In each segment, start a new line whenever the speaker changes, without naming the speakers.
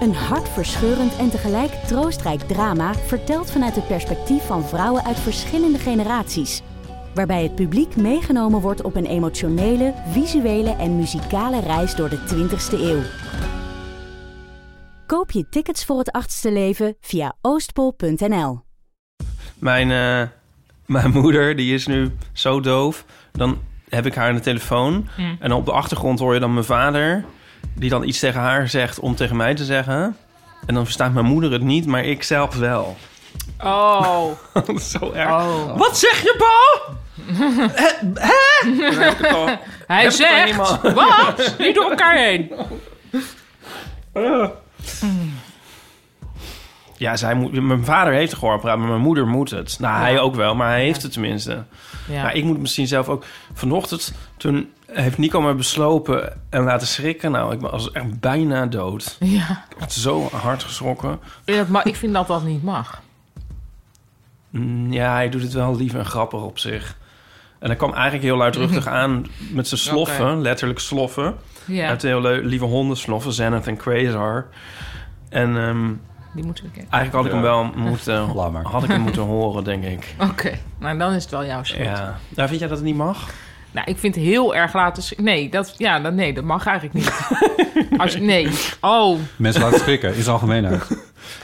Een hartverscheurend en tegelijk troostrijk drama... verteld vanuit het perspectief van vrouwen uit verschillende generaties waarbij het publiek meegenomen wordt op een emotionele, visuele en muzikale reis door de 20ste eeuw. Koop je tickets voor het achtste leven via oostpol.nl.
Mijn, eh, mijn moeder, die is nu zo doof. Dan heb ik haar aan de telefoon. En op de achtergrond hoor je dan mijn vader... die dan iets tegen haar zegt om tegen mij te zeggen. En dan verstaat mijn moeder het niet, maar ik zelf wel.
Oh.
Dat is zo erg.
Oh.
Wat zeg je, Paul? Hè? Hè? Dan heb ik het al.
Hij
Heb ik toch
zegt,
helemaal-
wat? Niet door elkaar heen.
Ja, zij moet, mijn vader heeft een gehoorapparaat, maar mijn moeder moet het. Nou, hij ook wel, maar hij heeft het tenminste.
Ja.
Maar Nou, ik moet misschien zelf ook... Vanochtend, toen heeft Nico me beslopen en laten schrikken. Nou, ik was echt bijna dood.
ja.
Ik had zo hard geschrokken.
Ja, maar ik vind dat dat niet mag.
Mm, Ja, hij doet het wel lief en grappig op zich. En hij kwam eigenlijk heel luidruchtig aan met zijn sloffen,
Oké.
letterlijk sloffen.
Ja,
Uit de heel leu- lieve honden sloffen, Zenith en Quasar. En ehm,
die moeten we kennen.
eigenlijk had ik hem wel moeten,
Laat maar.
had ik hem moeten horen, denk ik.
Oké, nou dan is het wel jouw schuld.
Ja. Nou, vind jij dat het niet mag?
Nou, ik vind heel erg laten... sch- Nee, dat, ja, dat, nee, dat mag eigenlijk niet. Als, nee. Oh,
Mensen laten schrikken, in zijn algemeenheid.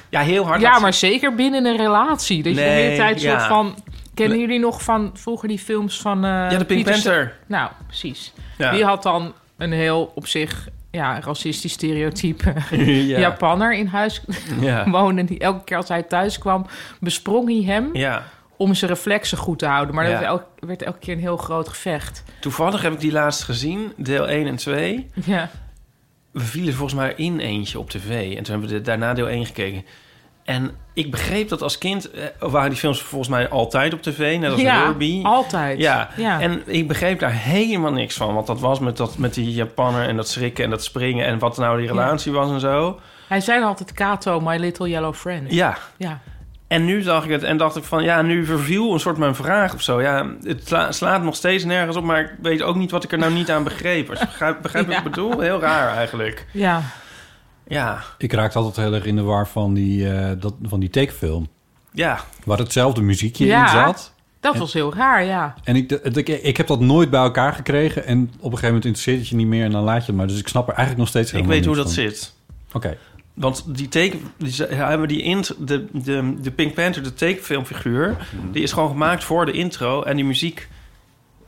Ja, heel hard.
ja,
laten-
maar zeker binnen een relatie. Dat je de
Nee,
hele tijd
ja.
soort van... Kennen jullie nog van vroeger die films van... eh,
Ja, de Pink
Peter Sa-
Panther.
Nou, precies.
Ja.
Die had dan een heel op zich ja, racistisch stereotype
Ja.
Japanner in huis
Ja.
wonen... die elke keer als hij thuis kwam, besprong hij hem...
Ja.
om zijn reflexen goed te houden. Maar
Ja.
dat werd elk- werd elke keer een heel groot gevecht.
Toevallig heb ik die laatst gezien, deel 1 en 2.
Ja.
We vielen volgens mij in eentje op tv. En toen hebben we de- daarna deel 1 gekeken. En ik begreep dat als kind eh, waren die films volgens mij altijd op tv. Net als
ja,
Herbie.
altijd.
Ja.
ja.
en ik begreep daar helemaal niks van. Wat dat was met, dat, met die Japanner en dat schrikken en dat springen... en wat nou die relatie was en zo.
Hij zei altijd Kato, my little yellow friend.
Ja,
Ja.
En nu zag ik het en dacht ik van... ja, nu verviel een soort mijn vraag of zo. Ja, het sla- slaat nog steeds nergens op... maar ik weet ook niet wat ik er nou niet aan begreep. Als je begrijpt, begrijpt wat ik bedoel? Heel raar eigenlijk.
ja.
Ja,
Ik raakte altijd heel erg in de war van die, eh, dat, van die tekenfilm.
ja.
Waar hetzelfde muziekje
Ja.
in zat.
Dat was heel raar, ja.
En ik, dat- ik, ik heb dat nooit bij elkaar gekregen. En op een gegeven moment interesseert het je niet meer en dan laat je het maar. Dus ik snap er eigenlijk nog steeds
ik
helemaal
weet hoe dat
niks van.
zit.
Oké.
Want die teken... Die, ze- hebben die int, de, de, de Pink Panther, de tekenfilmfiguur...
Mhm.
die is gewoon gemaakt voor de intro en die muziek...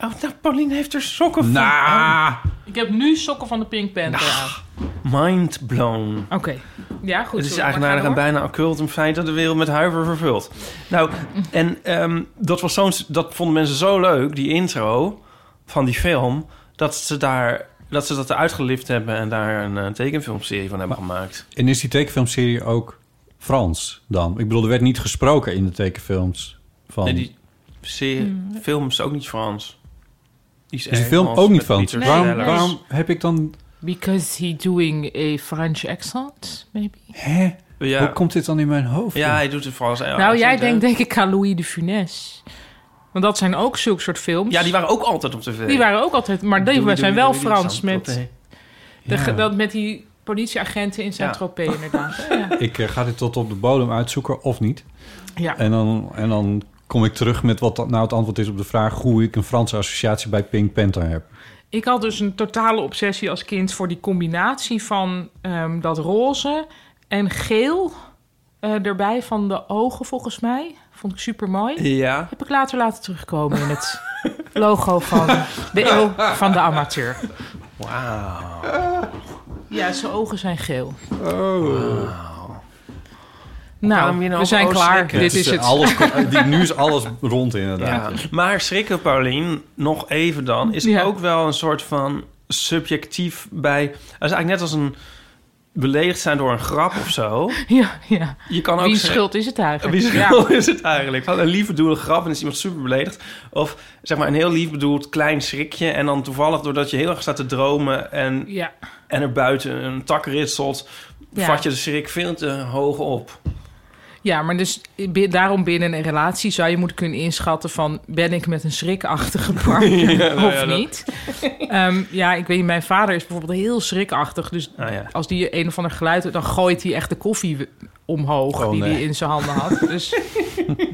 Oh, nou, Pauline heeft er sokken van.
Nou,
Ik heb nu sokken van de Pink Panther
Nou.
aan.
Mind blown.
Oké. Ja, goed.
Het is
zullen we maar
eigenaardig en
gaan
bijna occult een feit dat de wereld met huiver vervult. Nou, en ehm, dat, was zo'n, dat vonden mensen zo leuk, die intro van die film, dat ze, daar, dat, ze dat eruit gelift hebben en daar een eh, tekenfilmserie van hebben gemaakt.
en is die tekenfilmserie ook Frans dan? Ik bedoel, er werd niet gesproken in de tekenfilms. Van...
Nee, die serie, film is ook niet Frans. is
is die
erg
film ook niet
met
Frans?
Pieter
waarom,
Sellers.
waarom heb ik dan...
door. Because he doing a French accent, maybe?
Hè? Hoe
Ja,
komt dit dan in mijn hoofd?
ja, hij doet het Frans.
nou, jij denkt denk ik aan Louis de Funès. Want dat zijn ook zulke soort films.
Ja, die waren ook altijd op tv.
Die waren ook altijd... Maar die
Eh, Doei,
zijn
doei,
wel
doei, doei,
Frans
doei,
met,
doei.
de ge-
Ja.
dat, met die politieagenten in Saint-Tropez, inderdaad. Ja.
Ik eh, ga dit tot op de bodem uitzoeken of niet.
ja.
En dan, en dan kom ik terug met wat dat nou het antwoord is op de vraag... hoe ik een Franse associatie bij Pink Panther heb.
Ik had dus een totale obsessie als kind voor die combinatie van ehm, dat roze en geel eh, erbij van de ogen, volgens mij. Vond ik super mooi.
Ja.
Heb ik later laten terugkomen in het logo van de eeuw van de amateur.
Wauw.
Ja, zijn ogen zijn geel.
Oh.
Nou,
kwamen we hier
we,
nou
zijn
over
klaar.
schrikken?
Dit is het.
Alles, die, nu is alles rond inderdaad.
Ja. Maar schrikken, Paulien, nog even dan, is
Ja.
ook wel een soort van subjectief bij. Het is eigenlijk net als een beledigd zijn door een grap of zo.
Ja, ja.
Je kan ook
Wie
zeggen-
schuld is het eigenlijk?
Wie
Ja.
schuld is het eigenlijk? Van een lief bedoelde grap en is iemand super beledigd. Of zeg maar een heel lief bedoeld klein schrikje. En dan toevallig doordat je heel erg staat te dromen en,
Ja.
en er buiten een tak ritselt,
Ja.
vat je de schrik veel te hoog op.
ja, maar dus bi- daarom binnen een relatie zou je moeten kunnen inschatten van... ben ik met een schrikachtige partner
nou
of
ja, dat-
niet? Ehm, ja, ik weet niet, mijn vader is bijvoorbeeld heel schrikachtig. Dus
Nou ja.
als die een of ander geluid hoort, dan gooit hij echt de koffie w- omhoog...
Oh,
die
nee.
hij in zijn handen had. Dus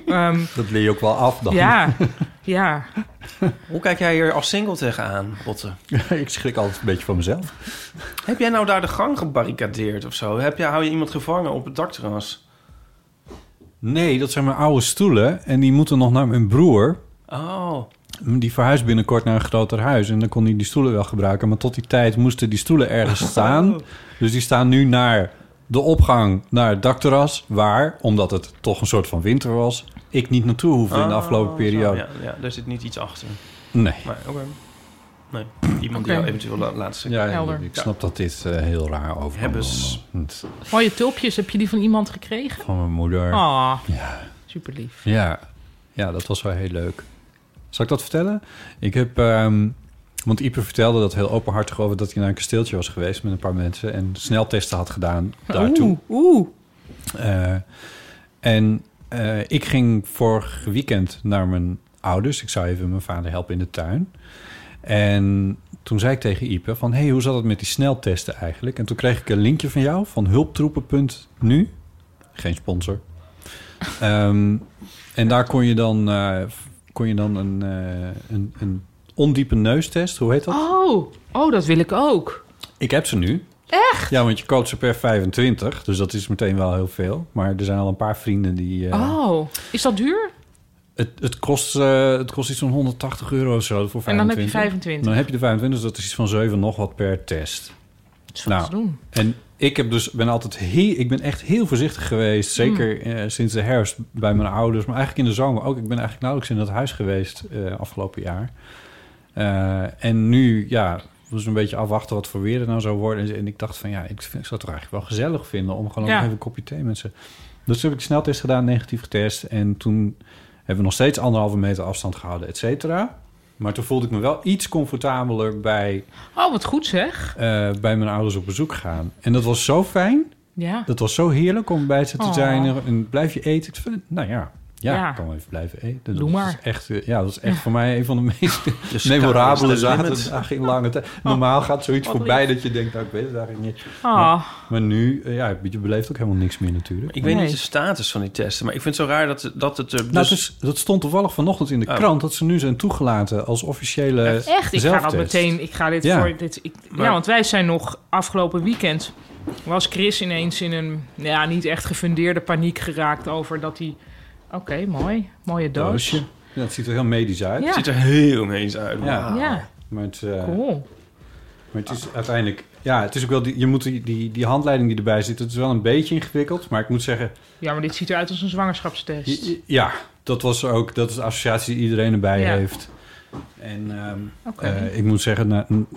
ehm,
Dat leer je ook wel af dan.
ja, ja.
Hoe kijk jij hier als single tegenaan, Botte?
ik schrik altijd een beetje van mezelf.
Heb jij nou daar de gang gebarricadeerd of zo? Heb jij, hou je iemand gevangen op het dakterras?
Nee, dat zijn mijn oude stoelen. En die moeten nog naar mijn broer.
Oh,
Die verhuist binnenkort naar een groter huis. En dan kon hij die stoelen wel gebruiken. Maar tot die tijd moesten die stoelen ergens staan. Dus die staan nu naar de opgang naar het dakterras. Waar, omdat het toch een soort van winter was... ik niet naartoe hoefde in de
Oh,
afgelopen
zo,
periode.
Ja, ja, daar zit niet iets achter.
Nee.
Maar oké. Nee, iemand die
Oké.
jou eventueel la- laat schrikken.
Ja,
Helder.
ik snap dat dit eh, heel raar over
Hebbes.
Mooie tulpjes, heb je die van iemand gekregen?
Van mijn moeder.
Ah,
Ja.
super lief.
Ja. ja, dat was wel heel leuk. Zal ik dat vertellen? Ik heb... ehm, want Ieper vertelde dat heel openhartig over... dat hij naar een kasteeltje was geweest met een paar mensen... en sneltesten had gedaan daartoe.
Oeh, oeh.
Eh, en eh, ik ging vorig weekend naar mijn ouders. Ik zou even mijn vader helpen in de tuin. En toen zei ik tegen Ipe van... hey, hoe zat het met die sneltesten eigenlijk? En toen kreeg ik een linkje van jou van hulptroepen.nu. Geen sponsor. Ehm, en daar kon je dan, eh, kon je dan een, eh, een, een ondiepe neustest... Hoe heet dat?
Oh, oh, dat wil ik ook.
Ik heb ze nu. Echt? Ja, want je koopt ze per 25. Dus dat is meteen wel heel veel. Maar er zijn al een paar vrienden die... eh,
Oh, is dat duur?
het, het, kost, eh, het kost iets van 180 euro of zo voor 25.
En dan heb je 25.
Dan heb je de 25, dus dat is iets van 7 nog wat per test.
Dat is wat
Nou.
te doen.
En ik heb dus, ben altijd heel, ik ben echt heel voorzichtig geweest. Zeker eh, sinds de herfst bij mijn ouders. Maar eigenlijk in de zomer ook. Ik ben eigenlijk nauwelijks in dat huis geweest eh, afgelopen jaar. Eh, en nu, ja, was een beetje afwachten wat voor weer er nou zou worden. En, en ik dacht van, ja, ik, vind, ik zou het toch eigenlijk wel gezellig vinden... om gewoon
Ja.
nog even een kopje thee met ze. Dus toen heb ik de sneltest gedaan, negatief getest. En toen hebben we nog steeds anderhalve meter afstand gehouden, et cetera. Maar toen voelde ik me wel iets comfortabeler bij,
Oh, wat goed zeg.
eh, bij mijn ouders op bezoek gaan. En dat was zo fijn.
Ja.
Dat was zo heerlijk om bij ze te
Oh.
zijn. En blijf je eten. Ik vind- nou ja, ja,
Ja.
ik kan wel even blijven eten. Dat
Doe
is
maar.
echt, eh, ja, dat is echt voor mij een van de meest
Dus
memorabele
sky is the limit.
zaterdagen in lange tijd. Normaal gaat zoiets
Oh. Wat
voorbij dat je denkt, nou, ik weet het eigenlijk niet.
Ah,
Maar nu, eh, ja, je beleeft ook helemaal niks meer natuurlijk.
Ik weet
Nee.
niet de status van die testen, maar ik vind het zo raar dat, dat het er dus...
Nou, het is- dat stond toevallig vanochtend in de
Oh.
krant... dat ze nu zijn toegelaten als officiële
echt? Ik ga dat
Eh, zelftest.
meteen. Ik ga dit
Ja.
voor. Dit, ik,
Maar-
ja, want wij zijn nog afgelopen weekend. Was Chris ineens in een nou ja, niet echt gefundeerde paniek geraakt over dat hij. Oké, mooi. Mooie doos.
Doosje. Ja, het ziet er heel medisch uit.
Ja.
Het ziet er heel eens uit.
Ah, Ja.
Wauw.
Ja,
Maar het, eh,
cool.
Maar het is uiteindelijk... Ja, het is ook wel... Die, je moet die, die, die handleiding die erbij zit... Het is wel een beetje ingewikkeld. Maar ik moet zeggen...
Ja, maar dit ziet eruit als een zwangerschapstest.
j- j- Ja, dat was ook... Dat is de associatie die iedereen erbij
Ja.
heeft. En ehm,
Oké.
eh, ik moet zeggen... na- n-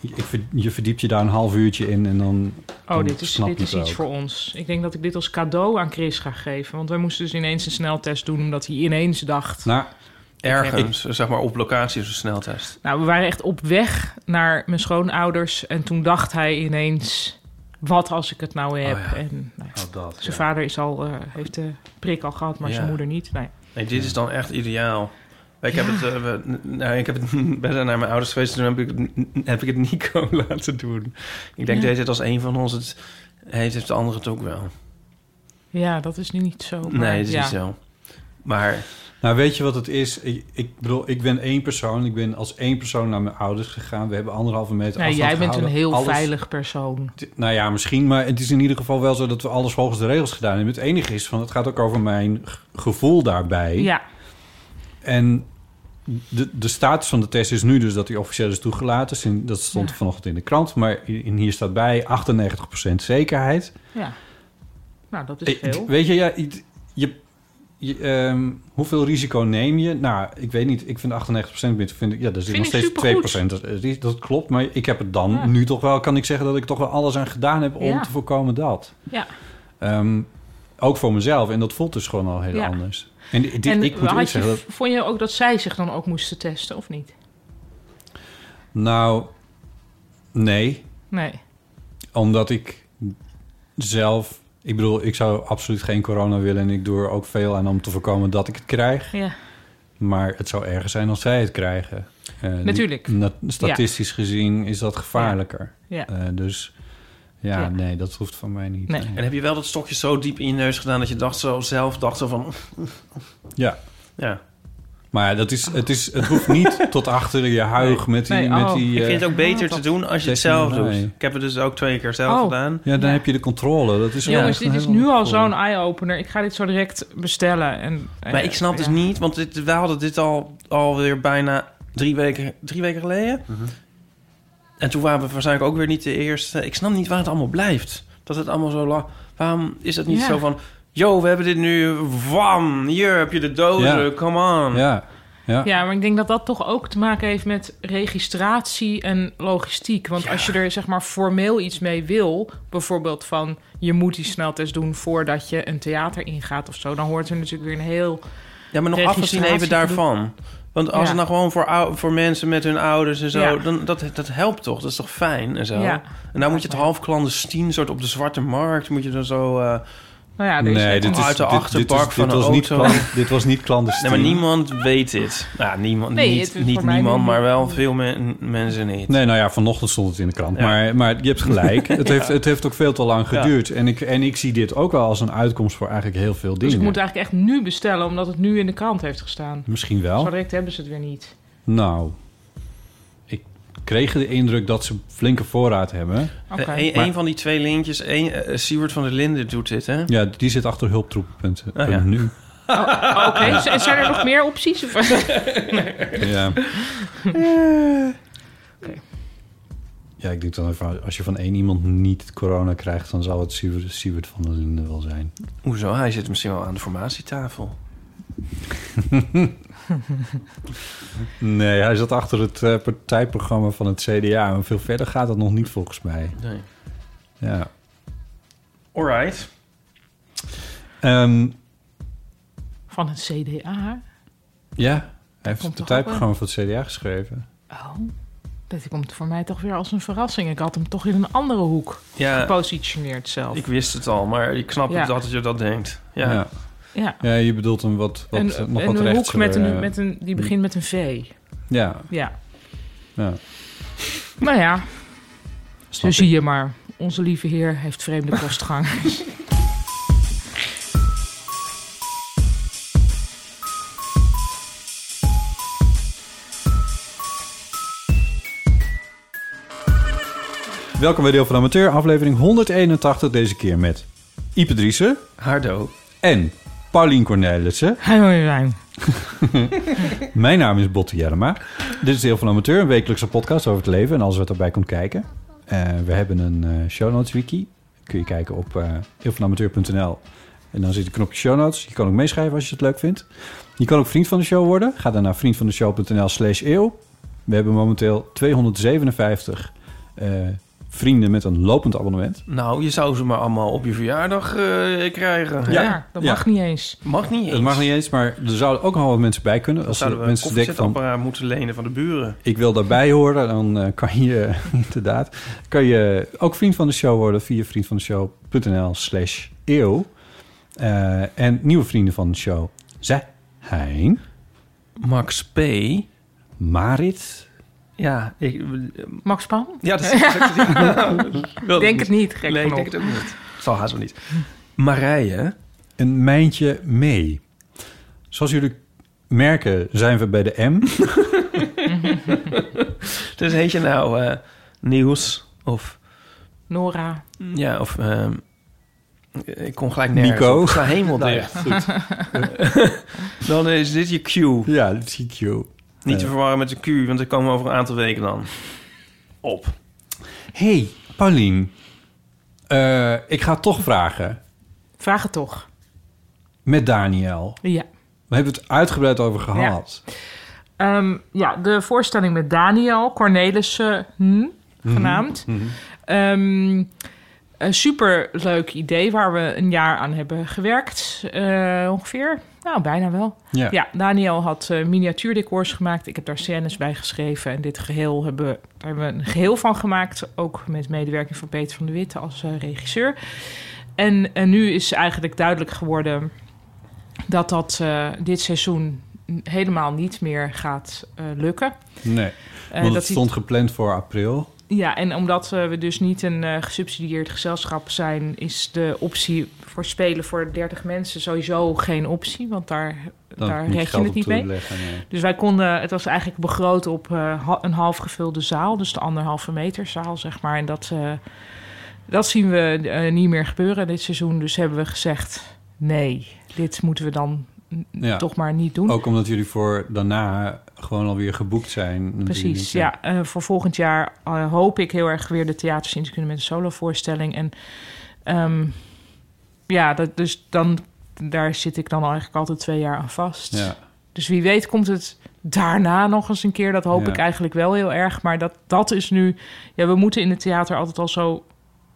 ik- ik verd- je verdiept je daar een half uurtje in en dan...
Oh,
dan
dit is,
snap
dit
je
is
het
iets
ook.
voor ons. Ik denk dat ik dit als cadeau aan Chris ga geven. Want wij moesten dus ineens een sneltest doen, omdat hij ineens dacht...
Nou,
Ergens, zeg maar op locatie is een sneltest.
Nou, we waren echt op weg naar mijn schoonouders. En toen dacht hij ineens, wat als ik het nou heb?
Oh ja.
En nou, ja,
dat,
zijn vader is al, eh, heeft de prik al gehad, maar
Ja.
zijn moeder niet. Nee.
Nee, dit is dan echt ideaal. Ik heb,
Ja.
het, eh, we- nou, ik heb het bijna naar mijn ouders geweest. Toen heb ik, het- heb ik het Nico laten doen. Ik denk,
Ja.
deze het als een van ons. Het, heeft heeft de andere het ook wel.
Ja, dat is nu niet zo. maar
Nee, dat is
ja.
niet zo. Maar
Nou, weet je wat het is? Ik, ik bedoel, ik ben één persoon. Ik ben als één persoon naar mijn ouders gegaan. We hebben anderhalve meter
Nee,
afstand
Nou, jij bent een
gehouden.
heel
Alles-
veilig persoon.
T- Nou ja, misschien, maar het is in ieder geval wel zo dat we alles volgens de regels gedaan hebben. Het enige is van, het gaat ook over mijn g- gevoel daarbij.
Ja,
En de, de status van de test is nu dus dat die officieel is toegelaten. Sin- Dat stond
Ja.
vanochtend in de krant, maar i- in hier staat bij 98% zekerheid.
ja. Nou, dat is
Eh, d-
veel.
Weet je, ja, i- je, je, ehm, hoeveel risico neem je? Nou, ik weet niet. Ik vind 98% binnen, vind ik, ja, daar zit
Vind
nog
ik
steeds
supergoed.
2%. Dat, eh, dat klopt, maar ik heb het dan
Ja.
nu toch wel, kan ik zeggen dat ik toch wel alles aan gedaan heb om
Ja.
te voorkomen dat.
Ja.
Ehm, ook voor mezelf. En dat voelt dus gewoon al heel
Ja.
anders. En, dit,
en
ik moet
had
eerlijk
je,
zeggen dat...
vond je ook dat zij zich dan ook moesten testen, of niet?
Nou, nee.
Nee.
Omdat ik zelf... Ik bedoel, ik zou absoluut geen corona willen... en ik doe er ook veel aan om te voorkomen dat ik het krijg.
Ja.
Maar het zou erger zijn als zij het krijgen. Eh,
Natuurlijk.
die- na- statistisch gezien is dat gevaarlijker.
Ja.
Eh, dus ja,
Ja.
nee, dat hoeft van mij niet.
Nee.
En heb je wel dat stokje zo diep in je neus gedaan dat je dacht zo zelf dacht zo van
Ja,
ja.
maar ja, dat is, het, is, het hoeft niet tot achter je huig met die...
Nee,
met
oh,
die
Ik
eh,
vind het ook beter
Ja,
te
dat-
doen als je het
Testing
zelf doet.
erbij.
Ik heb het dus ook twee keer zelf
Oh.
gedaan.
ja, dan
Ja.
heb je de controle. Dat is wel
Jongens,
echt een
dit is
heel
nu al
ander gevoel.
zo'n eye-opener. Ik ga dit zo direct bestellen. En, en-
Maar ik snap dus
ja.
niet, want dit, we hadden dit al alweer bijna drie weken, drie weken geleden.
Mhm.
En toen waren we waarschijnlijk ook weer niet de eerste. Ik snap niet waar het allemaal blijft. Dat het allemaal zo lang... Waarom is het niet
Ja.
zo van... Yo, we hebben dit nu. Wam, hier heb je de dozen.
Ja.
Come on.
Ja, ja.
Ja, maar ik denk dat dat toch ook te maken heeft met registratie en logistiek. Want als je er zeg maar formeel iets mee wil, bijvoorbeeld van je moet die sneltest doen voordat je een theater ingaat of zo, dan hoort er natuurlijk weer een heel.
Ja, maar nog afgezien
Registratie
even daarvan. Want als
Ja.
het nou gewoon voor, ou- voor mensen met hun ouders en zo...
Ja.
Dan, dat, dat helpt toch? Dat is toch fijn en zo?
Ja.
En nou moet je het half clandestien, soort op de zwarte markt... moet je dan zo... eh,
Nou ja, er is
Nee,
net
dit
een-
is,
uit de
dit- dit
achterbak
is- dit
van een
was niet
auto.
klan- Dit was niet clandestien.
Nee, maar niemand weet dit. Nou, niemand,
Nee, het
niet,
is
niet
voor mij
niemand,
niet-
maar wel veel men- mensen niet.
Nee, nou ja, vanochtend stond het in de krant.
Ja.
Maar, maar je hebt gelijk. Het, heeft, het heeft ook veel te lang geduurd. En, ik, en ik zie dit ook wel als een uitkomst voor eigenlijk heel veel
Dus
dingen.
ik moet eigenlijk echt nu bestellen, omdat het nu in de krant heeft gestaan.
Misschien
Zo
wel.
direct hebben ze het weer niet.
Nou, ik kreeg de indruk dat ze flinke voorraad hebben.
Oké.
Eh, een,
Maar-
een van die twee lintjes, een, eh, Siewert van der Linden doet dit, hè?
Ja, die zit achter hulptroepen.nu.
Ah, ja.
Nu.
Oh, Oké,
eh,
Z- zijn er nog meer opties? Of-
Ja.
Oké.
ja, ik denk dan even, als je van één iemand niet corona krijgt... dan zal het Siewert, Siewert van der Linden wel zijn.
Hoezo? Hij zit misschien wel aan de formatietafel.
Nee, hij zat achter het eh, partijprogramma van het CDA. En veel verder gaat dat nog niet volgens mij.
Nee.
Ja.
All right.
Ehm,
Van het CDA.
ja, hij heeft het
toch
partijprogramma van het CDA geschreven.
Oh, dat komt voor mij toch weer als een verrassing. Ik had hem toch in een andere hoek
Eh.
Ja,
gepositioneerd zelf.
ik wist het al, maar ik snap
Ja.
het dat je dat denkt. Ja.
ja.
ja.
Ja, je bedoelt hem wat, wat,
en
nog
en
wat
een
rechts. eh,
hoek met een, met een, die begint met een V.
Ja,
Ja.
ja.
Nou ja, zo
Snap
zie je maar. Onze lieve heer heeft vreemde kostgang.
ik. Welkom bij Deel van de Amateur, aflevering 181. Deze keer met Ipe Driessen
Hardo.
en Paulien Cornelissen.
Hij wil je zijn.
Mijn naam is Botte Jerma. Dit is Deel van de Amateur, een wekelijkse podcast over het leven en alles wat erbij komt kijken. Eh, we hebben een eh, show notes wiki. Kun je kijken op eh deelvanamateur.nl. En dan zit een knopje show notes. Je kan ook meeschrijven als je het leuk vindt. Je kan ook vriend van de show worden. Ga dan naar vriendvandeshow.nl slash eeuw. We hebben momenteel 257 eh, vrienden met een lopend abonnement.
Nou, je zou ze maar allemaal op je verjaardag eh, krijgen. hè?
Ja,
Ja,
dat
ja.
mag niet eens.
Mag niet eens.
Het mag niet eens, maar er zouden ook nog wel wat mensen bij kunnen.
Dan
Als er
zouden we een
mensen denken van,
koffiezetapparaat moeten lenen van de buren.
ik wil daarbij horen, dan eh, kan je inderdaad kan je ook vriend van de show worden via vriendvandeshow.nl slash eeuw. Eh, en nieuwe vrienden van de show zijn
Max P.
Marit.
Ja, ik...
Max Pam?
Ja, dat is... Ik
Denk het niet, gek
Nee, ik
genoeg.
denk het ook niet. Zal haast wel niet. Marije.
Een mijntje mee. Zoals jullie merken zijn we bij de M.
Dus heet je nou eh, Nieuws of...
Nora.
Ja, of... ehm, ik kom gelijk nergens
Nico.
op. Ik sta helemaal
Nou ja,
dicht. Dan is dit je Q.
ja, dat zie ik jou.
Niet te verwarren met de Q, want ik komen we over een aantal weken dan op.
hey, Paulien. Eh, ik ga het toch vragen.
Vraag het toch.
Met Daniel.
Ja.
We hebben het uitgebreid over gehad.
Ehm, ja, de voorstelling met Daniel Cornelissen hm, genaamd. Ehm, een superleuk idee waar we een jaar aan hebben gewerkt, eh, ongeveer. Nou, bijna wel.
Ja.
Ja, Daniel had eh, miniatuurdecors gemaakt. Ik heb daar scènes bij geschreven. En dit geheel hebben, we- daar hebben we een geheel van gemaakt. Ook met medewerking van Peter van de Witte als eh, regisseur. En, en nu is eigenlijk duidelijk geworden dat dat eh, dit seizoen n- helemaal niet meer gaat eh, lukken.
Nee,
Eh,
want
dat
het
die-
stond gepland voor april.
ja, en omdat eh, we dus niet een eh, gesubsidieerd gezelschap zijn, is de optie voor spelen voor 30 mensen sowieso geen optie. Want daar,
Dan
daar
moet je
red je
geld
het
op
niet mee.
toeleggen. nee.
Dus wij konden, het was eigenlijk begroot op eh, ha- een half gevulde zaal, dus de anderhalve meter zaal, zeg maar. En dat, eh, dat zien we eh, niet meer gebeuren dit seizoen. Dus hebben we gezegd: nee, dit moeten we dan mm,
Ja.
toch maar niet doen.
Ook omdat jullie voor daarna gewoon alweer geboekt zijn. natuurlijk.
Precies, ja. eh, voor volgend jaar eh, hoop ik heel erg weer de theaters in te kunnen met een solovoorstelling. En ehm, ja, dat, dus dan, daar zit ik dan eigenlijk altijd twee jaar aan vast.
Ja.
Dus wie weet komt het daarna nog eens een keer. Dat hoop
Ja.
ik eigenlijk wel heel erg. Maar dat, dat is nu... Ja, we moeten in het theater altijd al zo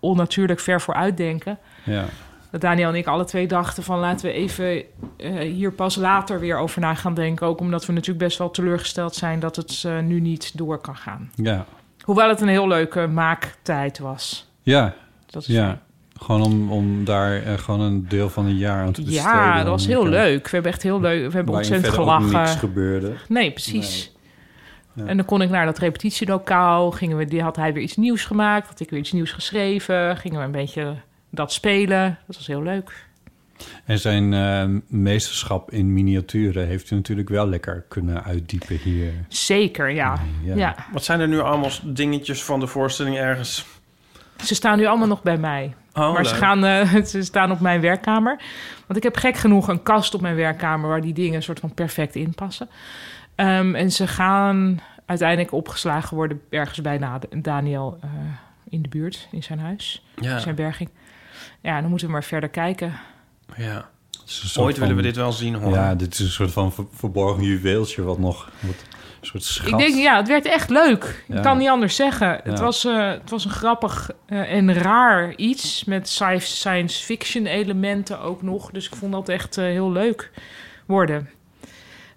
onnatuurlijk ver vooruit denken.
ja.
Dat Daniel en ik alle twee dachten van... laten we even eh, hier pas later weer over na gaan denken. Ook omdat we natuurlijk best wel teleurgesteld zijn... dat het eh, nu niet door kan gaan.
Ja,
Hoewel het een heel leuke maaktijd was.
ja,
Dat is
ja. Gewoon om, om daar eh, gewoon een deel van een jaar aan te besteden.
Ja, dat was
om
heel
elkaar-
leuk. We hebben echt heel leuk... We hebben
waarin
ontzettend
verder ook
gelachen.
niks gebeurde.
Nee, precies.
Nee. Ja.
En dan kon ik naar dat repetitielokaal. Gingen we, die had hij weer iets nieuws gemaakt. Had ik weer iets nieuws geschreven. Gingen we een beetje dat spelen. Dat was heel leuk.
En zijn eh, meesterschap in miniaturen heeft u natuurlijk wel lekker kunnen uitdiepen hier.
Zeker, ja.
Ja.
ja.
Wat zijn er nu allemaal dingetjes van de voorstelling ergens?
Ze staan nu allemaal nog bij mij.
Oh,
maar ze,
leuk.
gaan, eh, ze staan op mijn werkkamer. Want ik heb gek genoeg een kast op mijn werkkamer... waar die dingen soort van perfect in passen. Ehm, en ze gaan uiteindelijk opgeslagen worden... ergens bij Na- Daniel eh, in de buurt, in zijn huis.
Ja,
Zijn berging. Ja, dan moeten we maar verder kijken.
ja.
Het is een soort
Ooit willen we
van-
dit wel zien hoor.
Ja, dit is een soort van ver- verborgen juweeltje wat nog... Wat, een soort schat.
Ik denk, ja, het werd echt leuk.
Ja.
Ik kan niet anders zeggen. Het,
Ja.
was, eh, het was een grappig eh, en raar iets met sci- science fiction elementen ook nog. Dus ik vond dat echt eh, heel leuk worden.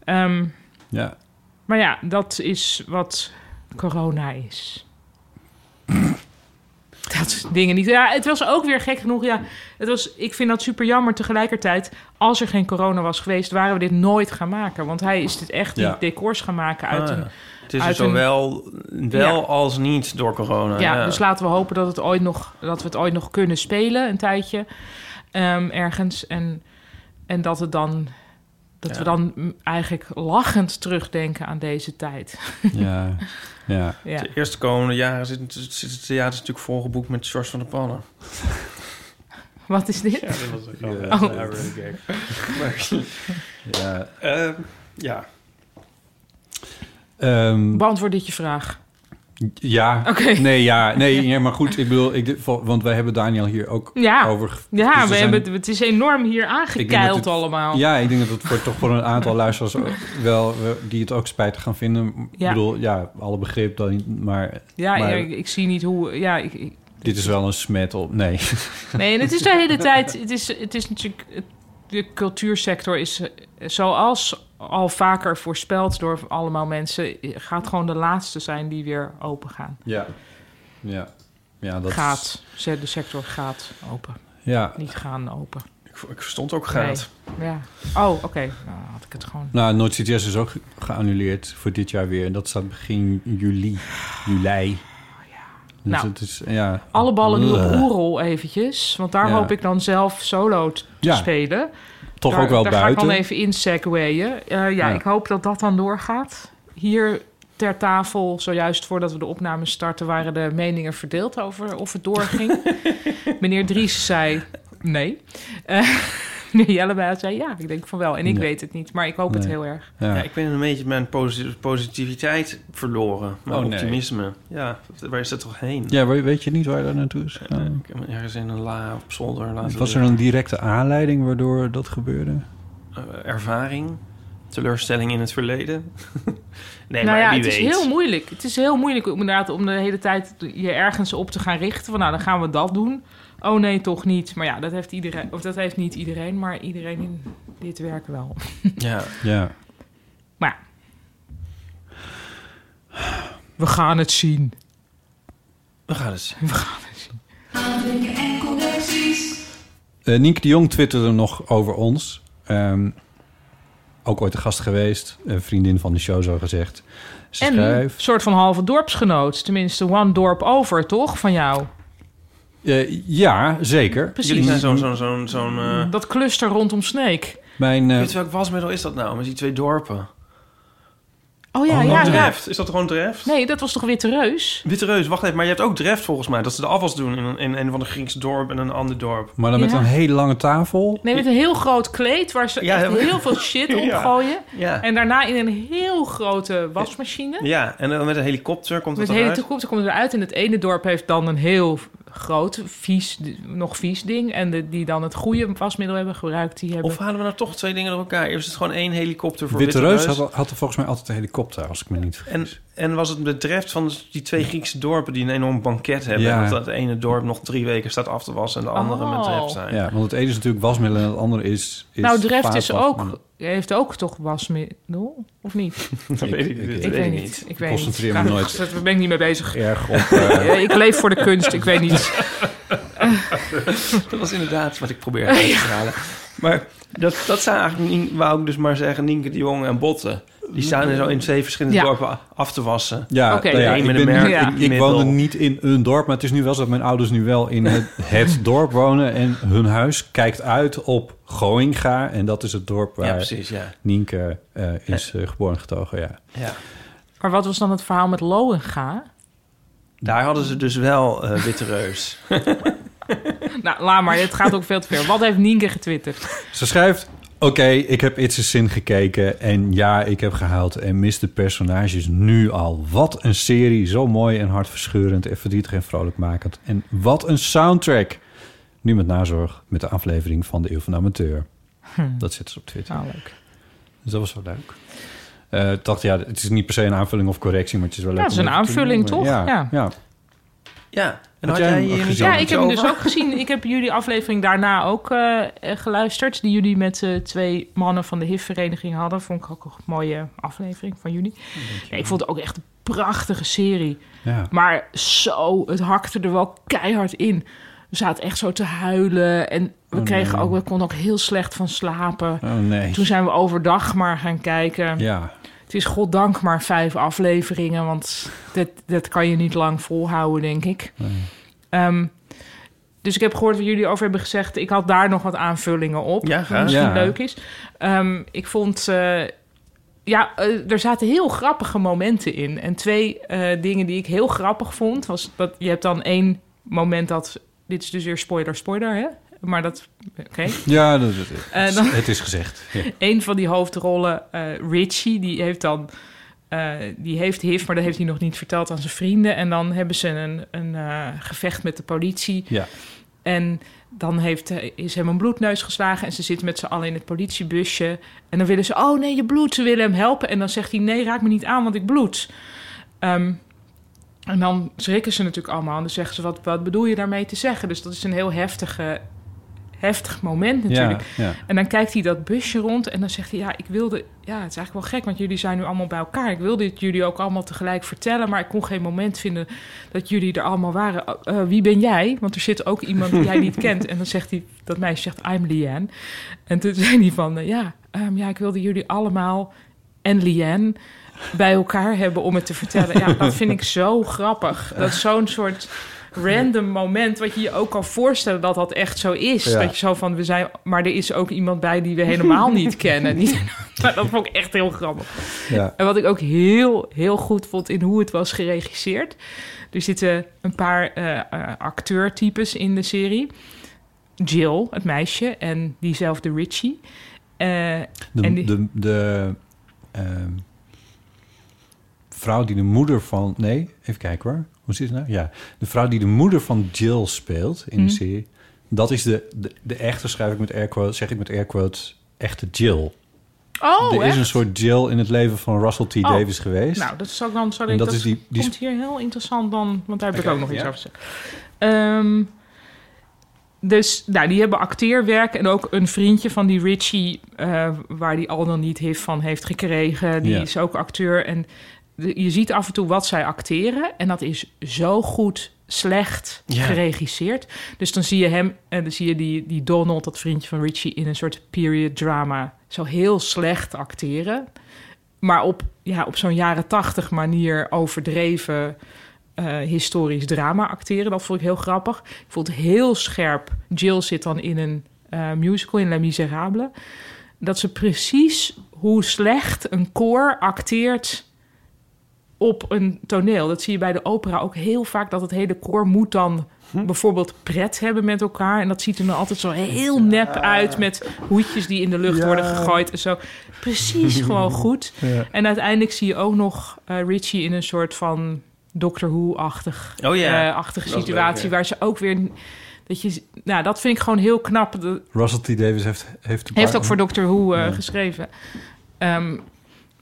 Ehm,
Ja.
maar ja, dat is wat corona is. Dat soort dingen niet. Ja, het was ook weer gek genoeg. Ja, het was, ik vind dat super jammer. Tegelijkertijd, als er geen corona was geweest, waren we dit nooit gaan maken. Want hij is dit echt
Ja.
niet decors gaan maken
Ah,
uit een
het is
uit
dus
een-
zowel wel
Ja.
als niet door
Ah,
corona.
Ja,
Ja,
dus laten we hopen dat, het ooit nog, dat we het ooit nog kunnen spelen een tijdje ehm, ergens. En, en dat, het dan, dat
Ja.
we dan mm, eigenlijk lachend terugdenken aan deze tijd.
Ja. ja.
Ja.
De eerste komende jaren zit, zit het theater natuurlijk volgeboekt met George van der Pannen.
Wat is dit?
dat was ook
grappig.
Oh.
ja.
ja.
Ehm,
Beantwoord dit je vraag.
ja.
Oké.
Nee, ja. Nee, ja, maar goed. Ik bedoel, ik, want wij hebben Daniel hier ook
Ja,
over... ge-
ja
dus
we
er zijn-
hebben, het- het is enorm hier
Ik denk dat
aangekeild
het-
allemaal.
Ja, ik denk dat het voor, toch voor een aantal luisteraars ook wel eh, die het ook spijtig gaan vinden. Ik
Ja.
bedoel, ja, alle begrip dan, maar
Ja,
maar-
ik, ik zie niet hoe... Ja, ik, ik-
dit is wel een smet op. Nee.
Nee, en het is de hele tijd. Het is, het is natuurlijk. De cultuursector is, eh, zoals al vaker voorspeld door allemaal mensen, eh, gaat gewoon de laatste zijn die weer open gaan.
Ja. Ja. Ja, dat is-
gaat. Ze- De sector gaat open.
ja.
Niet gaan open.
Ik, ik verstond ook gaat.
Ja. Oh, oké. Nou, had ik het gewoon.
Nou, Noord City Jazz is ook ge- geannuleerd voor dit jaar weer. En dat staat begin juli. Juli. Dus
Oh, Nou.
het is, ja.
Alle ballen nu op
Ugh.
Oerol eventjes. Want daar
Ja.
hoop ik dan zelf solo t- te
Ja.
spelen.
Toch
Daar-
ook wel
daar
buiten.
ga ik dan even in segwayen. Eh, ja,
Ja.
ik hoop dat dat dan doorgaat. Hier ter tafel, zojuist voordat we de opname starten... waren de meningen verdeeld over of het doorging. Meneer Dries zei nee. Eh, meneer Jelle bij had, zei ja, ik denk van wel. En ik
Ja.
weet het niet, maar ik hoop het
Nee.
heel erg.
Ja.
Ja, ik ben een beetje mijn posi- positiviteit verloren. Mijn
Oh, nee.
optimisme. Ja, waar is dat toch heen?
Ja, we- weet je niet waar je daar naartoe is
Eh,
gegaan?
ik heb hem ergens in een la op zolder laten
Was er een directe aanleiding waardoor dat gebeurde?
liggen. Eh, ervaring? Teleurstelling in het verleden? nee,
nou
maar
ja,
wie
het is
weet.
heel moeilijk. Het is heel moeilijk om inderdaad om de hele tijd je ergens op te gaan richten. Van nou, dan gaan we dat doen. Oh nee, toch niet. Maar ja, dat heeft iedereen, of dat heeft niet iedereen, maar iedereen in dit werk wel.
Ja.
Ja.
Maar ja. we gaan het zien.
We gaan het zien.
Eh Nienke de Jong twitterde nog over ons. Ehm, ook ooit een gast geweest. Een vriendin van de show, zo gezegd. Ze
En een
schrijft...
soort van halve dorpsgenoot. Tenminste, one dorp over, toch? Van jou.
Eh, ja, zeker.
Jullie zijn zo'n... zo'n zo'n zo'n eh,
Dat cluster rondom Sneek.
Mijn, eh,
Weet je welk wasmiddel is dat nou? Met die twee dorpen.
Oh ja,
Oh,
ja, ja.
Dreft. Is dat gewoon Dreft?
Nee, dat was toch Witte Reus?
Witte Reus, wacht even. Maar je hebt ook Dreft volgens mij. Dat ze de afwas doen in een, in een van de Grieks dorp en een ander dorp.
maar dan met
Ja.
een hele lange tafel.
Nee, met een heel groot kleed waar ze
Ja,
echt
dat-
heel veel shit op
Ja.
gooien.
Ja.
En daarna in een heel grote wasmachine.
Ja, en dan met een helikopter komt dat
Met de hele
eruit.
toekomst komt het eruit. En het ene dorp heeft dan een heel groot, vies, nog vies ding. En de, die dan het goede wasmiddel hebben gebruikt, die hebben...
Of halen we nou toch twee dingen door elkaar? Is het gewoon één helikopter voor
Witte Reus had, had er volgens mij altijd een helikopter, als ik me niet
En,
vergis.
en was het bedreft van die twee Griekse dorpen die een enorm banket hebben...
Ja.
en dat het ene dorp nog drie weken staat af te wassen... en de andere
Oh.
met dreft zijn?
ja, want het ene is natuurlijk wasmiddel en het andere is... is
nou, Dreft is
vaatwasmiddel.
ook, heeft ook toch wasmiddel, of niet?
Dat
Ik-
weet ik,
ik-
dat
Ik
weet
weet
ik
niet. Ik weet
concentreer
niet.
me
Nou,
nooit.
Daar ben ik niet mee bezig.
Erg op... eh,
Eh, ik leef voor de kunst, ik weet niet.
Dat was inderdaad wat ik probeerde uit te halen. Maar dat, dat zijn eigenlijk, Nien- wou ik dus maar zeggen, Nienke de Jong en Botten. Die staan er zo in twee verschillende
Ja.
dorpen af te wassen.
Ja,
Oké.
nou ja,
Eén
ik,
met
ben,
een merk,
ik-
één
ik,
middel.
woonde niet in een dorp, maar het is nu wel zo dat mijn ouders nu wel in het, het dorp wonen. En hun huis kijkt uit op Goinga. En dat is het dorp
Ja,
waar
precies, ja.
Nienke eh, is eh, geboren en getogen. Ja.
ja.
Maar wat was dan het verhaal met Loenga?
Daar hadden ze dus wel eh Witte Reus.
Nou, laat maar. Het gaat ook veel te ver. Wat heeft Nienke getwitterd?
Ze schrijft... Oké, ik heb It's a Sin gekeken en ja, ik heb gehaald en mis de personages nu al. Wat een serie, zo mooi en hartverscheurend en verdrietig en vrolijkmakend. En wat een soundtrack. Nu met nazorg met de aflevering van de Eeuw van de Amateur. Dat zit ze op Twitter.
Nou, leuk.
Dus dat was wel leuk. Eh, ik dacht, ja, het is niet per se een aanvulling of correctie, maar het is wel leuk.
het is
om
een
even te
aanvulling,
noemen.
toch?
Ja, ja.
Ja.
Ja, en
Had
had
jij
jij
hem
hier niet
gezien?
Ja,
iets
ik heb hem dus
over?
ook gezien. Ik heb jullie aflevering daarna ook eh, eh, geluisterd. Die jullie met eh, twee mannen van de HIV-vereniging hadden. Vond ik ook een mooie aflevering van jullie. Nee, ik vond het ook echt een prachtige serie.
Ja.
Maar zo, het hakte er wel keihard in. We zaten echt zo te huilen. En we,
Oh,
kregen
nee.
ook, we konden ook heel slecht van slapen.
Oh nee.
Toen zijn we overdag maar gaan kijken.
Ja,
Het is goddank maar vijf afleveringen, want dat, dat kan je niet lang volhouden, denk ik. Ehm, dus ik heb gehoord wat jullie over hebben gezegd. Ik had daar nog wat aanvullingen op,
Ja,
wat
graag.
misschien
Ja.
leuk is. Ehm, ik vond, eh, ja, eh, er zaten heel grappige momenten in. En twee eh, dingen die ik heel grappig vond, was dat je hebt dan één moment dat, dit is dus weer spoiler, spoiler, hè? Maar dat, oké.
ja dat, dat-
Eh, dan-
het is gezegd. Ja.
een van die hoofdrollen, eh, Richie, die heeft dan. eh, die heeft HIV, maar dat heeft hij nog niet verteld aan zijn vrienden. En dan hebben ze een, een eh, gevecht met de politie.
Ja.
En dan heeft, eh, is hem een bloedneus geslagen. En ze zitten met z'n allen in het politiebusje. En dan willen ze, oh nee, je bloedt. Ze willen hem helpen. En dan zegt hij, nee, raak me niet aan, want ik bloed. Ehm, en dan schrikken ze natuurlijk allemaal. En dan zeggen ze, wat, wat bedoel je daarmee te zeggen? Dus dat is een heel heftige, heftig moment natuurlijk.
Ja, ja.
En dan kijkt hij dat busje rond en dan zegt hij: Ja, ik wilde. Ja, het is eigenlijk wel gek, want jullie zijn nu allemaal bij elkaar. Ik wilde het jullie ook allemaal tegelijk vertellen, maar ik kon geen moment vinden dat jullie er allemaal waren. Eh, eh, wie ben jij? Want er zit ook iemand die jij niet kent. En dan zegt hij: Dat meisje zegt: I'm Liane. En toen zei hij: van, eh, ja, ehm, ja, ik wilde jullie allemaal en Liane bij elkaar hebben om het te vertellen. Ja, dat vind ik zo grappig. Dat is zo'n soort random moment wat je je ook kan voorstellen dat dat echt zo is.
Ja.
Dat je zo van we zijn, maar er is ook iemand bij die we helemaal niet kennen. Die- maar dat vond ik echt heel grappig.
ja.
En wat ik ook heel heel goed vond in hoe het was geregisseerd. Er zitten een paar eh, eh, acteurtypes in de serie. Jill, het meisje, en diezelfde Richie. Eh,
De,
En die-
de, de ehm, vrouw die de moeder van... Nee, even kijken hoor. Hoe zit het nou? Ja, de vrouw die de moeder van Jill speelt in
Mhm.
de serie... dat is de, de, de echte, schrijf ik met air quotes, zeg ik met air quotes, echte Jill.
oh,
er is
echt? Oh,
een soort Jill in het leven van Russell T. Davis geweest.
Nou, dat zou ik dan... Zou
En
ik,
dat
dat
is die- die
komt hier heel interessant dan... Want daar heb
Oké,
ik ook nog iets
ja.
over te zeggen. Ehm, dus nou, die hebben acteerwerk. En ook een vriendje van die Richie... eh, waar die al dan niet heeft van heeft gekregen. Die
Ja.
is ook acteur. En de- je ziet af en toe wat zij acteren. En dat is zo goed slecht
Ja.
geregisseerd. Dus dan zie je hem... En dan zie je die, die Donald, dat vriendje van Richie... in een soort period drama zo heel slecht acteren maar op, ja, op zo'n jaren tachtig manier overdreven eh, historisch drama acteren. Dat vond ik heel grappig. Ik vond het heel scherp. Jill zit dan in een eh, musical in Les Miserables. Dat ze precies hoe slecht een koor acteert op een toneel. Dat zie je bij de opera ook heel vaak. Dat het hele koor moet dan bijvoorbeeld pret hebben met elkaar. En dat ziet er dan altijd zo heel nep uit... met hoedjes die in de lucht worden gegooid en zo. Precies gewoon goed. En uiteindelijk zie je ook nog eh, Richie in een soort van Doctor Who-achtig
Oh ja.
eh, achtige
Dat is
situatie.
leuk, ja.
Waar ze ook weer... Dat, je, nou, dat vind ik gewoon heel knap. De-
Russell T. Davis heeft... Heeft, een
heeft
paar-
ook voor Doctor Who eh,
Ja.
geschreven. Ehm,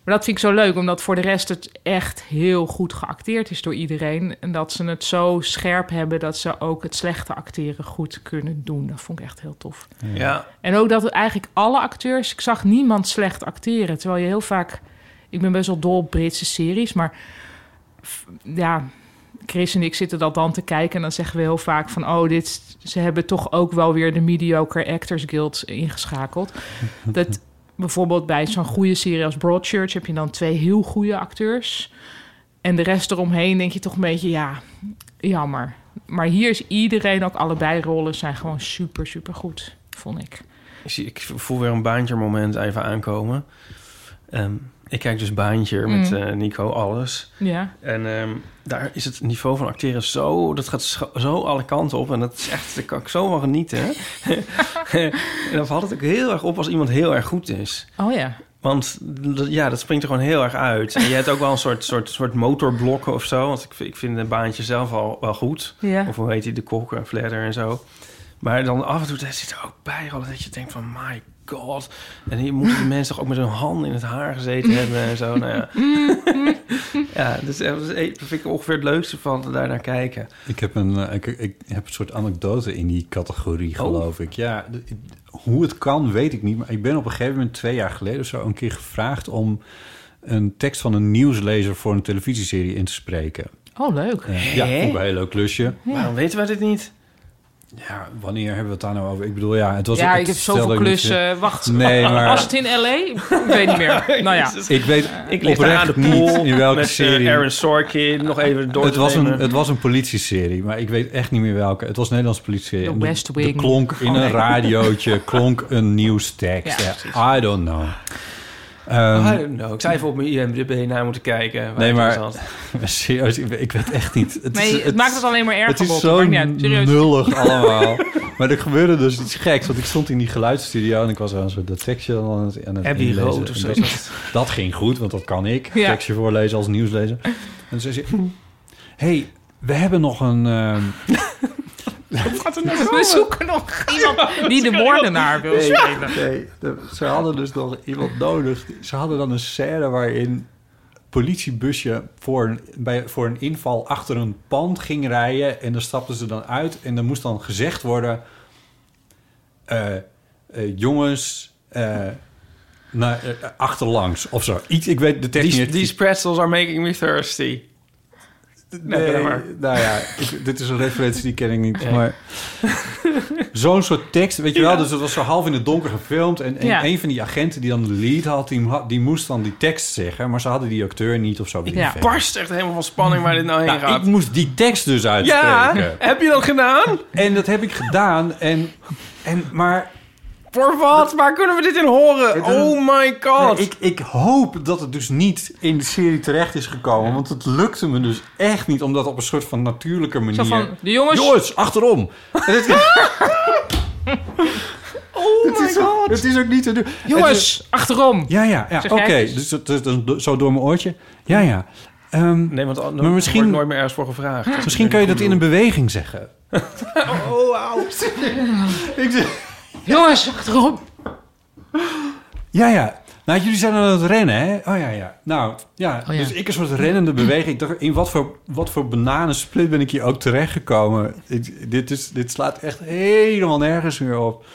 maar dat vind ik zo leuk, omdat voor de rest het echt heel goed geacteerd is door iedereen. En dat ze het zo scherp hebben dat ze ook het slechte acteren goed kunnen doen. Dat vond ik echt heel tof.
Ja.
En ook dat het eigenlijk alle acteurs, ik zag niemand slecht acteren. Terwijl je heel vaak, ik ben best wel dol op Britse series, maar f- ja, Chris en ik zitten dat dan te kijken en dan zeggen we heel vaak van, oh, dit, ze hebben toch ook wel weer de Mediocre Actors Guild ingeschakeld. dat bijvoorbeeld bij zo'n goede serie als Broadchurch heb je dan twee heel goede acteurs. En de rest eromheen denk je toch een beetje, ja, jammer. Maar hier is iedereen, ook allebei rollen, zijn gewoon super, super goed, vond ik.
Ik, zie- ik voel weer een baantje moment even aankomen. Ehm, ik kijk dus baantje met
Mm.
eh, Nico alles.
Ja,
En ehm, daar is het niveau van acteren zo... Dat gaat scho- zo alle kanten op. En dat is echt... Daar kan ik zo van genieten. hè. en dan valt het ook heel erg op als iemand heel erg goed is.
oh ja.
Want dat- ja, dat springt er gewoon heel erg uit. En je hebt ook wel een soort, soort, soort motorblokken of zo. Want ik, vind- ik vind een baantje zelf al wel goed.
ja.
Of hoe heet die, de kok en fladder en zo. Maar dan af en toe daar zit er ook bij al dat je denkt van my god. En hier moeten die mensen toch ook met hun handen in het haar gezeten hebben en zo. Nou ja. ja, dus eh, dat is eh, dat vind ik ongeveer het leukste van daar naar kijken.
Ik heb, een, eh, ik, ik heb een soort anekdote in die
Oh.
categorie, geloof ik. Ja, de- hoe het kan, weet ik niet. Maar ik ben op een gegeven moment twee jaar geleden of zo een keer gevraagd om een tekst van een nieuwslezer voor een televisieserie in te spreken.
Oh, leuk.
Eh, ja, vond ik een heel leuk klusje.
Waarom weten we dit niet?
Ja, wanneer hebben we het daar nou over? Ik bedoel, ja, het was
Ja,
het
ik heb
stelde
zoveel
ik niet-
klussen. Wacht,
Nee, maar-
was het in L.A.? Ik weet niet meer. Nou ja.
Jezus.
Ik weet
Ik lig daar aan de
oprecht
pool
niet in welke
met eh,
serie.
Aaron Sorkin nog even door
het
te
was, een,
nemen.
het was een politieserie, maar ik weet echt niet meer welke. Het was een Nederlandse politieserie.
De
En de-
West
de
Wing.
klonk in
Oh,
een
nee.
radiootje, klonk een nieuwstekst.
Ja,
Ja, I don't know. Ehm,
Oh, I don't know. Ik zou even op mijn IMDb naar moeten kijken. waar
Nee,
het
maar-
in zat.
serieus, ik, weet- ik weet echt niet. Het
Nee,
is,
het, maakt het alleen maar erger.
Het is
Bob.
zo
Maakt niet uit, serieus.
nullig allemaal. maar er gebeurde dus iets geks, want ik stond in die geluidsstudio... en ik was aan zo dat tekstje aan het, aan het
Abbey
inlezen.
Road of
En
zo.
dat- Dat ging goed, want dat kan ik.
Ja.
Tekstje voorlezen als nieuwslezer. En toen zei ze... hey, we hebben nog een... ehm,
We zoeken nog iemand die de moordenaar wil spelen.
Nee, de- ze hadden dus nog iemand nodig. Ze hadden dan een scène waarin een politiebusje voor een, bij, voor een inval achter een pand ging rijden. En dan stapten ze dan uit. En dan moest dan gezegd worden... eh, eh, jongens, eh, naar, eh, achterlangs of zo. Iets, ik weet de tekst
These,
niet.
these pretzels are making me thirsty. Nee,
Nee,
maar-
nou ja, ik- dit is een referentie die ken ik niet.
Ja.
Maar zo'n soort tekst, weet je wel? Dus het was zo half in het donker gefilmd. En, en
Ja.
een van die agenten die dan de lead had, die, mo- die moest dan die tekst zeggen. Maar ze hadden die acteur niet of zo. weet ik
Ja.
veel.
Barst echt helemaal van spanning waar dit nou heen
Nou,
gaat.
ik moest die tekst dus uitspreken.
ja, heb je dat gedaan?
En dat heb ik gedaan. En, en, maar
Voor wat? Waar kunnen we dit in horen?
Dit is een-
Oh my god.
ik, ik hoop dat het dus niet in de serie terecht is gekomen. Want het lukte me dus echt niet om dat op een soort van natuurlijke manier...
Zo van, de jongens...
Jongens, achterom. En dit-
Oh my god.
Het is ook niet te doen.
Jongens, achterom.
Ja, ja, ja
Zeg
oké.
jij het eens?
Dus, dat- dat- dat- zo door mijn oortje. Ja, ja. Ehm,
Nee, want al-
Maar misschien-
wordt nooit meer ergens voor gevraagd.
misschien kan je dat in een beweging zeggen.
Oh, Jongens, achterom.
Ja, ja. Nou, jullie zijn aan het rennen, hè? Oh ja, ja. Nou, ja.
Oh, ja.
Dus ik een soort rennende beweging. Ik dacht, in wat voor, wat voor bananensplit ben ik hier ook terechtgekomen? Ik, dit, is, dit slaat echt helemaal nergens meer op.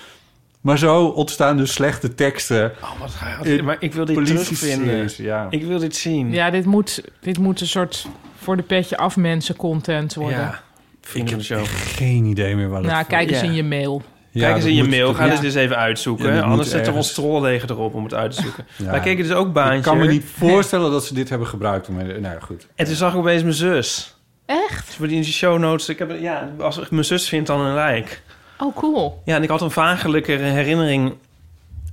Maar zo ontstaan dus slechte teksten.
Oh, wat gaaf.
in
Maar ik wil dit terugvinden.
politie-series, Ja.
Ik wil dit zien.
Ja, dit moet, dit moet een soort voor de petje af mensen content worden.
Ja. Vrienden
Ik
van
heb
de show.
echt geen idee meer waar dat
nou,
voor-
kijk eens
Ja.
in je mail.
Ja,
Kijk eens
dat
in je
moet-
mail. Ga
ja.
dit eens even uitzoeken.
Ja, dit moet
Anders zetten we
ergens.
ons trolldegen erop om het uit te zoeken.
Ja.
Wij keken dus ook baantje.
Ik kan me niet voorstellen dat ze dit hebben gebruikt. Om, nou ja, goed.
En toen zag ik opeens mijn zus.
Echt?
Ze wordt in de show notes. Ik heb, ja, als ik mijn zus vind, dan een lijk.
Oh, cool.
Ja, en ik had een vagelijke herinnering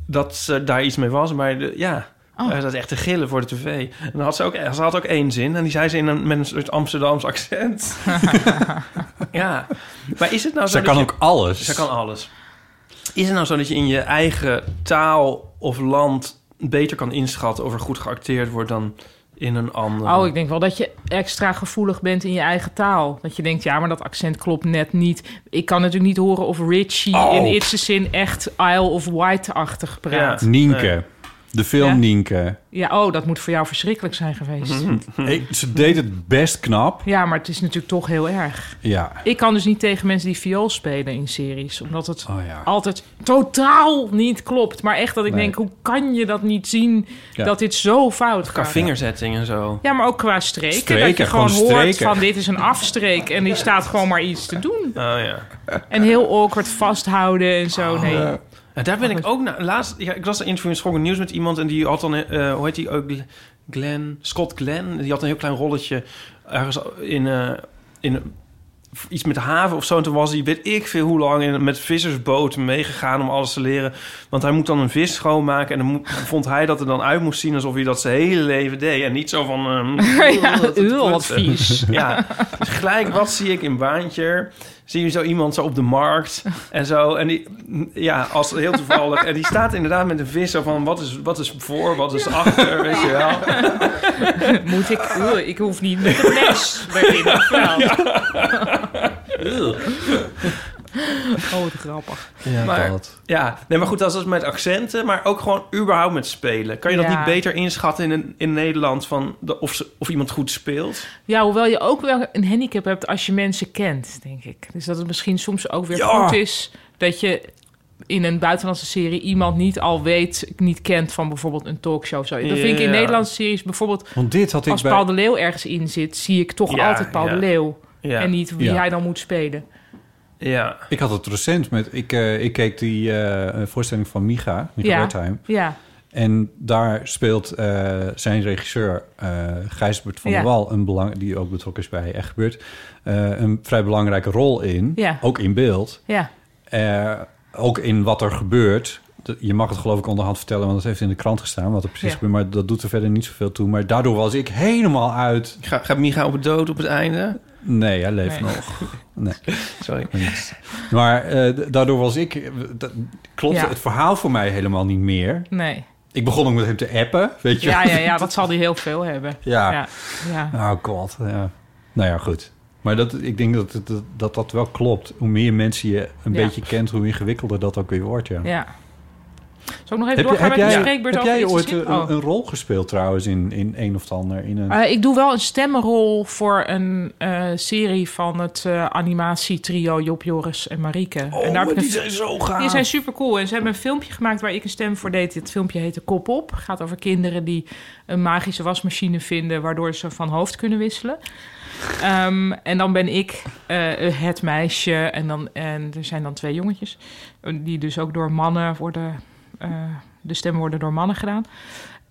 dat ze daar iets mee was. Maar de- ja, eh,
Oh.
dat echt te gillen voor de tv. En dan had ze, ook, eh, ze had ook één zin. En die zei ze in een, met een soort Amsterdams accent. ja. Maar is het nou zo
Zij
dat
kan
je-
ook alles.
Zij kan alles. Is het nou zo dat je in je eigen taal of land beter kan inschatten of er goed geacteerd wordt dan in een ander?
Oh, ik denk wel dat je extra gevoelig bent in je eigen taal. Dat je denkt, ja, maar dat accent klopt net niet. Ik kan natuurlijk niet horen of Richie
Oh.
in It's a Sin echt Isle of White-achtig praat. Ja.
Nienke.
Nee.
De film
Ja?
Nienke.
oh, dat moet voor jou verschrikkelijk zijn geweest.
Mhm.
Hm.
Ik- ze deed het best knap.
Ja, maar het is natuurlijk toch heel erg.
Ja.
Ik kan dus niet tegen mensen die viool spelen in series. Omdat het
Oh ja.
altijd totaal niet klopt. Maar echt dat ik
Nee.
denk, hoe kan je dat niet zien
Ja.
dat dit zo fout
Qua
gaat?
vingerzetting en zo.
Ja, maar ook qua streken. dat je
Streken,
gewoon,
gewoon
hoort
streken.
van dit is een afstreek en die staat gewoon maar iets te doen.
Oh ja.
En heel awkward vasthouden en zo. nee.
En Eh, daar ben ik ook naar. Laatst, ja, ik las een interview in Schokken Nieuws met iemand en die had dan, eh, hoe heet die ook? Glenn, Scott Glenn. Die had een heel klein rolletje ergens in, eh, in iets met de haven of zo. En toen was hij, weet ik veel hoe lang, in, met vissersboot meegegaan om alles te leren. Want hij moet dan een vis schoonmaken en dan moet- vond hij dat er dan uit moest zien alsof hij dat zijn hele leven deed. En niet zo van. ehm,
Ja,
dat-
heel wat vies.
ja, dus gelijk wat zie ik in Baantje? Zie je zo iemand zo op de markt en zo. En die, ja, als heel toevallig. En die staat inderdaad met een vis zo van... wat is, wat is voor, wat is achter, weet je wel.
Moet ik... Oeh, ik hoef niet met een mes bij dit verhaal. Oh, wat grappig.
Ja,
Maar- Ja, nee, maar goed, dat is dus met accenten, maar ook gewoon überhaupt met spelen. Kan je dat
Ja.
niet beter inschatten in, een- in Nederland van de, of, ze, of iemand goed speelt?
Ja, hoewel je ook wel een handicap hebt als je mensen kent, denk ik. Dus dat het misschien soms ook weer
Ja.
goed is dat je in een buitenlandse serie iemand niet al weet, niet kent van bijvoorbeeld een talkshow of zo. Dat vind ik
Ja.
in Nederlandse series bijvoorbeeld
Want dit had ik
als
bij...
Paul de Leeuw ergens in zit, zie ik toch
Ja,
altijd Paul
ja.
de Leeuw
Ja,
en niet wie
Ja.
hij dan moet spelen.
ja.
Ik had het recent met... Ik, eh, ik keek die eh, voorstelling van Micha, Micha
Ja.
Wertheim.
Ja,
En daar speelt eh, zijn regisseur eh Gijsbert van
Ja.
der Wal... Een belang, die ook betrokken is bij Echt Gebeurd... eh, een vrij belangrijke rol in.
Ja.
Ook in beeld.
ja,
Eh, ook in wat er gebeurt. De- Je mag het geloof ik onderhand vertellen, want het heeft in de krant gestaan wat er precies
Ja.
gebeurt. Maar dat doet er verder niet zoveel toe. Maar daardoor was ik helemaal uit.
Ga, gaat Micha op het dood op het einde?
Nee, hij leeft
Nee.
nog.
Sorry.
Maar eh, d- daardoor was ik. dat- klopte
Ja.
het verhaal voor mij helemaal niet meer.
nee.
Ik begon ook met hem te appen, weet je.
Ja, ja, ja, dat zal hij heel veel hebben.
Ja.
ja. ja.
Oh god. Ja. Nou ja, goed. Maar dat, ik denk dat, het- dat, dat dat wel klopt. Hoe meer mensen je een
Ja.
beetje kent, hoe ingewikkelder dat ook weer wordt. Ja.
ja. Zal ik nog even
Heb, je-
doorgaan
heb
met
jij,
de spreekbeurt
heb
over
jij
iets te
ooit eh,
zien?
een,
Oh.
een rol gespeeld trouwens in, in een of het ander? In een...
Eh, ik doe wel een stemrol voor een eh, serie van het eh, animatietrio Job, Joris en Marieke.
Oh,
Oh,
en daar heb ik een-
zo gaaf.
die zijn super cool. En ze hebben een filmpje gemaakt waar ik een stem voor deed. Het filmpje heette Kop op. Het gaat over kinderen die een magische wasmachine vinden... waardoor ze van hoofd kunnen wisselen. Ehm, en dan ben ik eh, het meisje. En, dan, en er zijn dan twee jongetjes. eh, Die dus ook door mannen worden... eh, de stemmen worden door mannen gedaan.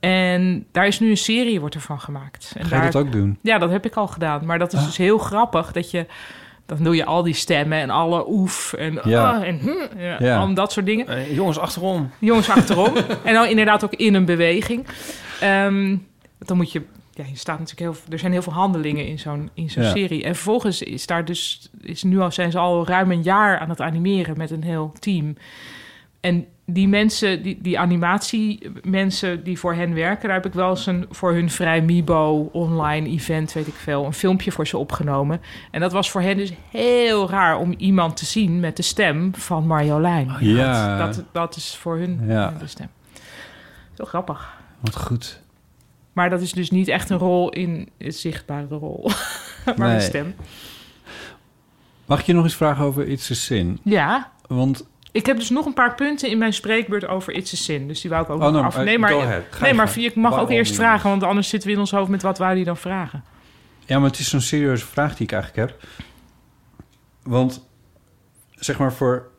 En daar is nu een serie wordt ervan gemaakt. En
Ga je
daar-
dat ook doen?
ja, dat heb ik al gedaan. Maar dat is dus heel grappig dat je... Dan doe je al die stemmen en alle oef en,
Ja.
ah, en hm, ja,
Ja.
om dat soort dingen.
Eh, jongens, achterom.
Jongens achterom. en dan inderdaad ook in een beweging. Ehm, dan moet je ja, je staat natuurlijk heel, er zijn heel veel handelingen in zo'n in zo'n
Ja.
serie. En vervolgens is daar dus, is nu al, zijn ze al ruim een jaar aan het animeren met een heel team. En die mensen, die, die animatiemensen die voor hen werken, daar heb ik wel eens een, voor hun vrij Mibo online event, weet ik veel, een filmpje voor ze opgenomen. En dat was voor hen dus heel raar om iemand te zien met de stem van Marjolein.
Oh, ja,
Oh Dat, dat is voor hun
Eh, Ja.
eh, de stem. Zo grappig.
wat goed.
Maar dat is dus niet echt een rol in een zichtbare rol. maar
Nee.
een stem.
Mag ik je nog eens vragen over It's a Sin?
Ja.
Want,
Ik heb dus nog een paar punten in mijn spreekbeurt over It's a Sin. Dus die wou ik ook
Oh,
nog
nou,
af.
eh,
Nee, maar,
go ahead. Ga
nee,
je
maar
gang.
ik mag ook
Waarom
eerst
niet?
vragen, want anders zitten we in ons hoofd met wat wou die dan vragen.
ja, maar het is zo'n serieuze vraag die ik eigenlijk heb. Want, zeg maar voor...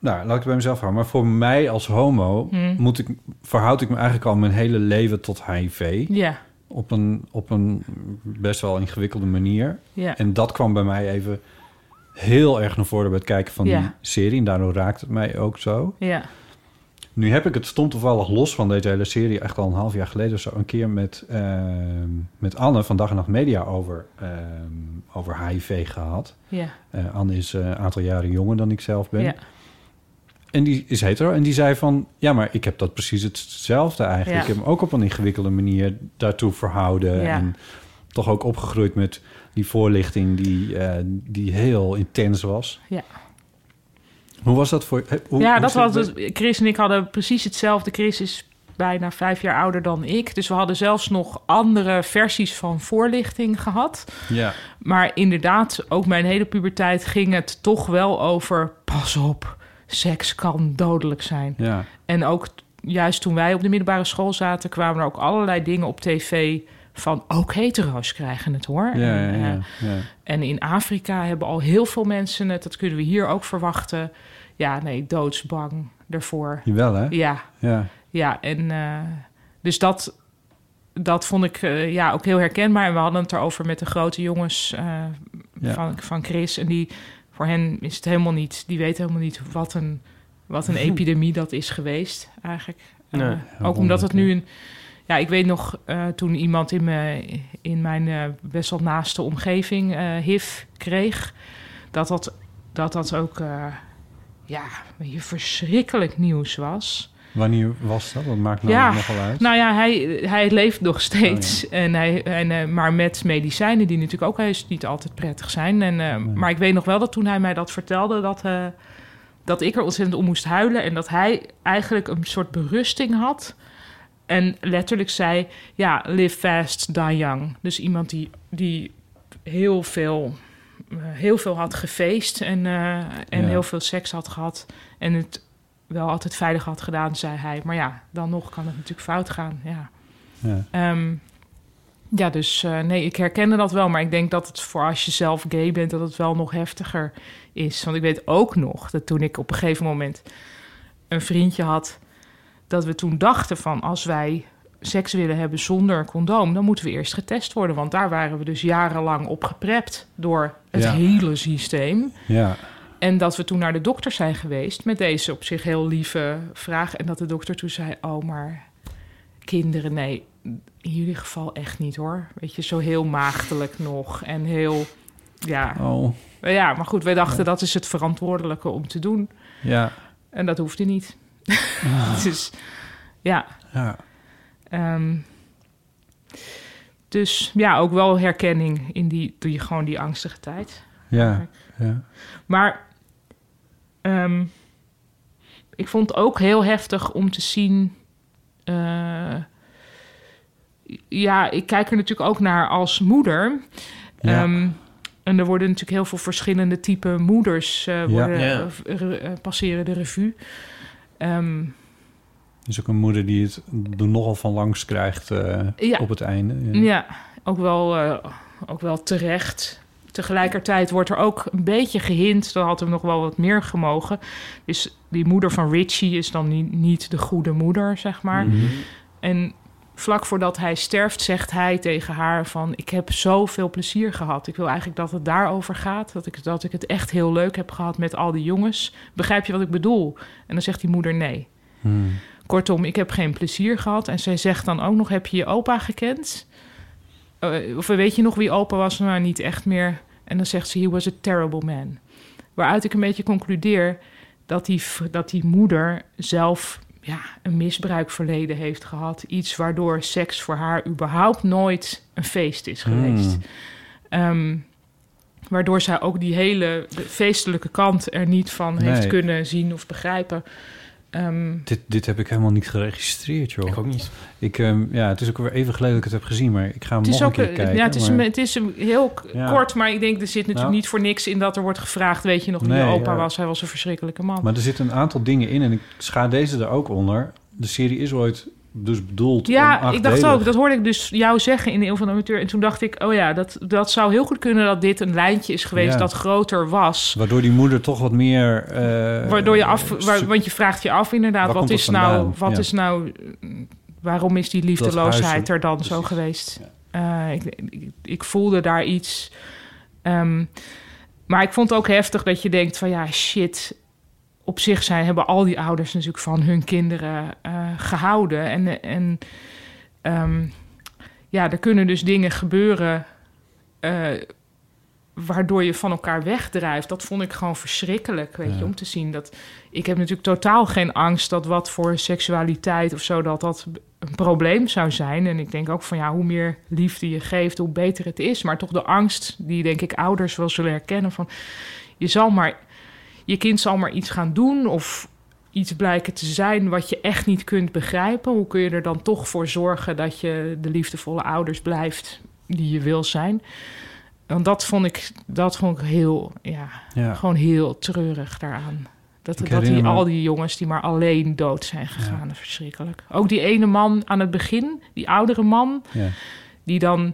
Nou, laat ik het bij mezelf houden. Maar voor mij als homo moet ik, verhoud ik me eigenlijk al mijn hele leven tot HIV.
Ja,
Op een, op een best wel ingewikkelde manier.
ja.
En dat kwam bij mij even heel erg naar voren bij het kijken van die
Ja.
serie. En daardoor raakt het mij ook zo.
ja.
Nu heb ik het stom toevallig los van deze hele serie... echt al een half jaar geleden of zo... een keer met, ehm, met Anne van Dag en Nacht Media over, ehm, over HIV gehad.
ja.
Eh, Anne is eh, een aantal jaren jonger dan ik zelf ben.
Ja.
En die is hetero. En die zei van... ja, maar ik heb dat precies hetzelfde eigenlijk.
Ja.
Ik heb me ook op een ingewikkelde manier daartoe verhouden.
Ja.
En toch ook opgegroeid met die voorlichting... die, eh, die heel intens was.
Ja.
Hoe was dat voor... eh, Hoe,
ja,
hoe
dat
zit
was
het-
het. Chris en ik hadden precies hetzelfde. Chris is bijna vijf jaar ouder dan ik. Dus we hadden zelfs nog andere versies van voorlichting gehad.
Ja.
Maar inderdaad, ook mijn hele puberteit ging het toch wel over... pas op, seks kan dodelijk zijn.
ja.
En ook t- juist toen wij op de middelbare school zaten... kwamen er ook allerlei dingen op tv van... ook hetero's krijgen het hoor.
Ja, ja,
en, eh,
ja, ja.
en in Afrika hebben al heel veel mensen het. Dat kunnen we hier ook verwachten. Ja, nee, doodsbang ervoor.
Jawel, hè?
Ja,
Ja.
ja, en eh, dus dat, dat vond ik eh, ja, ook heel herkenbaar. En we hadden het erover met de grote jongens eh,
Ja.
van, van Chris. En die, voor hen is het helemaal niet, die weten helemaal niet wat een, wat een epidemie dat is geweest eigenlijk. Eh,
Nee.
ook omdat het nu een, ja, ik weet nog eh, toen iemand in mijn, in mijn eh, best wel naaste omgeving eh, HIV kreeg, dat dat, dat, dat ook, eh, ja, je verschrikkelijk nieuws was.
Wanneer was dat? Dat maakt nou
Ja.
nogal uit.
Nou ja, hij, hij leeft nog steeds. en hij, en, eh, maar met medicijnen die natuurlijk ook heus niet altijd prettig zijn. En, eh, Maar ik weet nog wel dat toen hij mij dat vertelde, dat, eh, dat ik er ontzettend om moest huilen. En dat hij eigenlijk een soort berusting had. En letterlijk zei, ja, live fast, die young. Dus iemand die, die heel, veel, eh, heel veel had gefeest en, eh, en
Ja.
heel veel seks had gehad. En het wel altijd veilig had gedaan, zei hij. Maar ja, dan nog kan het natuurlijk fout gaan. Ja,
Ja.
Ehm, ja dus eh, nee, ik herkende dat wel. Maar ik denk dat het voor als je zelf gay bent, dat het wel nog heftiger is. Want ik weet ook nog dat toen ik op een gegeven moment een vriendje had, dat we toen dachten van als wij seks willen hebben zonder een condoom, dan moeten we eerst getest worden. Want daar waren we dus jarenlang op geprept door het
Ja.
hele systeem.
ja.
En dat we toen naar de dokter zijn geweest met deze op zich heel lieve vraag. En dat de dokter toen zei: Oh, maar kinderen, nee, in jullie geval echt niet hoor. Weet je, zo heel maagdelijk nog en heel. Ja,
Oh,
ja maar goed, wij dachten dat is het verantwoordelijke om te doen.
ja.
En dat hoefde niet. dus ja.
Ja.
ehm, dus ja, ook wel herkenning in die, die, gewoon die angstige tijd.
Ja. Ja.
Maar ehm, ik vond het ook heel heftig om te zien. eh, ja, ik kijk er natuurlijk ook naar als moeder.
Ja.
Ehm, en er worden natuurlijk heel veel verschillende type moeders eh, worden,
Ja.
eh, re- eh, passeren de revue. Ehm,
Dus ook een moeder die het er nogal van langs krijgt eh,
Ja.
op het einde.
ja. ook wel, eh, ook wel terecht. Tegelijkertijd wordt er ook een beetje gehint, dan had hem nog wel wat meer gemogen. Dus die moeder van Richie is dan ni- niet de goede moeder, zeg maar.
Mm. Mhm.
Mm-hmm.
En vlak voordat hij sterft, zegt hij tegen haar van... ik heb zoveel plezier gehad. Ik wil eigenlijk dat het daarover gaat. Dat ik, dat ik het echt heel leuk heb gehad met al die jongens. Begrijp je wat ik bedoel? En dan zegt die moeder nee.
Mm.
Kortom, ik heb geen plezier gehad. En zij zegt dan ook nog, heb je je opa gekend? eh, of weet je nog wie opa was? Nou, niet echt meer. En dan zegt ze, he was a terrible man. Waaruit ik een beetje concludeer dat die, v- dat die moeder zelf ja, een misbruikverleden heeft gehad. Iets waardoor seks voor haar überhaupt nooit een feest is
Hmm.
geweest. Ehm, waardoor zij ook die hele feestelijke kant er niet van heeft
Nee.
kunnen zien of begrijpen. Ehm,
Dit, dit heb ik helemaal niet geregistreerd, joh.
Ik ook niet.
Ik, ehm, ja, het is ook weer even geleden dat ik het heb gezien, maar ik ga hem
Het is
nog een
ook
keer
eh,
kijken.
ja, het is,
maar-
een, het is een heel k-
Ja.
kort, maar ik denk er zit natuurlijk
Nou.
niet voor niks in dat er wordt gevraagd. Weet je nog wie
Nee,
je opa
ja.
was? Hij was een verschrikkelijke man.
Maar er zitten een aantal dingen in en ik schaar deze er ook onder. De serie is ooit dus bedoeld om
ja, ik dacht
achtdelig.
ook, dat hoorde ik dus jou zeggen in de Eeuw van de Amateur. En toen dacht ik, oh ja, dat, dat zou heel goed kunnen dat dit een lijntje is geweest
Ja.
dat groter was.
Waardoor die moeder toch wat meer... eh,
Waardoor je af, waar-
sub-
want je vraagt je af inderdaad,
Waar
wat
komt dat
is nou,
vandaan?
wat
Ja.
is nou, mm, waarom is die liefdeloosheid
huiselijk,
er dan zo
precies.
geweest? Eh, ik, ik, ik voelde daar iets. Ehm, maar ik vond het ook heftig dat je denkt van ja, shit. Op zich zijn, hebben al die ouders natuurlijk van hun kinderen eh, gehouden. En, en ehm, ja, er kunnen dus dingen gebeuren eh, waardoor je van elkaar wegdrijft. Dat vond ik gewoon verschrikkelijk, weet je, om te zien. Dat, ik heb natuurlijk totaal geen angst dat wat voor seksualiteit of zo, dat dat een probleem zou zijn. En ik denk ook van ja, hoe meer liefde je geeft, hoe beter het is. Maar toch de angst die denk ik ouders wel zullen herkennen van je zal maar, je kind zal maar iets gaan doen of iets blijken te zijn wat je echt niet kunt begrijpen. Hoe kun je er dan toch voor zorgen dat je de liefdevolle ouders blijft die je wil zijn? Want dat vond ik, dat vond ik heel, ja,
Ja.
gewoon heel treurig daaraan. Dat,
Ik
dat die,
herinner me-
al die jongens die maar alleen dood zijn gegaan, verschrikkelijk. Ook die ene man aan het begin, die oudere man,
Ja.
die dan,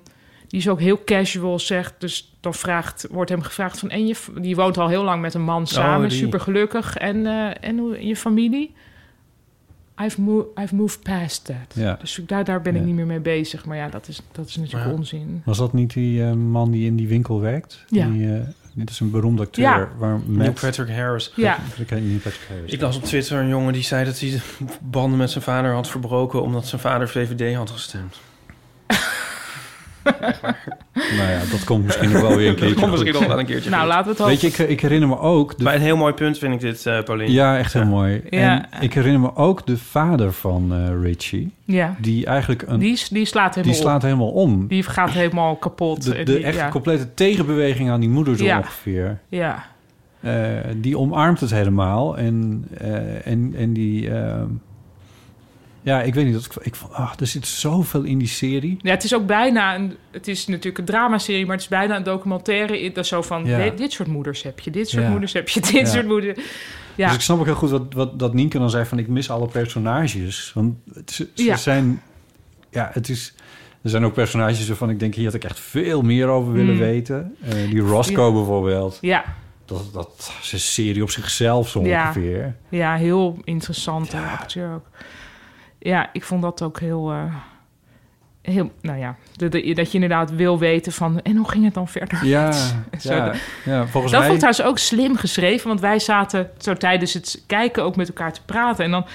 die is ook heel casual zegt, dus dan vraagt, wordt hem gevraagd van, en je, f- die woont al heel lang met een
Oh,
man samen,
die.
super gelukkig, en, eh, en hoe- je familie? I've, mo- I've moved past that.
Ja.
Dus ik- daar, daar ben ik
Ja.
niet meer mee bezig. Maar ja, dat is, dat is natuurlijk
Ja.
onzin.
Was dat niet die eh, man die in die winkel werkt?
Ja.
Die, eh, dit is een beroemde acteur.
Ja.
Waar
Neil
met,
Patrick Harris.
Ja,
Ik ken niet Patrick Harris.
Ik las op Twitter een jongen die zei dat hij de banden met zijn vader had verbroken... omdat zijn vader VVD had gestemd.
Nou ja, dat komt misschien nog wel weer een
Dat
keertje.
komt misschien
goed.
nog wel een keertje
nou
goed.
laten we het hopen.
Weet je, ik, ik herinner me ook... De,
Bij een heel mooi punt vind ik dit, eh Pauline.
ja, echt heel
Ja.
mooi.
Ja.
En ik herinner me ook de vader van eh, Richie.
Ja,
Die eigenlijk een... Die,
die, s- die slaat helemaal op.
slaat helemaal om.
Die gaat helemaal kapot.
De,
Eh,
de
die-
echt
ja.
complete tegenbeweging aan die moeder zo
Ja.
ongeveer.
ja.
Eh, die omarmt het helemaal. En, eh, en, en die... ehm, ja, ik weet niet. Dat, ik- ik, vond- ah, er zit zoveel in die serie.
ja, het is ook bijna een. Het is natuurlijk een dramaserie, maar het is bijna een documentaire. in- Dat is zo van:
Ja.
dit, dit soort moeders heb je, dit soort
Ja.
moeders heb je, dit
Ja.
soort moeders. Ja,
Dus ik snap ook heel goed wat, wat dat Nienke dan zei van ik mis alle personages. Want het- ze, ze
Ja.
zijn, ja, het is, er zijn ook personages waarvan ik denk hier had ik echt veel meer over willen
Mm.
weten. Eh, die Roscoe bijvoorbeeld,
ja,
dat, dat is een serie op zichzelf zo
Ja.
ongeveer.
ja heel interessant. Ja. acteur ook. Ja, ik vond dat ook heel. eh, heel nou ja, de- de- dat je inderdaad wil weten van. En hoe ging het dan verder?
Ja,
Zo,
ja, ja, volgens
Dat
mij.
vond ik trouwens ook slim geschreven, want wij zaten zo tijdens het kijken ook met elkaar te praten. En dan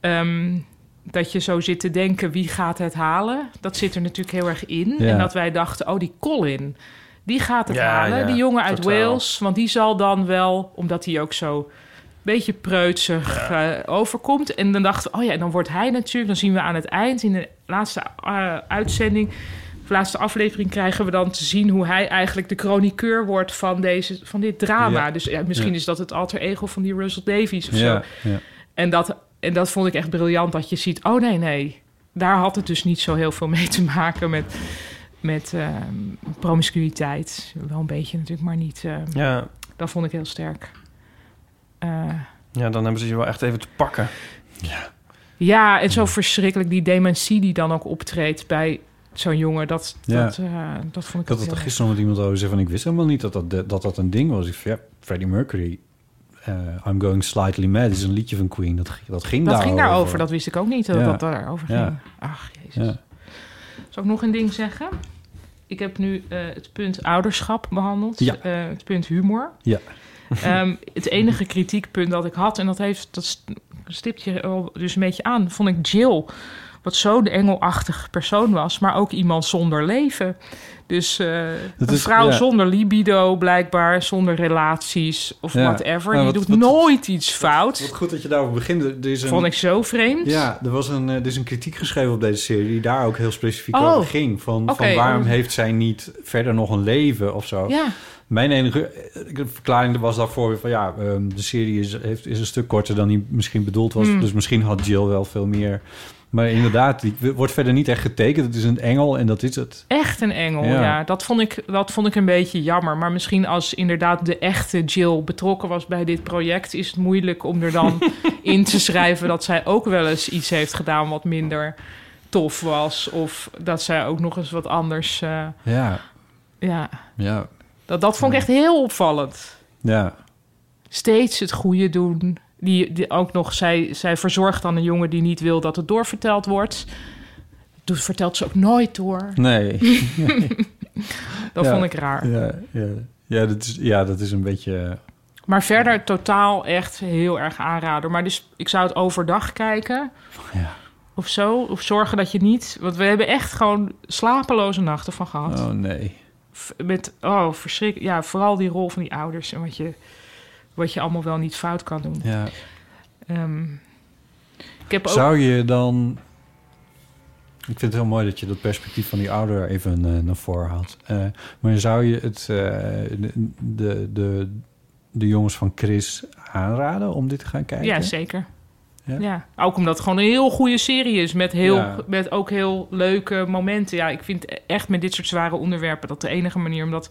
ehm, dat je zo zit te denken, wie gaat het halen? Dat zit er natuurlijk heel erg in.
Ja.
En dat wij dachten, oh, die Colin, die gaat het
Ja,
halen.
ja,
die jongen uit
totaal.
Wales, want die zal dan wel, omdat hij ook zo een beetje preutsig eh, overkomt. En dan dachten we, oh ja, en dan wordt hij natuurlijk... dan zien we aan het eind, in de laatste eh, uitzending... of laatste aflevering krijgen we dan te zien... hoe hij eigenlijk de chroniqueur wordt van, deze, van dit drama.
Ja.
Dus ja, misschien
Ja.
is dat het alter ego van die Russell Davies of zo.
ja, ja.
En dat, en dat vond ik echt briljant, dat je ziet... oh nee, nee, daar had het dus niet zo heel veel mee te maken met... met ehm, promiscuïteit. Wel een beetje natuurlijk, maar niet... ehm,
Ja,
dat vond ik heel sterk. Eh,
ja, dan hebben ze je wel echt even te pakken.
Ja, en zo verschrikkelijk die dementie die dan ook optreedt bij zo'n jongen. Dat,
Ja.
dat, eh, dat vond
Ik
ik ook
had het er
heel erg.
gisteren nog met iemand over zeggen van ik wist helemaal niet dat dat, dat, dat een ding was. Ik van, ja, Freddie Mercury, eh, I'm Going Slightly Mad is een liedje van Queen. Dat, ging- dat ging
Dat
daarover.
ging daarover, dat wist ik ook niet, dat
Ja.
dat daarover ging.
Ja.
Ach, jezus.
Ja.
Zal ik nog een ding zeggen? Ik heb nu eh, het punt ouderschap behandeld,
Ja.
eh, het punt humor.
Ja.
Ehm, het enige kritiekpunt dat ik had, en dat, heeft, dat is stipje al dus een beetje aan, vond ik Jill. Wat zo'n engelachtig persoon was, maar ook iemand zonder leven. Dus eh,
Dat
een
is-
vrouw
ja.
zonder libido, blijkbaar, zonder relaties of
Ja.
whatever.
Nou,
die
wat-
doet
wat-
nooit iets fout.
Wat goed dat je daarover begint. Er is een,
vond ik zo vreemd.
Ja, er, was een, eh, er is een kritiek geschreven op deze serie... die daar ook heel specifiek
Oh.
over ging. Van,
Oké,
van waarom
om-
heeft zij niet verder nog een leven of zo?
Ja.
Mijn enige eh, verklaring was daarvoor weer van... ja, ehm, de serie is, heeft, is een stuk korter dan die misschien bedoeld was.
Mm.
Dus misschien had Jill wel veel meer... Maar inderdaad, die wordt verder niet echt getekend. Het is een engel en dat is het.
Echt een engel,
Ja.
ja. Dat, vond ik, dat vond ik een beetje jammer. Maar misschien als inderdaad de echte Jill betrokken was bij dit project... is het moeilijk om er dan in te schrijven... dat zij ook wel eens iets heeft gedaan wat minder tof was. Of dat zij ook nog eens wat anders... eh,
Ja,
ja,
ja,
dat, dat vond ik echt heel opvallend.
ja.
Steeds het goede doen. Die, die ook nog, zij, zij verzorgt dan een jongen die niet wil dat het doorverteld wordt... Doet, vertelt ze ook nooit door.
Nee.
Dat
Ja.
vond ik raar.
Ja, ja. Ja, dat is, ja, dat is een beetje...
Maar verder totaal echt heel erg aanrader. Maar dus ik zou het overdag kijken
Ja.
of zo. Of zorgen dat je niet... Want we hebben echt gewoon slapeloze nachten van gehad.
Oh nee.
F- Met, oh, verschrik. Ja, vooral die rol van die ouders en wat je, wat je allemaal wel niet fout kan doen.
Ja.
Ehm, ik heb ook...
Zou je dan... Ik vind het heel mooi dat je dat perspectief van die ouder even eh, naar voren haalt. Eh, maar zou je het, eh, de, de, de, de jongens van Chris aanraden om dit te gaan kijken?
Ja, zeker.
Ja?
Ja. ook omdat het gewoon een heel goede serie is. Met, heel,
Ja.
met ook heel leuke momenten. Ja, ik vind echt met dit soort zware onderwerpen... dat de enige manier om dat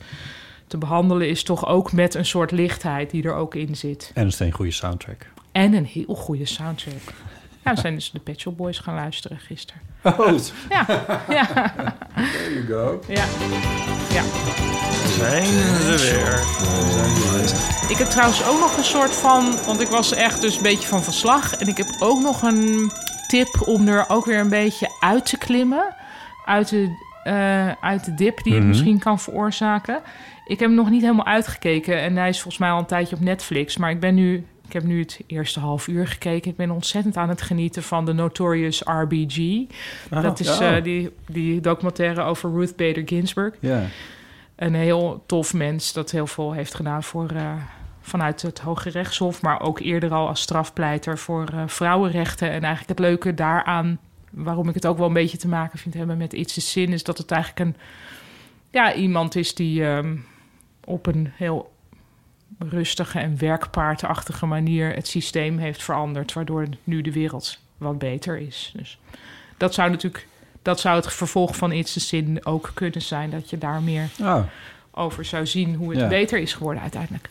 te behandelen... is toch ook met een soort lichtheid die er ook in zit.
En het is een goede soundtrack.
En een heel goede soundtrack. Ja, we zijn dus de Pet Shop Boys gaan luisteren gisteren.
Oh,
Ja, ja,
there you go.
ja.
Zijn ze weer.
Ik heb trouwens ook nog een soort van... Want ik was echt dus een beetje van verslag. En ik heb ook nog een tip om er ook weer een beetje uit te klimmen. Uit de, eh, uit de dip die het misschien kan veroorzaken. Ik heb hem nog niet helemaal uitgekeken. En hij is volgens mij al een tijdje op Netflix. Maar ik ben nu... Ik heb nu het eerste half uur gekeken. Ik ben ontzettend aan het genieten van de Notorious RBG.
Oh.
dat is
ja.
eh, die, die documentaire over Ruth Bader Ginsburg
Ja.
een heel tof mens dat heel veel heeft gedaan voor, eh, vanuit het Hoge Rechtshof, maar ook eerder al als strafpleiter voor eh, vrouwenrechten. En eigenlijk het leuke daaraan, waarom ik het ook wel een beetje te maken vind hebben met It's a Sin, is dat het eigenlijk een ja, iemand is die ehm, op een heel rustige en werkpaardachtige manier het systeem heeft veranderd, waardoor nu de wereld wat beter is. Dus dat zou natuurlijk. Dat zou het vervolg van It's a Sin ook kunnen zijn. Dat je daar meer
Ah,
over zou zien hoe het
Ja. Eh,
beter is geworden uiteindelijk.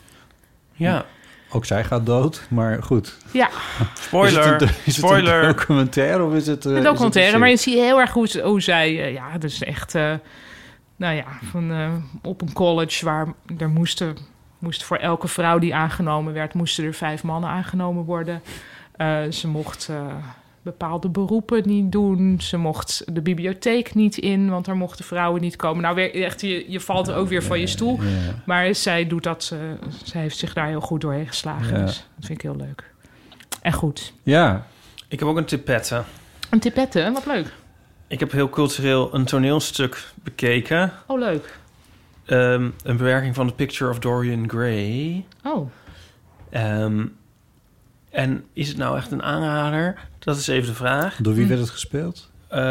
Ja,
ook zij gaat dood, maar goed.
Ja,
spoiler.
Is het een, is het een
spoiler.
documentaire of is het... eh,
de
is
documentaire.
het
Maar
een
je ziet heel erg hoe, ze- hoe zij, eh, ja, dus echt, eh, nou ja, van, eh, op een college waar er moesten, moest voor elke vrouw die aangenomen werd, moesten er vijf mannen aangenomen worden. Eh, ze mocht eh, bepaalde beroepen niet doen. Ze mocht de bibliotheek niet in, want daar mochten vrouwen niet komen. Nou, weer, echt, je, je valt er ook weer van je stoel.
serie? Ja.
Maar zij doet dat, eh, zij heeft zich daar heel goed doorheen geslagen.
Ja.
Dus dat vind ik heel leuk. En goed.
ja,
Ik heb ook een tipette.
Een tipette, hè? wat leuk.
Ik heb heel cultureel een toneelstuk bekeken.
Oh, leuk.
Ehm, een bewerking van The Picture of Dorian Gray.
Oh,
Ehm, en is het nou echt een aanrader? Dat is even de vraag.
door
Hm.
wie werd het gespeeld?
Eh,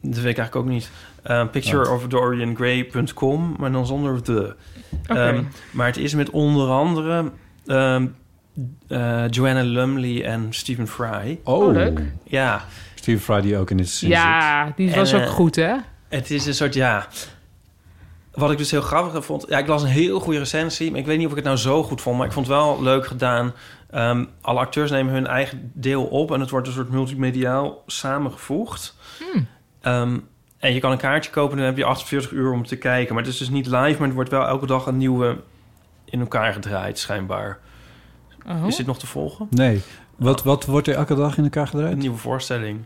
dat weet ik eigenlijk ook niet. Eh, picture of Dorian Gray.com, maar dan zonder de.
oké.
Ehm, maar het is met onder andere ehm, eh, Joanna Lumley en Stephen Fry.
Oh, leuk.
Ja,
Steve Fry die ook in dit zin zit.
ja, die was
En,
ook
eh,
goed, hè?
het is een soort, ja... Wat ik dus heel grappig vond... Ja, ik las een heel goede recensie. Maar ik weet niet of ik het nou zo goed vond. Maar ik vond het wel leuk gedaan. Ehm, alle acteurs nemen hun eigen deel op. En het wordt een soort multimediaal samengevoegd.
Hmm.
Ehm, en je kan een kaartje kopen en dan heb je 48 uur om te kijken. Maar het is dus niet live, maar het wordt wel elke dag een nieuwe in elkaar gedraaid, schijnbaar.
Oh.
Is dit nog te volgen?
Nee. Wat, wat wordt er elke dag in elkaar
Een
gedraaid?
nieuwe voorstelling.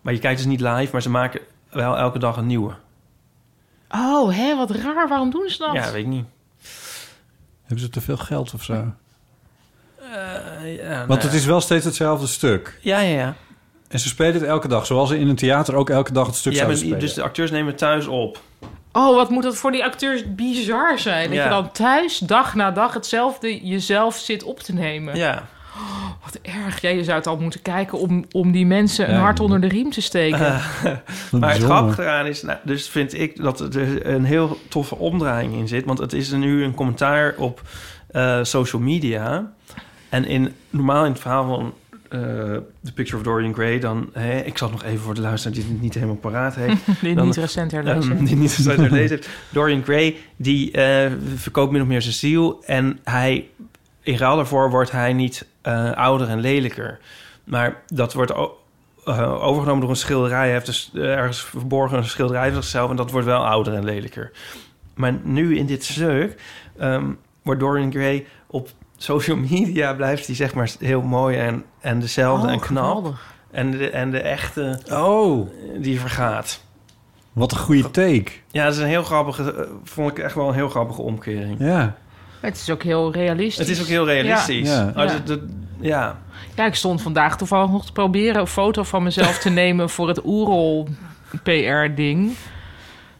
Maar je kijkt dus niet live, maar ze maken wel elke dag een nieuwe.
Oh, hè, wat raar. Waarom doen ze dat?
Ja, weet ik niet.
Hebben ze te veel geld of zo?
Eh, ja, nou
Want
ja.
het is wel steeds hetzelfde stuk.
Ja, ja, ja.
En ze spelen het elke dag, zoals ze in een theater ook elke dag het stuk
Jij
zouden
bent-
spelen.
dus de acteurs nemen het thuis op.
Oh, wat moet dat voor die acteurs bizar zijn. Dat
Ja.
je dan thuis dag na dag hetzelfde jezelf zit op te nemen.
Ja.
Wat erg. Ja, je zou het al moeten kijken om, om die mensen een
Ja,
hart
ja.
onder de riem te steken.
Eh,
dus-
Dat
Maar
is
het
zonde.
grappige eraan is, nou, dus vind ik dat er dus een heel toffe omdraaiing in zit. Want het is er nu een commentaar op eh, social media. En in, normaal in het verhaal van eh, The Picture of Dorian Gray... dan, hè, ik zal het nog even voor de luisteraar die het niet helemaal paraat heeft...
Die
Dan-
niet recent herlezen.
Ehm, die niet zo uit herlezen heeft. Dorian Gray, die eh, verkoopt min of meer zijn ziel. En hij, in ruil daarvoor wordt hij niet eh, ouder en lelijker. Maar dat wordt o- eh, overgenomen door een schilderij. Hij heeft dus eh, ergens verborgen een schilderij van zichzelf. En dat wordt wel ouder en lelijker. Maar nu in dit stuk ehm, wordt Dorian Gray op social media... blijft hij zeg maar heel mooi en, en dezelfde
Oh,
en knap.
geweldig.
En de, en de echte
Oh,
eh, die vergaat.
wat een goede take.
Ja, dat is een heel grappige, eh, vond ik echt wel een heel grappige omkering.
Ja.
Het is ook heel realistisch.
Het is ook heel realistisch.
Ja.
Ja,
Ja.
ja. ja.
Ja, ik stond vandaag toevallig nog te proberen een foto van mezelf te nemen voor het Oerol PR-ding.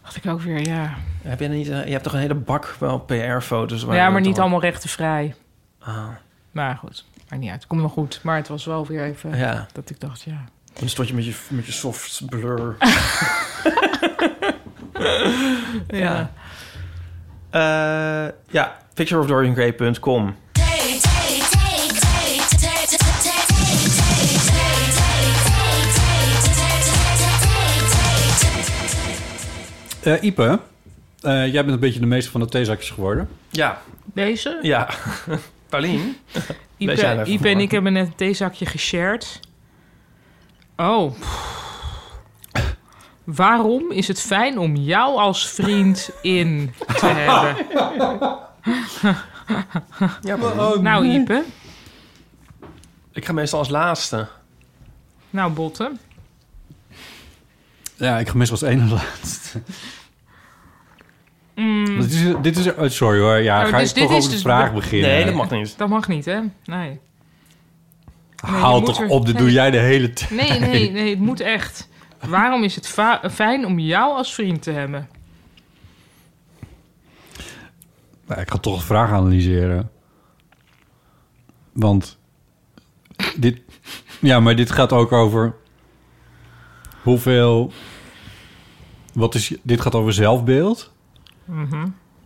Dacht ik ook weer, ja.
Heb je, niet, eh, je hebt toch een hele bak wel PR-foto's? waar
ja,
je
maar
dat
niet
dan-
allemaal rechtenvrij.
Ah,
Maar goed, maakt niet uit. Komt nog goed. Maar het was wel weer even
ja,
dat ik dacht, ja.
dan stond je met je, met je soft blur. ja. Eh, ja, pictureofdoriangray.com.
Eh, Ipe, eh, jij bent een beetje de meester van de theezakjes geworden.
Ja,
Deze?
ja. Paulien? Lees jij
Ipe,
even
Ipe en
voor.
ik hebben net een theezakje geshared. Oh. Waarom is het fijn om jou als vriend in te hebben?
Ja,
Nou, Ipe.
Ik ga meestal als laatste.
Nou, Botte.
Ja, ik gemis als ene laatst. Dit is, dit is, oh, sorry hoor, ja,
Mm. Oh,
ga
dus
ik
dit
toch
is
over de
dus
vraag
de-
beginnen.
Nee, dat mag niet.
Dat mag niet, hè? Nee. Nee,
Haal
je moet
toch
er-
op, dat
nee.
doe jij de hele tijd.
Nee, nee, nee, het moet echt. Waarom is het va- fijn om jou als vriend te hebben?
Nou, ik ga toch de vraag analyseren. Want dit, ja, maar dit gaat ook over hoeveel, wat is, dit gaat over zelfbeeld,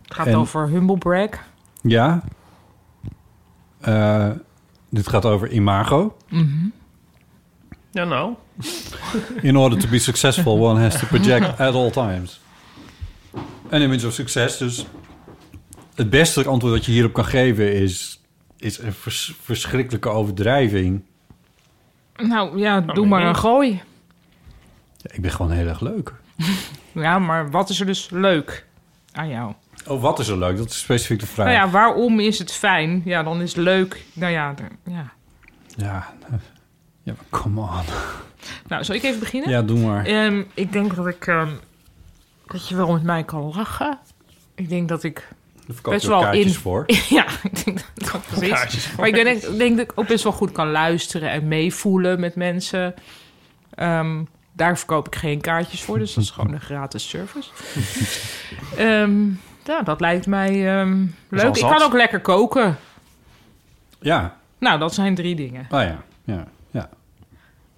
Het gaat
En-
over humble brag.
ja. Eh, dit gaat over imago.
Ja, nou.
In order to be successful, one has to project at all times. An image of success. Dus het beste antwoord dat je hierop kan geven is, is een vers- verschrikkelijke overdrijving.
Nou ja, doe
ik
maar
niet.
een gooi.
Ja, ik ben gewoon heel erg leuk.
Ja, maar wat is er dus leuk aan jou?
Oh, wat is er leuk? Dat is specifiek de vraag.
Nou ja, waarom is het fijn? Ja, dan is leuk. Nou ja, d- ja.
ja. Ja, maar come on.
Nou, zal ik even beginnen?
Ja, doe maar.
Ehm, ik denk dat ik. ehm, dat je wel met mij kan lachen. Ik denk dat ik.
Daar verkoop
best
je ook
wel
kaartjes
in.
voor.
ja, ik denk dat dat precies. Maar ik denk, ik denk dat ik ook best wel goed kan luisteren en meevoelen met mensen. Ehm, daar verkoop ik geen kaartjes voor, dus dat is gewoon een gratis service. Ehm, ja, dat lijkt mij ehm,
al
leuk. Ik
zat.
kan ook lekker koken.
Ja,
Nou, dat zijn drie dingen.
oh ja. Ja, ja.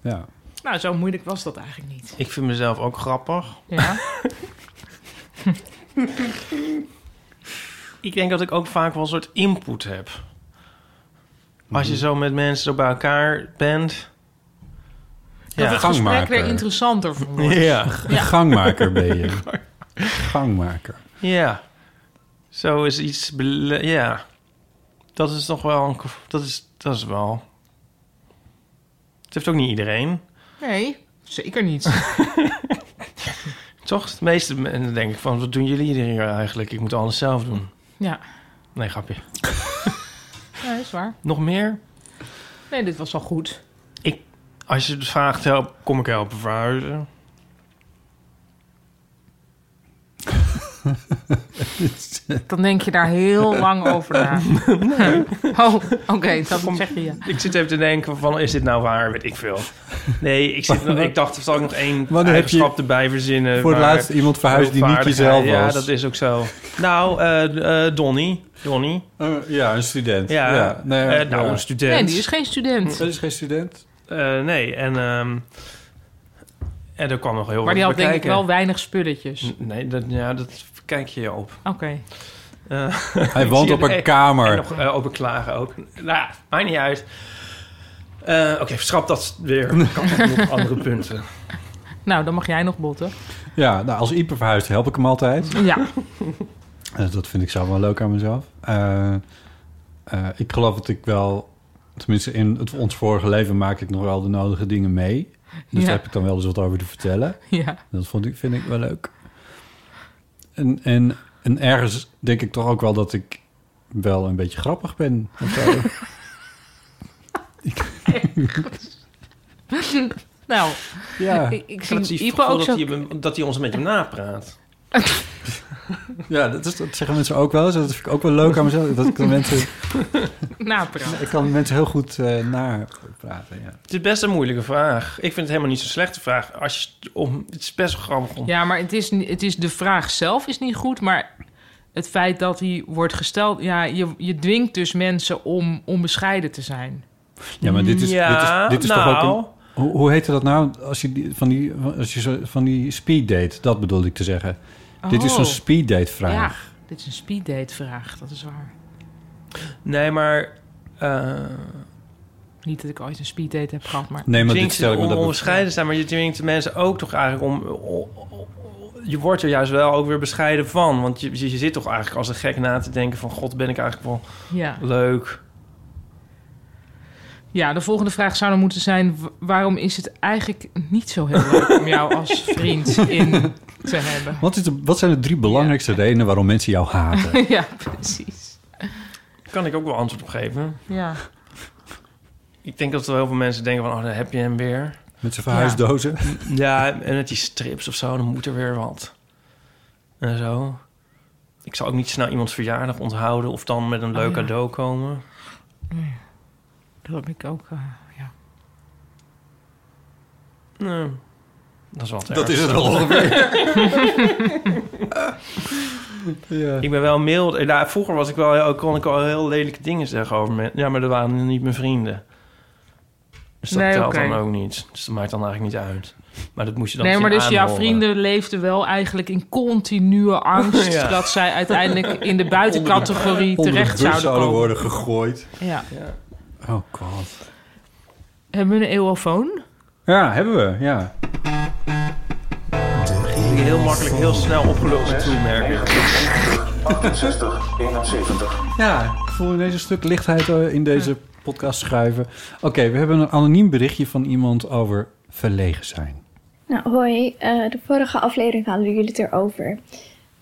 Ja.
Nou, zo moeilijk was dat eigenlijk niet.
Ik vind mezelf ook grappig.
Ja.
Ik denk dat ik ook vaak wel een soort input heb. Als je zo met mensen zo bij elkaar bent.
Dat het
Gang
gesprek
maken.
er interessanter van wordt.
Ja.
Een gangmaker ben je. Gangmaker.
Ja. Zo is iets. bele- Ja. Dat is toch wel. Een, dat, is, dat is wel. Het heeft ook niet iedereen.
Nee, zeker niet.
Toch? De meeste mensen denk ik van: wat doen jullie hier eigenlijk? Ik moet alles zelf doen.
Ja,
Nee, grapje.
ja is waar.
Nog meer?
Nee, dit was wel goed.
Als je het vraagt, help, kom ik helpen verhuizen.
Dan denk je daar heel lang over na. Oh, oké, dan zeg je ja.
Ik zit even te denken van, is dit nou waar? Weet ik veel. Nee, ik, zit, nog- ik dacht, zal ik nog één
Wanneer heb
eigenschap erbij verzinnen?
Voor het
maar-
laatst iemand verhuisd die niet jezelf
Hulpvaardigheid,
was.
Ja, dat is ook zo. Nou, eh eh Donnie. Donnie.
Eh, ja, een student.
Ja,
nee,
Eh, nou,
ja.
een student.
Nee, die is geen student.
Dat is geen student.
Eh, nee, en, ehm en er kwam nog heel
Maar die
wat
had denk ik
bekijken.
wel weinig spulletjes.
N- Nee, dat, ja, dat kijk je op.
Oké.
Eh,
Hij woont
zie
op
het.
een
en
kamer.
nog eh, over klagen ook. Nou, ja, maakt niet uit. Eh, Oké, schrap dat weer. Ik had nog andere punten.
Nou, dan mag jij nog botten.
Ja, nou, als Ieper verhuist help ik hem altijd.
Ja,
Eh, dat vind ik zelf wel leuk aan mezelf. Eh, eh, ik geloof dat ik wel... Tenminste, in het, ons vorige leven maak ik nog wel de nodige dingen mee. Dus
Ja.
daar heb ik dan wel eens wat over te vertellen.
ja.
Dat vond ik, vind ik wel leuk. En, en, en ergens denk ik toch ook wel dat ik wel een beetje grappig ben. of zo.
Nou,
ja,
ik, ik
Ik had het
zie Ipe
gevoel
ook
dat,
zo...
hij, hem- dat hij ons een beetje napraat.
ja dat, is, dat zeggen mensen ook wel eens. Dat vind ik ook wel leuk aan mezelf. Dat ik, dan mensen,
Napraat.
ik kan mensen heel goed eh napraten. Ja.
Het is best een moeilijke vraag. Ik vind het helemaal niet zo'n slechte vraag. Als je, om, het is best wel grappig om...
Ja, maar het is, ni- het is de vraag zelf is niet goed, maar het feit dat die wordt gesteld... Ja, je, je dwingt dus mensen om onbescheiden te zijn.
ja, maar dit is,
Ja,
dit is, dit is
nou,
toch ook een... Hoe, hoe heette dat nou? Als je, die, van, die, als je zo, van die speed date, dat bedoelde ik te zeggen. Dit is
Oh.
zo'n speed date
Ja,
vraag.
dit is een speeddate vraag, dat is waar.
Nee, maar... eh
Niet dat ik ooit een speeddate heb gehad, maar...
Nee, maar dit
dwingt
stel
ze
ik me
om
dat
onbescheiden zijn, maar je dwingt de mensen ook toch eigenlijk om... o- o- o- Je wordt er juist wel ook weer bescheiden van. Want je, je je zit toch eigenlijk als een gek na te denken van... God, ben ik eigenlijk wel
Ja.
leuk.
ja, de volgende vraag zou dan moeten zijn... wa- waarom is het eigenlijk niet zo heel leuk om jou als vriend in te hebben?
Wat, is de- wat zijn de drie belangrijkste redenen waarom mensen jou haten?
Ja, precies.
Kan ik ook wel antwoord op geven.
Ja.
Ik denk dat er heel veel mensen denken van... Oh, daar heb je hem weer.
Met zijn verhuisdozen.
Ja, en met die strips of zo, dan moet er weer wat. En zo. Ik zal ook niet snel iemands verjaardag onthouden... of dan met een leuk
Oh, ja.
cadeau komen.
Dat heb ik ook. eh, ja.
Nee, dat is wel het
Dat is
ergste.
het al ongeveer. ja.
Ik ben wel mild. Eh, Nou, vroeger was ik wel, heel- kon ik al heel lelijke dingen zeggen over mensen. Ja, maar dat waren niet mijn vrienden. Dus dat
Nee,
telt
oké.
dan ook niet. Dus dat maakt dan eigenlijk niet uit. Maar dat moest je dan
Nee, maar
zien
dus jouw
aanhoren.
vrienden leefden wel eigenlijk in continue angst...
Ja.
dat zij uiteindelijk in de buitencategorie terecht zouden komen.
worden gegooid.
Ja.
Ja.
Oh god.
Hebben we een eeuwofoon?
Ja, hebben we. Ja.
Die heel makkelijk, heel snel opgelost toe, merk ik.
68, 71.
Ja, ik voel ineens een stuk lichtheid eh, in deze podcast schuiven. Oké, we hebben een anoniem berichtje van iemand over verlegen zijn.
Nou, hoi. Eh, de vorige aflevering hadden jullie het erover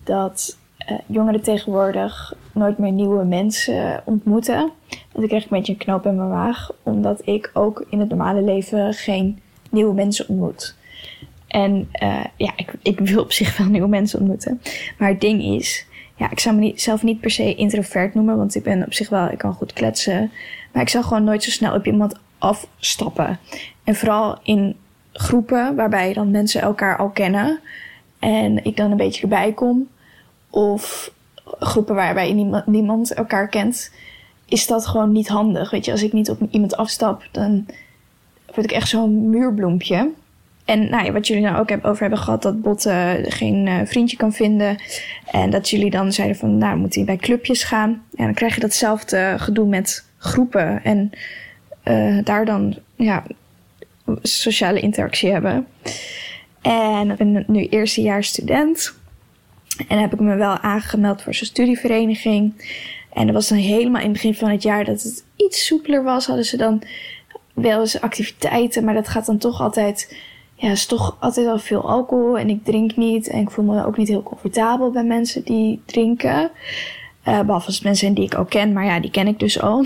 dat eh, jongeren tegenwoordig nooit meer nieuwe mensen ontmoeten. Want ik kreeg een beetje een knoop in mijn maag, omdat ik ook in het normale leven geen nieuwe mensen ontmoet. En eh, ja, ik, ik wil op zich wel nieuwe mensen ontmoeten. Maar het ding is, ja, ik zou mezelf niet per se introvert noemen, want ik ben op zich wel, ik kan goed kletsen. Maar ik zou gewoon nooit zo snel op iemand afstappen. En vooral in groepen waarbij dan mensen elkaar al kennen en ik dan een beetje erbij kom. Of groepen waarbij niemand, niemand elkaar kent, is dat gewoon niet handig. Weet je, als ik niet op iemand afstap, dan word ik echt zo'n muurbloempje. En nou ja, wat jullie nou ook heb- over hebben gehad, dat Botte geen eh, vriendje kan vinden. En dat jullie dan zeiden van, nou moet hij bij clubjes gaan. Ja, dan krijg je datzelfde gedoe met groepen. En eh, daar dan ja, sociale interactie hebben. En ik ben nu eerstejaars student. En heb ik me wel aangemeld voor zo'n studievereniging. En dat was dan helemaal in het begin van het jaar dat het iets soepeler was. Hadden ze dan wel eens activiteiten, maar dat gaat dan toch altijd. Ja, is toch altijd al veel alcohol en ik drink niet. En ik voel me ook niet heel comfortabel bij mensen die drinken. Eh, behalve als het mensen zijn die ik al ken, maar ja, die ken ik dus al.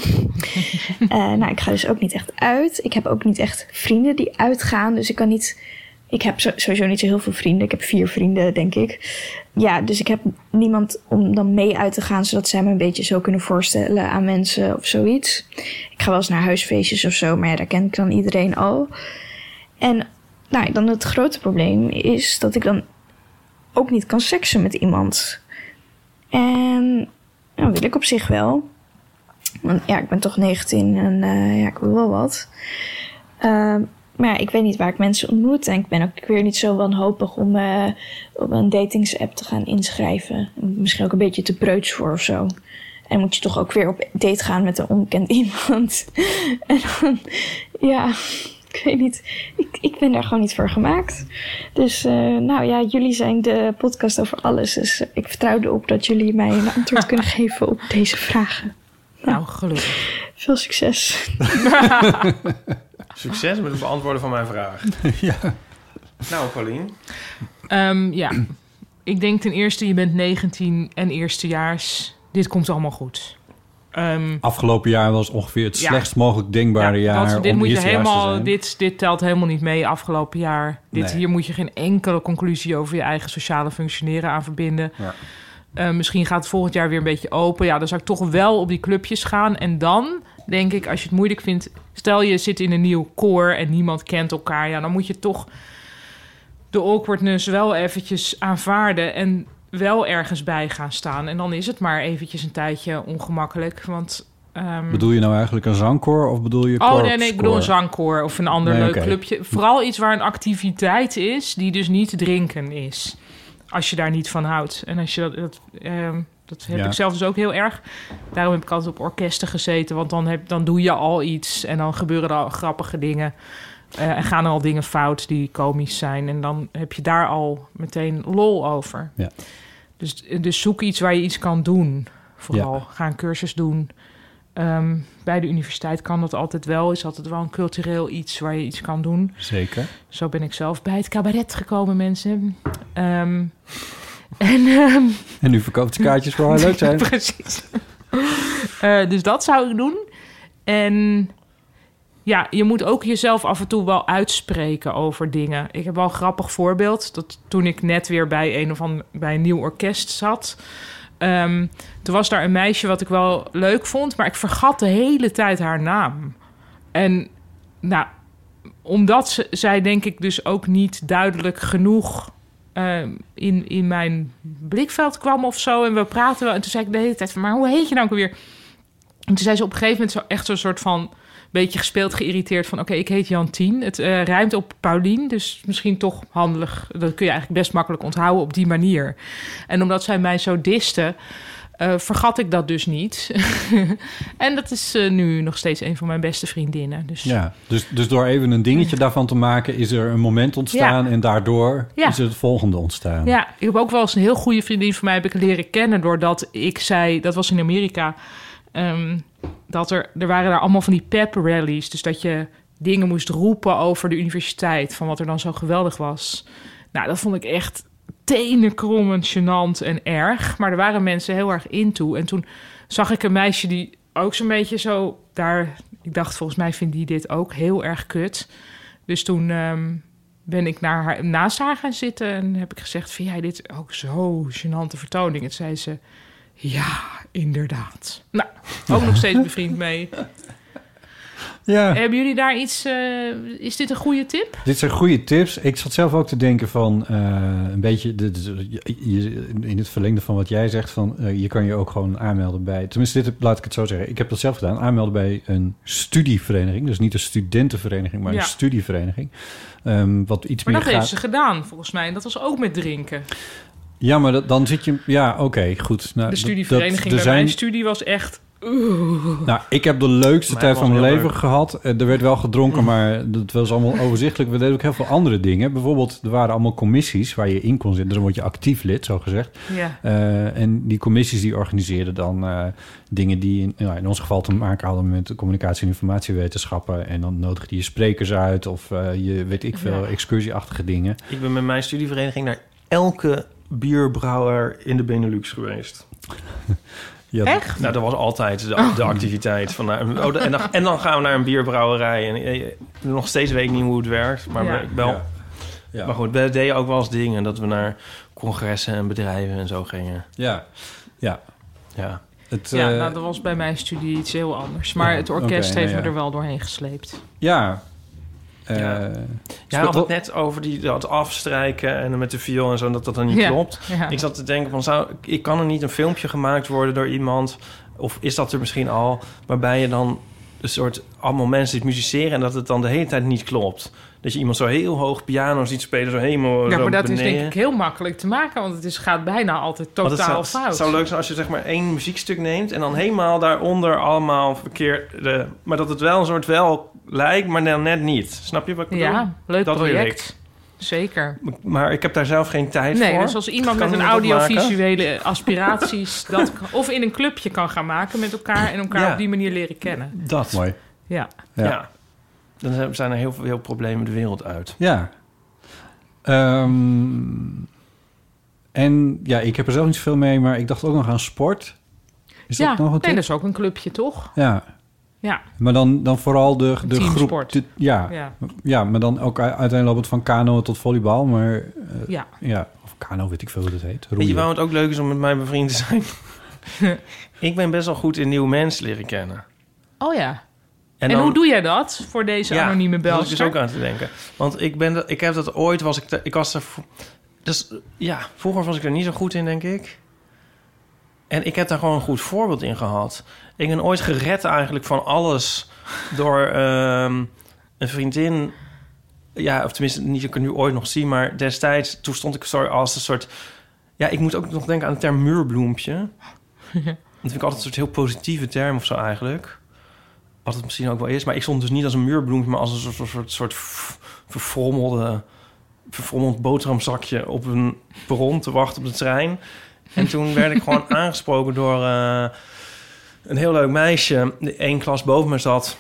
Eh, nou, ik ga dus ook niet echt uit. Ik heb ook niet echt vrienden die uitgaan. Dus ik kan niet Ik heb zo- sowieso niet zo heel veel vrienden. Ik heb vier vrienden, denk ik. Ja, dus ik heb niemand om dan mee uit te gaan, zodat zij me een beetje zo kunnen voorstellen aan mensen of zoiets. Ik ga wel eens naar huisfeestjes of zo, maar ja, daar ken ik dan iedereen al. En nou, dan het grote probleem is dat ik dan ook niet kan seksen met iemand. En nou, wil ik op zich wel. Want ja, ik ben toch 19 en eh, ja, ik wil wel wat. Ehm, maar ja, ik weet niet waar ik mensen ontmoet. En ik ben ook weer niet zo wanhopig om eh, op een datingsapp te gaan inschrijven. Misschien ook een beetje te preuts voor of zo. En moet je toch ook weer op date gaan met een onbekend iemand. en dan, ja, ik weet niet. Ik, ik ben daar gewoon niet voor gemaakt. Dus eh, nou ja, jullie zijn de podcast over alles. Dus ik vertrouw erop dat jullie mij een antwoord kunnen geven op deze vragen.
Nou, gelukkig.
Veel succes.
Succes met het beantwoorden van mijn vraag. Nou, Paulien.
Ehm, ja, ik denk ten eerste, je bent 19 en eerstejaars. Dit komt allemaal goed. Ehm,
Afgelopen jaar was ongeveer het
Ja.
slechtst mogelijk denkbare
ja,
jaar
dat- dit
om
moet je
eerstejaars te
helemaal,
zijn.
dit, dit telt helemaal niet mee afgelopen jaar. Dit,
Nee.
Hier moet je geen enkele conclusie over je eigen sociale functioneren aan verbinden.
Ja.
Eh, misschien gaat het volgend jaar weer een beetje open. Ja, dan zou ik toch wel op die clubjes gaan. En dan denk ik, als je het moeilijk vindt... Stel je zit in een nieuw koor en niemand kent elkaar. Ja, dan moet je toch de awkwardness wel eventjes aanvaarden en wel ergens bij gaan staan. En dan is het maar eventjes een tijdje ongemakkelijk, want... ehm,
Bedoel je nou eigenlijk een zangkoor of bedoel je
Oh nee, nee,
korpscore?
ik bedoel een zangkoor of een ander
Nee,
leuk
oké.
clubje. Vooral iets waar een activiteit is die dus niet drinken is. Als je daar niet van houdt. En als je dat, dat, ehm, dat heb
Ja.
ik zelf dus ook heel erg. Daarom heb ik altijd op orkesten gezeten, want dan, heb, dan doe je al iets en dan gebeuren er al grappige dingen. eh, en gaan er al dingen fout die komisch zijn. En dan heb je daar al meteen lol over.
Ja.
Dus, dus zoek iets waar je iets kan doen. Vooral ga een cursus doen. Ehm, bij de universiteit kan dat altijd wel. Is altijd wel een cultureel iets waar je iets kan doen.
Zeker.
Zo ben ik zelf bij het cabaret gekomen, mensen. Ehm, en ehm,
En nu verkoopt ze kaartjes voor haar leuk zijn.
Precies. Eh, dus dat zou ik doen. En ja, je moet ook jezelf af en toe wel uitspreken over dingen. Ik heb wel een grappig voorbeeld. Dat toen ik net weer bij een, of ander, bij een nieuw orkest zat. ehm, toen was daar een meisje wat ik wel leuk vond. Maar ik vergat de hele tijd haar naam. En nou, omdat ze, zij denk ik dus ook niet duidelijk genoeg eh, in, in mijn blikveld kwam of zo. En we praten wel. En toen zei ik de hele tijd van, maar hoe heet je nou ook weer? En toen zei ze op een gegeven moment zo echt zo'n soort van... beetje gespeeld, geïrriteerd van... oké, ik heet Jantien. Het eh, ruimt op Paulien, dus misschien toch handig. Dat kun je eigenlijk best makkelijk onthouden op die manier. En omdat zij mij zo diste... eh, vergat ik dat dus niet. en dat is eh, nu nog steeds een van mijn beste vriendinnen. Dus
Ja, dus, dus door even een dingetje daarvan te maken... is er een moment ontstaan en daardoor
Ja.
is er het volgende ontstaan.
Ja, ik heb ook wel eens een heel goede vriendin van mij heb ik leren kennen doordat ik zei, dat was in Amerika, ehm, dat er, er waren daar allemaal van die pep rallies. Dus dat je dingen moest roepen over de universiteit, van wat er dan zo geweldig was. Nou, dat vond ik echt tenenkrommend, gênant en erg. Maar er waren mensen heel erg into. En toen zag ik een meisje die ook zo'n beetje zo daar... Ik dacht, volgens mij vindt die dit ook heel erg kut. Dus toen ehm, ben ik naar haar, naast haar gaan zitten en heb ik gezegd... vind jij dit ook zo gênante vertoning? En zei ze, ja, inderdaad. Nou, ook nog steeds bevriend mee.
Ja.
Hebben jullie daar iets... eh, is dit een goede tip?
Dit zijn goede tips. Ik zat zelf ook te denken van eh, een beetje dit is- je- je- in het verlengde van wat jij zegt van eh, je kan je ook gewoon aanmelden bij. Tenminste, dit heb- laat ik het zo zeggen. Ik heb dat zelf gedaan. Aanmelden bij een studievereniging, dus niet een studentenvereniging, maar
Ja.
een studievereniging. Ehm, wat iets
Maar
meer
dat
gaat.
heeft ze gedaan, volgens mij. En dat was ook met drinken.
Ja, maar dat- dan zit je. Ja, oké, goed. Nou,
De
dat-
studievereniging
dat, er
bij
zijn,
mijn studie was echt...
Nou, ik heb de leukste
Maar
tijd
het was
van mijn
heel
leven
leuk.
gehad. Eh, Er werd wel gedronken, maar dat was allemaal overzichtelijk. We deden ook heel veel andere dingen. Bijvoorbeeld, er waren allemaal commissies waar je in kon zitten. Dus dan word je actief lid, zo gezegd.
Ja.
Eh, en die commissies die organiseerden dan eh, dingen die in, nou, in ons geval te maken hadden met de communicatie- en informatiewetenschappen. En dan nodigde je sprekers uit of eh, je weet ik veel,
Ja.
excursieachtige dingen.
Ik ben met mijn studievereniging naar elke bierbrouwer in de Benelux geweest.
Ja,
Echt?
Nou, dat was altijd de, de activiteit. Van, nou, oh, en, dan, eh, en dan gaan we naar een bierbrouwerij. En eh, nog steeds weet ik niet hoe het werkt, maar
Ja.
ik wel.
Ja. Ja.
Maar goed, we deden ook wel eens dingen dat we naar congressen en bedrijven en zo gingen.
Ja, ja.
Ja.
Het,
Ja,
eh,
nou, dat was bij mijn studie iets heel anders. Maar
ja,
het orkest
oké, nou
heeft
ja.
me er wel doorheen gesleept.
ja.
Ja.
Eh,
Jij had het net over die, dat afstrijken en dan met de viool en zo, dat dat dan niet
Ja,
klopt.
ja.
Ik zat te denken, van, zou, ik kan er niet een filmpje gemaakt worden door iemand... of is dat er misschien al, waarbij je dan een soort... allemaal mensen die musiceren en dat het dan de hele tijd niet klopt. Dat je iemand zo heel hoog piano ziet spelen, zo helemaal
Ja,
zo
maar dat is
beneden.
denk ik heel makkelijk te maken, want het is, gaat bijna altijd
Want het
totaal
zou,
fout.
Het zou leuk zijn als je zeg maar één muziekstuk neemt... en dan helemaal daaronder allemaal verkeerde... maar dat het wel een soort wel lijkt, maar dan net niet. Snap je wat ik bedoel?
ja, leuk
Dat wil ik.
project. Zeker.
Maar ik heb daar zelf geen tijd
Nee,
voor.
dus als iemand
Kan
met een
iemand dat
audiovisuele aspiraties dat kan- of in een clubje kan gaan maken met elkaar en elkaar
Ja.
op die manier leren kennen.
Dat.
mooi.
Ja.
Ja.
Ja. Dan zijn- zijn er heel veel heel problemen de wereld uit.
Ja. Ehm, en ja, ik heb er zelf niet zoveel mee, maar ik dacht ook nog aan sport. Is
ja.
dat nog een
nee,
tip?
dat is ook een clubje toch?
Ja,
Ja.
maar dan, dan vooral de, de groep.
Teamsport.
de- ja. Ja.
Ja.
maar dan ook u- uiteindelijk van kano tot volleybal. Maar eh,
Ja.
ja, of kano weet ik veel hoe dat heet.
Weet je
Roeien.
waarom het ook leuk is om met mij bevriend te zijn? ik ben best wel goed in nieuw mens leren kennen.
Oh ja. En, hoe doe jij dat voor deze
Ja,
anonieme
daar was ik
Belgische?
dus ook aan te denken. Want ik, ben, dat- ik heb dat ooit, was ik, te- ik was er... v- Dus ja, vroeger was ik er niet zo goed in, denk ik. En ik heb daar gewoon een goed voorbeeld in gehad. Ik ben ooit gered eigenlijk van alles door ehm, een vriendin. Ja, of tenminste, niet dat ik het nu ooit nog zie, maar destijds, toen stond ik zo als een soort. Ja, ik moet ook nog denken aan de term muurbloempje. Dat vind ik altijd een soort heel positieve term of zo eigenlijk. Wat het misschien ook wel is. Maar ik stond dus niet als een muurbloempje, maar als een soort, soort, soort, soort v- verfrommelde, verfrommeld boterhamzakje op een perron te wachten op de trein. En toen werd ik gewoon aangesproken door eh, een heel leuk meisje. die één klas boven me zat.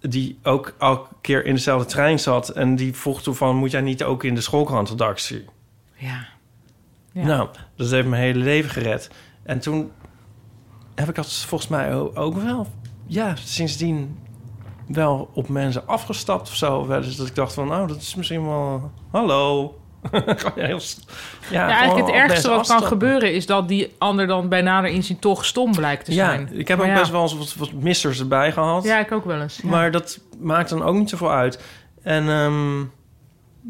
Die ook elke keer in dezelfde trein zat. En die vroeg toen van, moet jij niet ook in de schoolkrantredactie?
Ja. Ja.
Nou, dat heeft mijn hele leven gered. En toen heb ik dat volgens mij o- ook wel... Ja, sindsdien wel op mensen afgestapt of zo. Wel eens Dat ik dacht van, nou, dat is misschien wel... Hallo. Gewoon heel s-
Ja,
gewoon
eigenlijk
op
het ergste
mensen
wat kan
afstappen.
gebeuren is dat die ander dan bij nader inzien toch stom blijkt te
ja,
zijn.
ik heb
Maar
ook
ja.
best wel eens wat, wat missers erbij gehad.
Ja, ik ook wel eens. Ja.
Maar dat maakt dan ook niet zoveel uit. En ehm,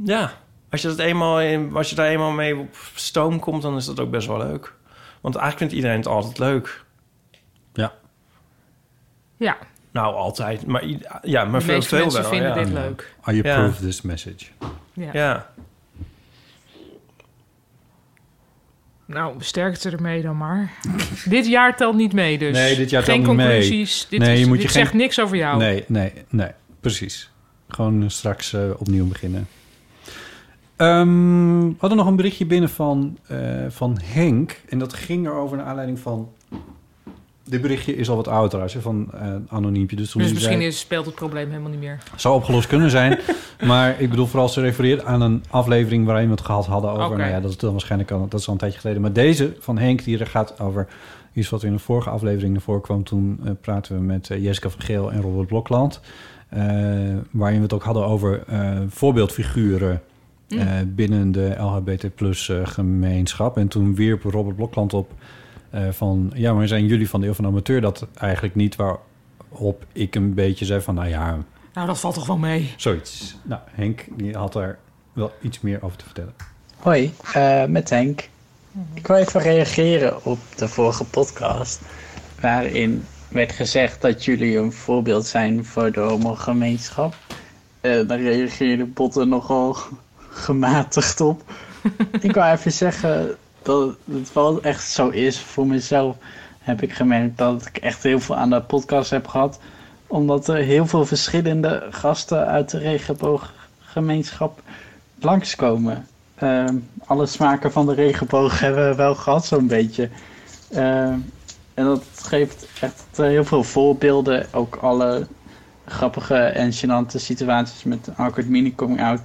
ja, als je, dat eenmaal in, als je daar eenmaal mee op stoom komt, dan is dat ook best wel leuk. Want eigenlijk vindt iedereen het altijd leuk.
Ja.
ja.
Nou, altijd. Maar, i- ja, maar
de
veel,
meeste
veel
mensen
wel.
vinden
ja.
dit leuk.
I
Ja.
approve this message.
Ja.
Ja.
Nou, sterkte ermee dan maar. dit jaar telt niet mee dus.
Nee, dit jaar
geen
telt niet mee.
conclusies. Dit,
Nee,
is,
je moet
dit
je geen-
zegt niks over jou. Dus
Nee, nee, nee. Precies. Gewoon eh, straks eh, opnieuw beginnen. Ehm, we hadden nog een berichtje binnen van, eh, van Henk. En dat ging erover naar aanleiding van... Dit berichtje is al wat ouder trouwens, hè, van eh, anoniempje. Dus, toen
Dus
hij
misschien
zei-
is, speelt het probleem helemaal niet meer.
zou opgelost kunnen zijn. maar ik bedoel, vooral ze refereert aan een aflevering waarin we het gehad hadden over.
Oké.
Nou ja, dat is dan waarschijnlijk al, dat is al een tijdje geleden. Maar deze van Henk, die er gaat over iets wat in de vorige aflevering naar voren kwam. Toen eh, praten we met eh, Jessica van Geel en Robert Blokland. eh, waarin we het ook hadden over eh, voorbeeldfiguren. eh, binnen de LHBT plus eh, gemeenschap. En toen wierp Robert Blokland op eh, van... ja, maar zijn jullie van de Eeuw van de Amateur dat eigenlijk niet? Waarop ik een beetje zei van... nou ja,
Nou, dat valt toch wel mee.
Zoiets. Nou, Henk die had daar wel iets meer over te vertellen.
Hoi, eh, met Henk. Ik wil even reageren op de vorige podcast, waarin werd gezegd dat jullie een voorbeeld zijn voor de homogemeenschap. Eh daar reageerde Botten nogal gematigd op. ik wil even zeggen dat het wel echt zo is. Voor mezelf heb ik gemerkt dat ik echt heel veel aan de podcast heb gehad, omdat er heel veel verschillende gasten uit de regenbooggemeenschap langskomen. Ehm, alle smaken van de regenboog hebben we wel gehad, zo'n beetje. Ehm, en dat geeft echt eh, heel veel voorbeelden. Ook alle grappige en gênante situaties met een awkward mini coming out.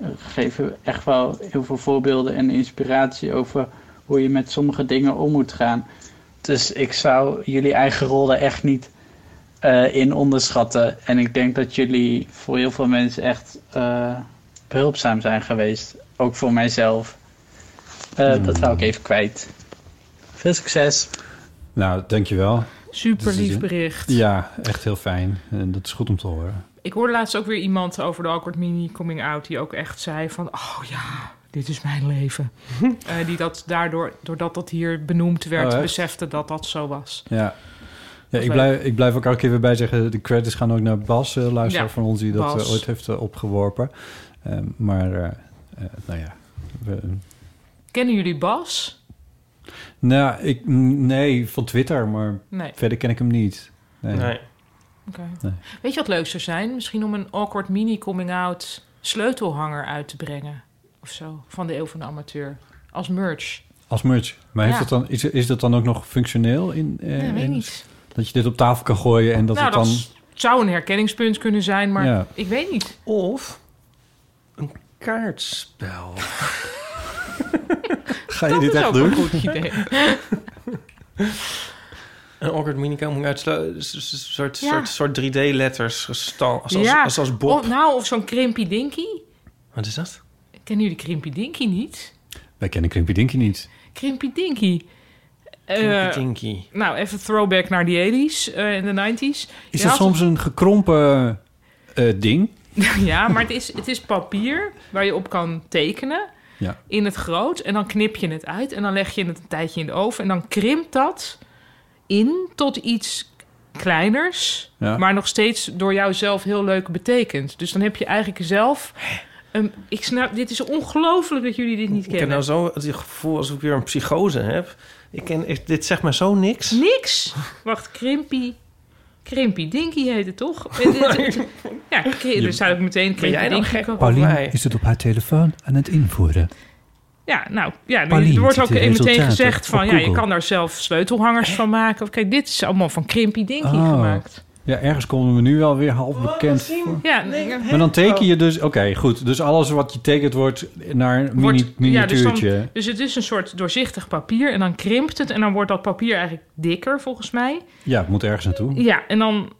eh, geven echt wel heel veel voorbeelden en inspiratie over hoe je met sommige dingen om moet gaan. Dus ik zou jullie eigen rol daar echt niet eh, in onderschatten. En ik denk dat jullie voor heel veel mensen echt eh, behulpzaam zijn geweest. Ook voor mijzelf. Eh, Dat wou ik even kwijt. Veel succes.
Nou, dankjewel.
Super
Dus is
lief
het-
bericht.
Ja, echt heel fijn. En dat is goed om te horen.
Ik hoorde laatst ook weer iemand over de awkward mini coming out... die ook echt zei van, oh ja, dit is mijn leven. Eh, die dat daardoor, doordat dat hier benoemd werd,
Oh, echt?
besefte dat dat zo was.
Ja. Ja, ik
leuk.
blijf, ik blijf ook elke keer weer bij zeggen... de credits gaan ook naar Bas, eh, luisteraar
Ja,
van ons... die dat
Bas.
eh, ooit heeft eh, opgeworpen. Eh, maar, eh, eh, nou ja... we-
Kennen jullie Bas?
nou, ik, nee, van Twitter, maar
Nee.
verder ken ik hem niet. Nee.
Nee.
Oké.
Nee.
Weet je wat leuk zou zijn? Misschien om een awkward mini coming out sleutelhanger uit te brengen. Of zo, van de Eeuw van de Amateur. Als merch.
Als merch. Maar heeft
Ja.
dat dan, is, is dat dan ook nog functioneel? In, eh,
Ja, weet
in-
niet.
Dat je dit op tafel kan gooien en dat
nou,
het dan...
dat s- zou een herkenningspunt kunnen zijn, maar
Ja.
ik weet niet.
Of een kaartspel.
Ga je
Dat
dit
is
echt
ook
doen?
een goed idee.
Een awkward minicam uit slu- s- s- s- soort,
Ja.
soort, soort 3D-letters gestal. Als, als,
ja.
als, als Bob.
Of, nou, of zo'n Krimpy Dinky.
Wat is dat?
Kennen jullie Krimpy Dinky niet?
Wij kennen Krimpy Dinky niet.
Krimpy Dinky. Eh,
Tinky Tinky.
nou, even throwback naar die 80s eh, en de 90s. Je
Is dat
had-
soms een gekrompen eh, ding?
Ja, maar het is, het is papier waar je op kan tekenen
Ja.
in het groot. En dan knip je het uit en dan leg je het een tijdje in de oven. En dan krimpt dat in tot iets kleiners,
Ja.
maar nog steeds door jou zelf heel leuk betekend. Dus dan heb je eigenlijk zelf... een- ik snap, dit is ongelooflijk dat jullie dit niet
Ik heb
kennen.
nou zo het gevoel alsof ik weer een psychose heb. Ik ken, ik- dit zegt maar zo niks.
Niks. Wacht, Krimpy. Krimpy Dinky heet het toch? Eh, dit- dit- ja, kri- dan zou ik meteen
Ben jij
Krimpy
nou
Dinky
gek
kopen.
op mij?
het op haar telefoon aan het invoeren.
Ja, nou, ja,
Paulien
er wordt
ziet
ook
de
meteen
resultaten
gezegd van...
op
ja, je
Google.
kan daar zelf sleutelhangers van maken. Of Kijk, dit is allemaal van Krimpy Dinky
Oh.
gemaakt.
Ja, ergens komen we nu wel weer half
Oh,
bekend voor.
Ja,
Maar dan teken je dus... Oké, goed. Dus alles wat getekend wordt naar een mini,
wordt- ja, dus, dan-
miniatuurtje.
dus het is een soort doorzichtig papier en dan krimpt het... en dan wordt dat papier eigenlijk dikker, volgens mij.
Ja, het moet ergens naartoe.
Ja, en dan...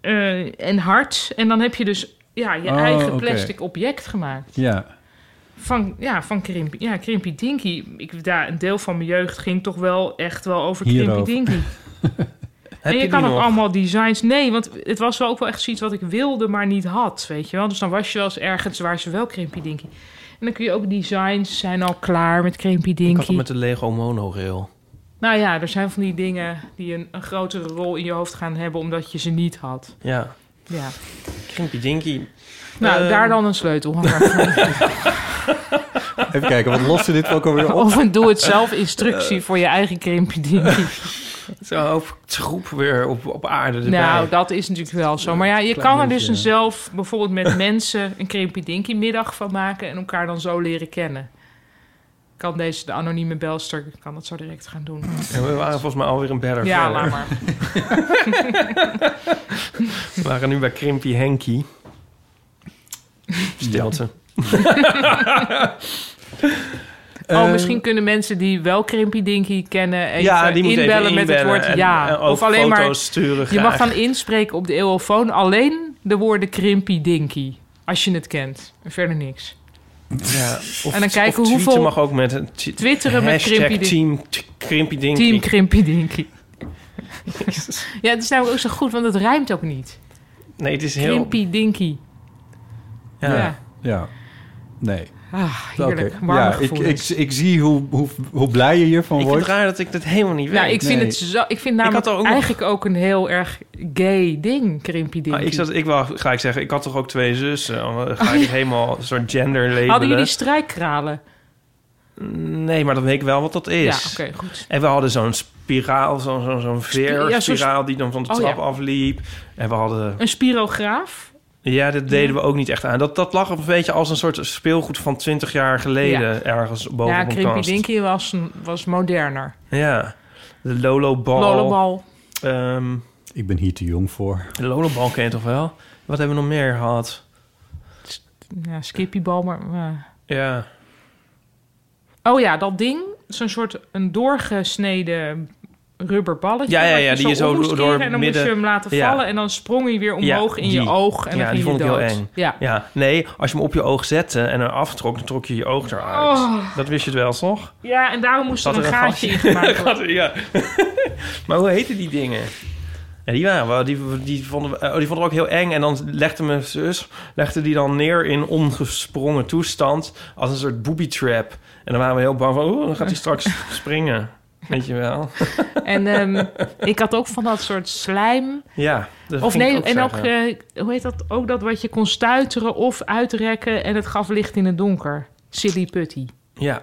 eh, en hard. En dan heb je dus ja, je
Oh,
eigen
oké.
plastic object gemaakt.
Ja.
Van, ja, van Krimpy, ja, Krimpy Dinky. Ik, daar, een deel van mijn jeugd ging toch wel echt wel over
Hierover.
Krimpy Dinky.
Heb
en je,
je
kan
die
ook
nog?
allemaal designs... Nee, want het was wel ook wel echt zoiets wat ik wilde, maar niet had, weet je wel. Dus dan was je wel eens ergens waar ze wel Krimpy Dinky... En dan kun je ook designs zijn al klaar met Krimpy
Ik had
Dinky.
het met de Lego monorail.
Nou ja, er zijn van die dingen die een, een grotere rol in je hoofd gaan hebben... omdat je ze niet had.
Ja.
Ja.
Krimpy Dinky.
Nou,
Ehm.
daar dan een sleutelhanger.
Even kijken, wat loste dit ook alweer op?
of een doe-het-zelf instructie
Eh.
voor je eigen Krimpy Dinky.
Zo'n hoop troep weer op, op aarde erbij.
Nou, dat is natuurlijk wel zo. Maar ja, je
Klein
kan er dus
beetje,
een
ja.
zelf bijvoorbeeld met mensen een Krimpy Dinky middag van maken en elkaar dan zo leren kennen. Kan deze, de anonieme belster, kan dat zo direct gaan doen.
En we waren volgens mij alweer een better
Ja,
verder.
laat maar.
We waren nu bij Krimpy Henky. Stilte. Eh,
oh, misschien kunnen mensen die wel Krimpy Dinky kennen even,
moeten
inbellen, met het woord
en-
ja.
en ook
of alleen
foto's
maar,
sturen
je mag
graag.
dan inspreken op de eeuwofoon alleen de woorden Krimpy Dinky. Als je het kent. En Verder niks.
Ja, of,
en dan kijken
of tweeten
hoeveel-
mag ook met een t-
Twitteren met
hashtag
Krimpy Dinky.
team t- Krimpy Dinky.
Team Krimpy Dinky. ja, het is namelijk ook zo goed, want het rijmt ook niet.
Nee, het is heel...
Krimpy Dinky.
Ja.
Ja.
Ja. Nee.
Ah,
Oké.
heerlijk. Warme
Ja, ik,
gevoelens.
ik, ik zie hoe, hoe, hoe blij je hiervan
Ik vind het
wordt.
raar dat ik dat helemaal niet weet.
nou, ik vind
nee.
het zo... Ik vind namelijk
had er ook nog-
eigenlijk ook een heel erg gay ding, Krimpy Dinky.
Maar Ah, ik, zat, ik wou, ga ik zeggen, ik had toch ook twee zussen? Dan Ga ik het helemaal een soort gender labelen?
Hadden jullie strijkkralen?
Nee, maar dan weet ik wel wat dat
Ja,
is.
oké, goed.
En we hadden zo'n spiraal, zo'n zo, zo'n
ja,
veerspiraal
zo'n
die dan van de
Oh,
trap
ja.
afliep. En we hadden...
Een spirograaf?
Ja, dat deden we ook niet echt aan. Dat, dat lag een beetje als een soort speelgoed van 20 jaar geleden ergens boven
ja,
op een
Krimpy
kast.
Dinky was, een- was moderner.
Ja, de Lolobal.
Lolobal.
Ehm,
Ik ben hier te jong voor.
de Lolobal ken je toch wel? Wat hebben we nog meer gehad?
Ja, Skippybal, maar... eh, maar-
Ja,
Oh ja, dat ding. Zo'n soort een doorgesneden rubber balletje.
Ja, ja,
wat
ja,
je
die je zo
ommoest
door
keren En dan
midden-
moest je hem laten
Ja.
vallen en dan sprong hij weer omhoog in je
die.
oog. En
Ja,
dan ging
die vond
je
ik heel
dood.
eng.
Ja.
Ja, nee, als je hem op je oog zette en eraf trok, dan trok je je oog eruit.
Oh.
Dat wist je het wel, toch?
ja, en daarom moest
Zat
er een gaatje in
gat-
gemaakt worden.
ja. maar hoe heten die dingen? Ja, die waren wel- die, die, vonden, we- oh, die vonden we ook heel eng. En dan legde mijn zus legde die dan neer in ongesprongen toestand als een soort booby trap. En dan waren we heel bang van, oeh, dan gaat hij straks springen. Weet je wel?
En ehm, ik had ook van dat soort slijm.
Ja. dat
Of
ging ik
nee, en ook,
zeggen.
eh, hoe heet dat? Ook dat wat je kon stuiteren of uitrekken en het gaf licht in het donker. Silly putty.
Ja,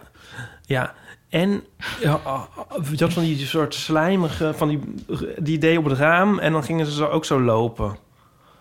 ja. En ja, ah, ah, dat van die soort slijmige, van die, eh, die idee op het raam. En dan gingen ze zo ook zo lopen.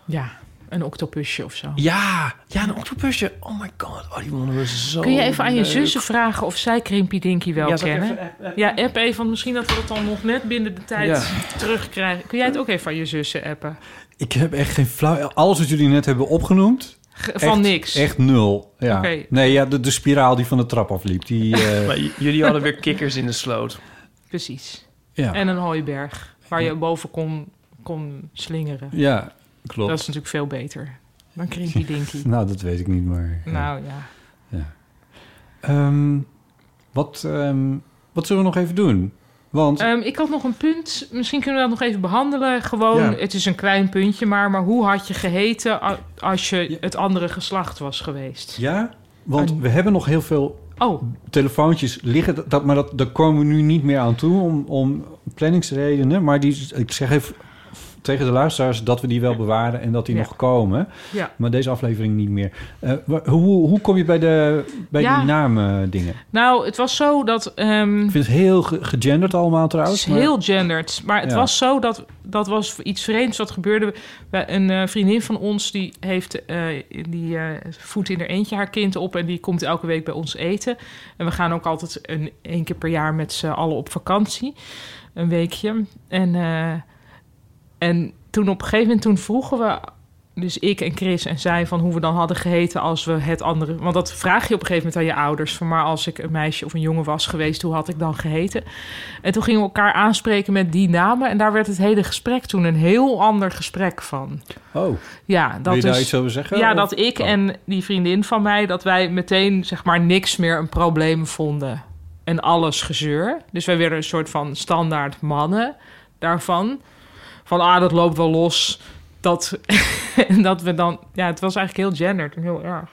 Ja, een octopusje of zo.
Ja, ja, een octopusje. Oh my god, oh, die vonden we zo
Kun je even aan je
leuk.
zussen vragen of zij Krimpy Dinky wel
Ja, zal ik
kennen?
even- eh, eh,
Ja, app even, want misschien dat we dat dan nog net binnen de tijd terugkrijgen. Kun jij het ook even aan je zussen appen?
Ik heb echt geen flauw... Alles wat jullie net hebben opgenoemd...
Ge-
echt-
Van niks.
Echt nul, ja.
Oké.
Nee, ja, de, de spiraal die van de trap afliep. Die, eh,
Maar j- jullie hadden weer kikkers in de sloot.
Precies.
ja.
En een hooiberg, waar je boven kon, kon slingeren.
ja, klopt.
Dat is natuurlijk veel beter dan Krimpy Dinky.
Nou, dat weet ik niet, maar... eh,
nou ja.
ehm, wat, ehm, wat zullen we nog even doen? Want...
Ehm, ik had nog een punt. Misschien kunnen we dat nog even behandelen. Gewoon,
Ja.
het is een klein puntje, maar, maar hoe had je geheten a- als je
Ja.
het andere geslacht was geweest?
ja, want we hebben nog heel veel
Oh,
telefoontjes liggen. Dat- Dat, maar dat, daar komen we nu niet meer aan toe om, om planningsredenen. Maar die, ik zeg even tegen de luisteraars dat we die wel bewaren en dat die
Ja.
nog komen.
ja.
Maar deze aflevering niet meer. Eh, wa- hoe, hoe kom je bij, de, bij
Ja.
die namen eh, dingen?
Nou, het was zo dat... ehm,
Ik vind het heel ge- gegenderd allemaal
Het
trouwens.
is
maar-
heel gendered. Maar het
Ja.
was zo dat dat was iets vreemds wat gebeurde. Bij een eh, vriendin van ons die heeft eh, die eh, voedt in haar eentje haar kind op en die komt elke week bij ons eten. En we gaan ook altijd een één keer per jaar met z'n allen op vakantie, een weekje. En eh, en toen op een gegeven moment toen vroegen we dus ik en Chris en zij van hoe we dan hadden geheten als we het andere. Want dat vraag je op een gegeven moment aan je ouders. Van maar als ik een meisje of een jongen was geweest, hoe had ik dan geheten? En toen gingen we elkaar aanspreken met die namen. En daar werd het hele gesprek toen een heel ander gesprek van.
Oh,
Ja, dat
wil je
is.
daar iets over zeggen?
Ja,
Of-
dat ik
Oh.
en die vriendin van mij, dat wij meteen zeg maar niks meer een probleem vonden. En alles gezeur. Dus wij werden een soort van standaard mannen daarvan. Van ah, dat loopt wel los. Dat, en dat we dan. Ja, het was eigenlijk heel gendered en heel erg.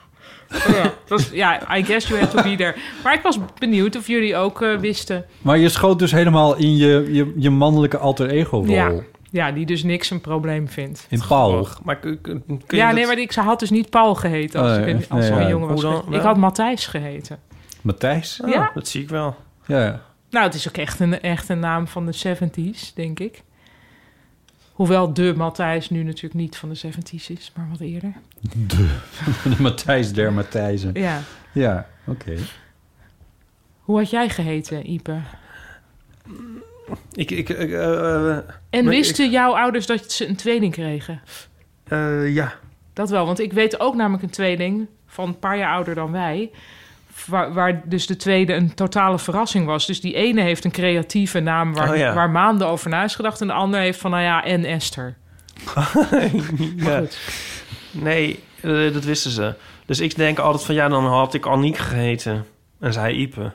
Maar Ja, het was, ja, I guess you have to be there. Maar ik was benieuwd of jullie ook eh, wisten.
Maar je schoot dus helemaal in je, je, je mannelijke alter ego rol.
Ja, ja, die dus niks een probleem vindt.
In Paul.
Och, Maar kun, kun- kun je
Ja,
dat-
nee, maar ik ze had dus niet Paul geheten als
Oh,
ik een,
echt?
als
Nee,
ik een
ja.
jongen was.
Hoe dan
geweest.
wel?
Ik had Matthijs geheten.
Matthijs?
Oh,
ja.
Dat zie ik wel.
Ja.
Nou, het is ook echt een, echt een naam van de 70s, denk ik. Hoewel de Matthijs nu natuurlijk niet van de 70s is, maar wat eerder.
De Matthijs der Matthijsen.
Ja.
Ja, oké.
Hoe had jij geheten, Ipe?
Ik, ik, ik, eh, eh,
En
Maar
wisten jouw ouders dat ze een tweeling kregen?
eh, ja.
Dat wel, want ik weet ook namelijk een tweeling van een paar jaar ouder dan wij. Waar, waar dus de tweede een totale verrassing was. Dus die ene heeft een creatieve naam waar,
Oh ja.
waar maanden over na is gedacht. En de ander heeft van, nou ja, en Esther.
ja. Nee, eh, dat wisten ze. Dus ik denk altijd van, ja, dan had ik Aniek geheten. En zij Ipe.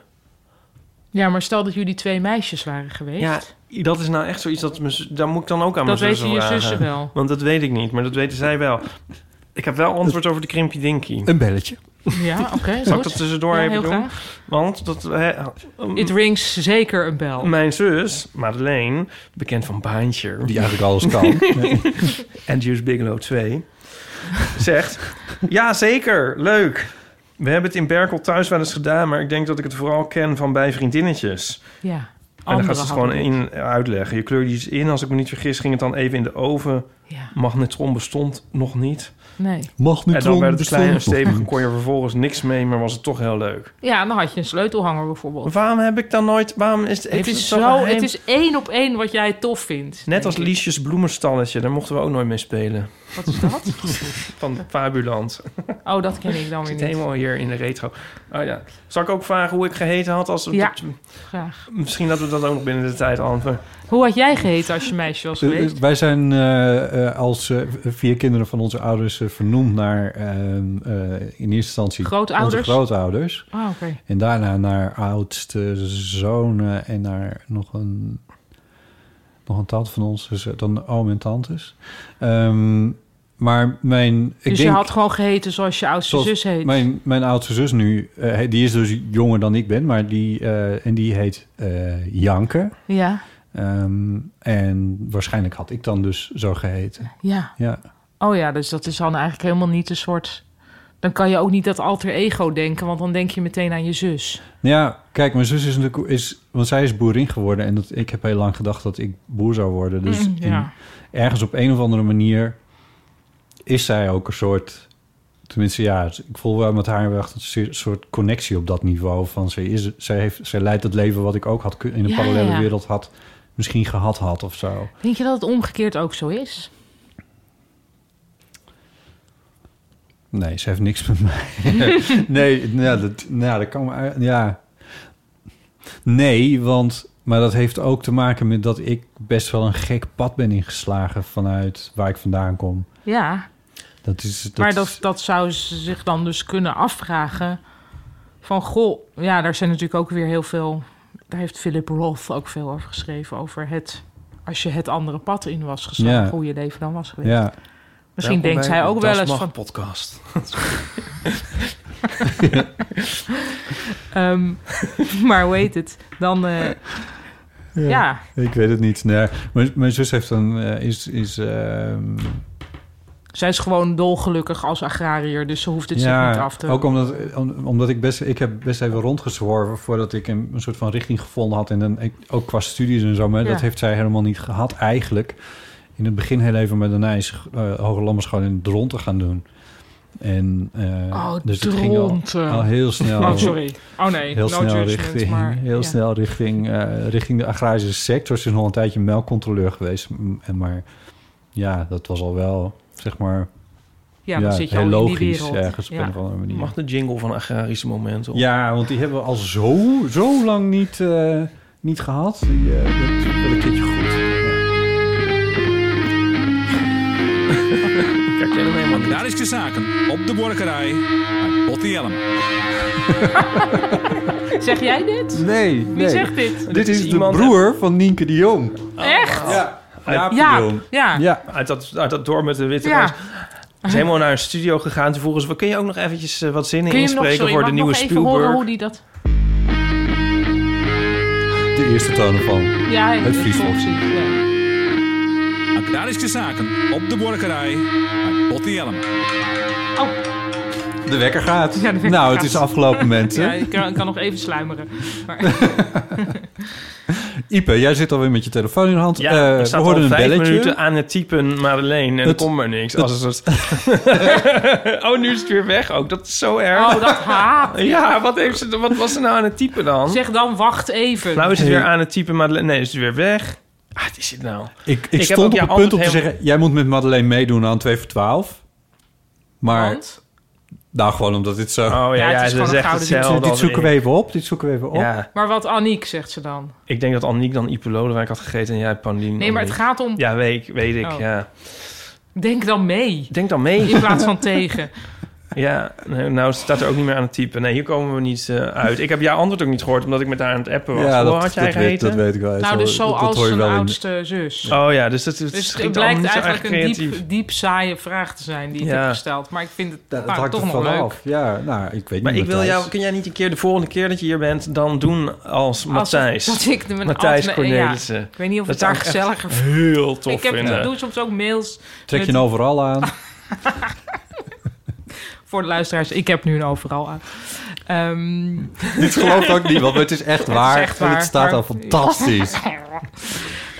Ja, maar stel dat jullie twee meisjes waren geweest.
Ja, dat is nou echt zoiets dat mijn zus- daar moet ik dan ook aan
dat
mijn
weten
zussen
je
vragen.
zussen wel.
Want dat weet ik niet, maar dat weten zij wel. Ik heb wel antwoord over de Krimpy Dinky.
Een belletje.
Ja, oké.
Zal ik
goed.
dat tussendoor
Ja,
even
heel
doen?
graag.
Want dat, hè, m-
It rings zeker een bel.
mijn zus, Madeleine, bekend van Baantje
Die eigenlijk alles kan.
en Juice Bigelow 2, zegt... ja, zeker, leuk. We hebben het in Berkel thuis wel eens gedaan... maar ik denk dat ik het vooral ken van bij vriendinnetjes.
Ja.
En dan
Andere
gaat ze het gewoon
hadden
in uitleggen. Je kleurde iets in, als ik me niet vergis, ging het dan even in de oven.
het. Ja.
Magnetron bestond nog niet.
Nee.
En dan
Magnetron
werd het klein en
bestond.
stevig, kon je er vervolgens niks mee, maar was het toch heel leuk.
Ja, dan had je een sleutelhanger bijvoorbeeld.
Waarom heb ik dan nooit... Waarom is het,
Het
heeft
is,
het
zo,
geheim?
het is één op één wat jij tof vindt.
Net
denk
als
ik.
Liesjes bloemenstalletje, daar mochten we ook nooit mee spelen.
Wat is dat?
van Fabuland.
Oh, dat ken ik dan weer
Zit
niet.
helemaal hier in de retro. Oh ja. Zal ik ook vragen hoe ik geheten had? Als we
Ja.
dat-
Graag.
misschien dat we dat ook nog binnen de tijd antwoorden.
Hoe had jij geheten als je meisje was
Eh, eh,
geweest?
wij zijn eh, eh, als eh, vier kinderen van onze ouders eh, vernoemd naar eh, eh, in eerste instantie
Grootouders?
onze grootouders.
Oh, oké.
En daarna naar oudste zonen en naar nog een, nog een tante van ons. Dus eh, dan oom en tantes. Ehm, maar mijn... Ik
Dus
denk,
je had gewoon geheten zoals je oudste
Zoals
zus heet.
Mijn, mijn oudste zus nu, eh, die is dus jonger dan ik ben, maar die, eh, en die heet eh, Janke.
Ja,
Ehm, en waarschijnlijk had ik dan dus zo geheten.
ja.
Ja.
Oh ja, dus dat is dan eigenlijk helemaal niet een soort... Dan kan je ook niet dat alter ego denken, want dan denk je meteen aan je zus.
Nou ja, kijk, mijn zus is natuurlijk, is, want zij is boerin geworden en dat, ik heb heel lang gedacht dat ik boer zou worden. Dus
Mm,
in-
ja.
ergens op een of andere manier is zij ook een soort, tenminste ja, ik voel wel met haar wel echt een soort connectie op dat niveau. Van ze, is, zij, heeft, zij leidt het leven wat ik ook had, kun- in een
Ja,
parallele
ja.
wereld had, misschien gehad had of zo.
Denk je dat het omgekeerd ook zo is?
Nee, ze heeft niks met mij. nee, nou, dat, nou, dat kan me uit- Ja. Nee, want. Maar dat heeft ook te maken met dat ik best wel een gek pad ben ingeslagen vanuit waar ik vandaan kom.
Ja,
Dat is. Dat
maar dat,
is-
dat zou ze zich dan dus kunnen afvragen. Van, goh, ja, daar zijn natuurlijk ook weer heel veel... Daar heeft Philip Roth ook veel over geschreven. Over het, als je het andere pad in was geslagen,
Ja.
hoe je leven dan was geweest.
ja.
Misschien
Welkom
denkt
bij
zij ook
Das
wel eens
Mag
van...
podcast.
ehm, maar hoe heet het? Dan, eh, ja.
Ik weet het niet. Nee, mijn, mijn zus heeft een. eh, is. is ehm,
Zij is gewoon dolgelukkig als agrariër, dus ze hoeft het zich niet af te...
Ook omdat, om- omdat ik best, ik heb best even rondgezworven voordat ik een, een soort van richting gevonden had. En dan, ik, ook qua studies en zo, maar
Ja.
dat heeft zij helemaal niet gehad eigenlijk. In het begin heel even, maar daarna is eh Hoge Lammerschool in Dronten gaan doen. En, eh,
Oh,
dus het ging al,
Dronten.
al heel snel.
Oh, sorry. Oh nee,
Heel
no
snel
judgment,
richting,
maar...
heel
ja.
snel richting, eh, richting de agrarische sector. Ze is nog een tijdje melkcontroleur geweest. m- En maar ja, dat was al wel, zeg maar,
Ja, dan zit je al
heel
in die
logisch
wereld.
ergens op
Ja.
een of andere manier.
Mag de jingle van Agrarische Momenten? op?
Ja, want die hebben we al zo, zo lang niet, eh, niet gehad. Die, eh, dat is wel een keertje goed.
Kijk jij dan helemaal niet.
Daar is de zaken op de borgerij bij Botti Jellem.
Zeg jij dit?
Nee, nee.
Wie zegt dit?
Dit is de
Iemand-
broer van Nienke de Jong.
Echt?
Ja. Jaap
Ja,
de Jong.
ja, ja.
Oh, Ja.
Uit dat, uit dat dorp met de witte ja. is helemaal naar een studio gegaan. Toen vroegen ze, kun je ook nog eventjes eh, wat zinnen
Kun je hem nog,
inspreken
sorry,
voor
mag
de
ik
nieuwe
nog even horen hoe
Spielberg?
die dat...
De eerste toon ervan.
Ja, hij-
Het
dat
Fries
klopt,
was.
ja.
Daar is de zaken op de borgerij bij Botti Jellem.
Oh,
De wekker gaat.
Ja, de wekker
nou, het
gaat.
is afgelopen mensen.
Ja, ik kan, ik kan nog even sluimeren. Maar,
Ipe, jij zit alweer met je telefoon in de hand.
Ja,
Eh,
ik sta
we
al
hoorden een
vijf
belletje.
minuten aan het typen Madeleine en
Het-
er komt maar niks. Als een soort... oh, nu is het weer weg ook. Dat is zo erg.
oh, dat haat.
Ja, wat, heeft ze, wat was ze nou aan het typen dan?
Zeg dan, wacht even.
Nou is het weer aan het typen Madeleine. Nee, is het weer weg. Ah, wat is dit nou?
Ik,
heb
ik,
ook
stond op
jou
het punt
altijd
om te
helemaal-
zeggen... jij moet met Madeleine meedoen aan 2 voor 12. Maar,
Want?
nou gewoon omdat dit zo...
Oh ja,
Ja, het
ja
is
ze
gewoon een
zegt
gouden
hetzelfde
dit
als
zoeken
ik.
we even op, dit zoeken we even op.
Ja,
Maar wat Aniek zegt ze dan?
ik denk dat Anniek dan Ipe Lodewijk had gegeten en jij Pandien.
Nee, maar het gaat om...
Ja, weet, ik- weet ik,
Oh.
ja.
Denk dan mee.
Denk dan mee.
In plaats van tegen.
Ja, nee, nou staat er ook niet meer aan het typen. Nee, hier komen we niet eh, uit. Ik heb jouw antwoord ook niet gehoord, omdat ik met haar aan het appen was. Hoe had jij
weet,
geheten?
dat weet ik wel.
Nou, dus
dat, dat
zoals
hoor je
zijn
wel in-
oudste zus.
Oh ja, dus dat het
Dus
schiet
het
allemaal
blijkt
niet zo erg
eigenlijk een
creatief.
diep, diep saaie vraag te zijn die ik
Ja.
heb gesteld. Maar ik vind het
Ja, dat
vaak
hangt
toch
er
nog leuk.
vanaf. Ja, nou, ik weet
Maar
niet,
ik wil
Matthijs.
jou, kun jij niet een keer de volgende keer dat je hier bent, dan doen als
Als-
Matthijs?
Dat ik de, mijn
Matthijs
alternate- ja.
Cornelissen.
ik weet niet of
Dat
het daar
zou ik
gezelliger voor
Heel tof
Ik heb,
vinden.
ik doe soms ook mails
Trek je
met-
nou overal aan?
voor de luisteraars. Ik heb nu een overal aan. Ehm,
dit geloof ik ook niet, want het is echt waar.
echt
en
waar,
het staat
maar-
al fantastisch.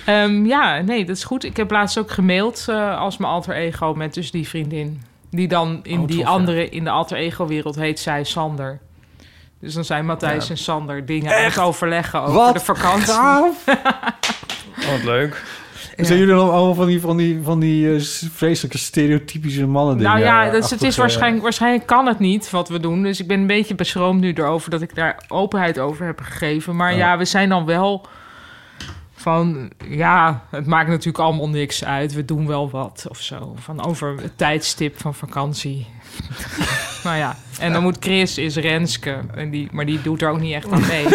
ehm, ja, nee, dat is goed. Ik heb laatst ook gemaild eh, als mijn alter ego met dus die vriendin. Die dan in
Oh,
die
tof, ja.
andere, in de alter ego wereld heet zij Sander. Dus dan zijn Matthijs en Sander dingen aan het overleggen over
Wat
de vakantie.
gaaf.
Wat leuk.
En zijn jullie dan allemaal van die, van die, van die eh, s- vreselijke stereotypische eh, mannen
Nou ja, dus het is
achtige-
waarschijnlijk, waarschijnlijk kan het niet wat we doen. Dus ik ben een beetje beschroomd nu erover dat ik daar openheid over heb gegeven. Maar ja, we zijn dan wel van, ja, het maakt natuurlijk allemaal niks uit. We doen wel wat of zo. Van over het tijdstip van vakantie. nou ja, en dan moet Chris is Renske. En die, maar die doet er ook niet echt aan mee.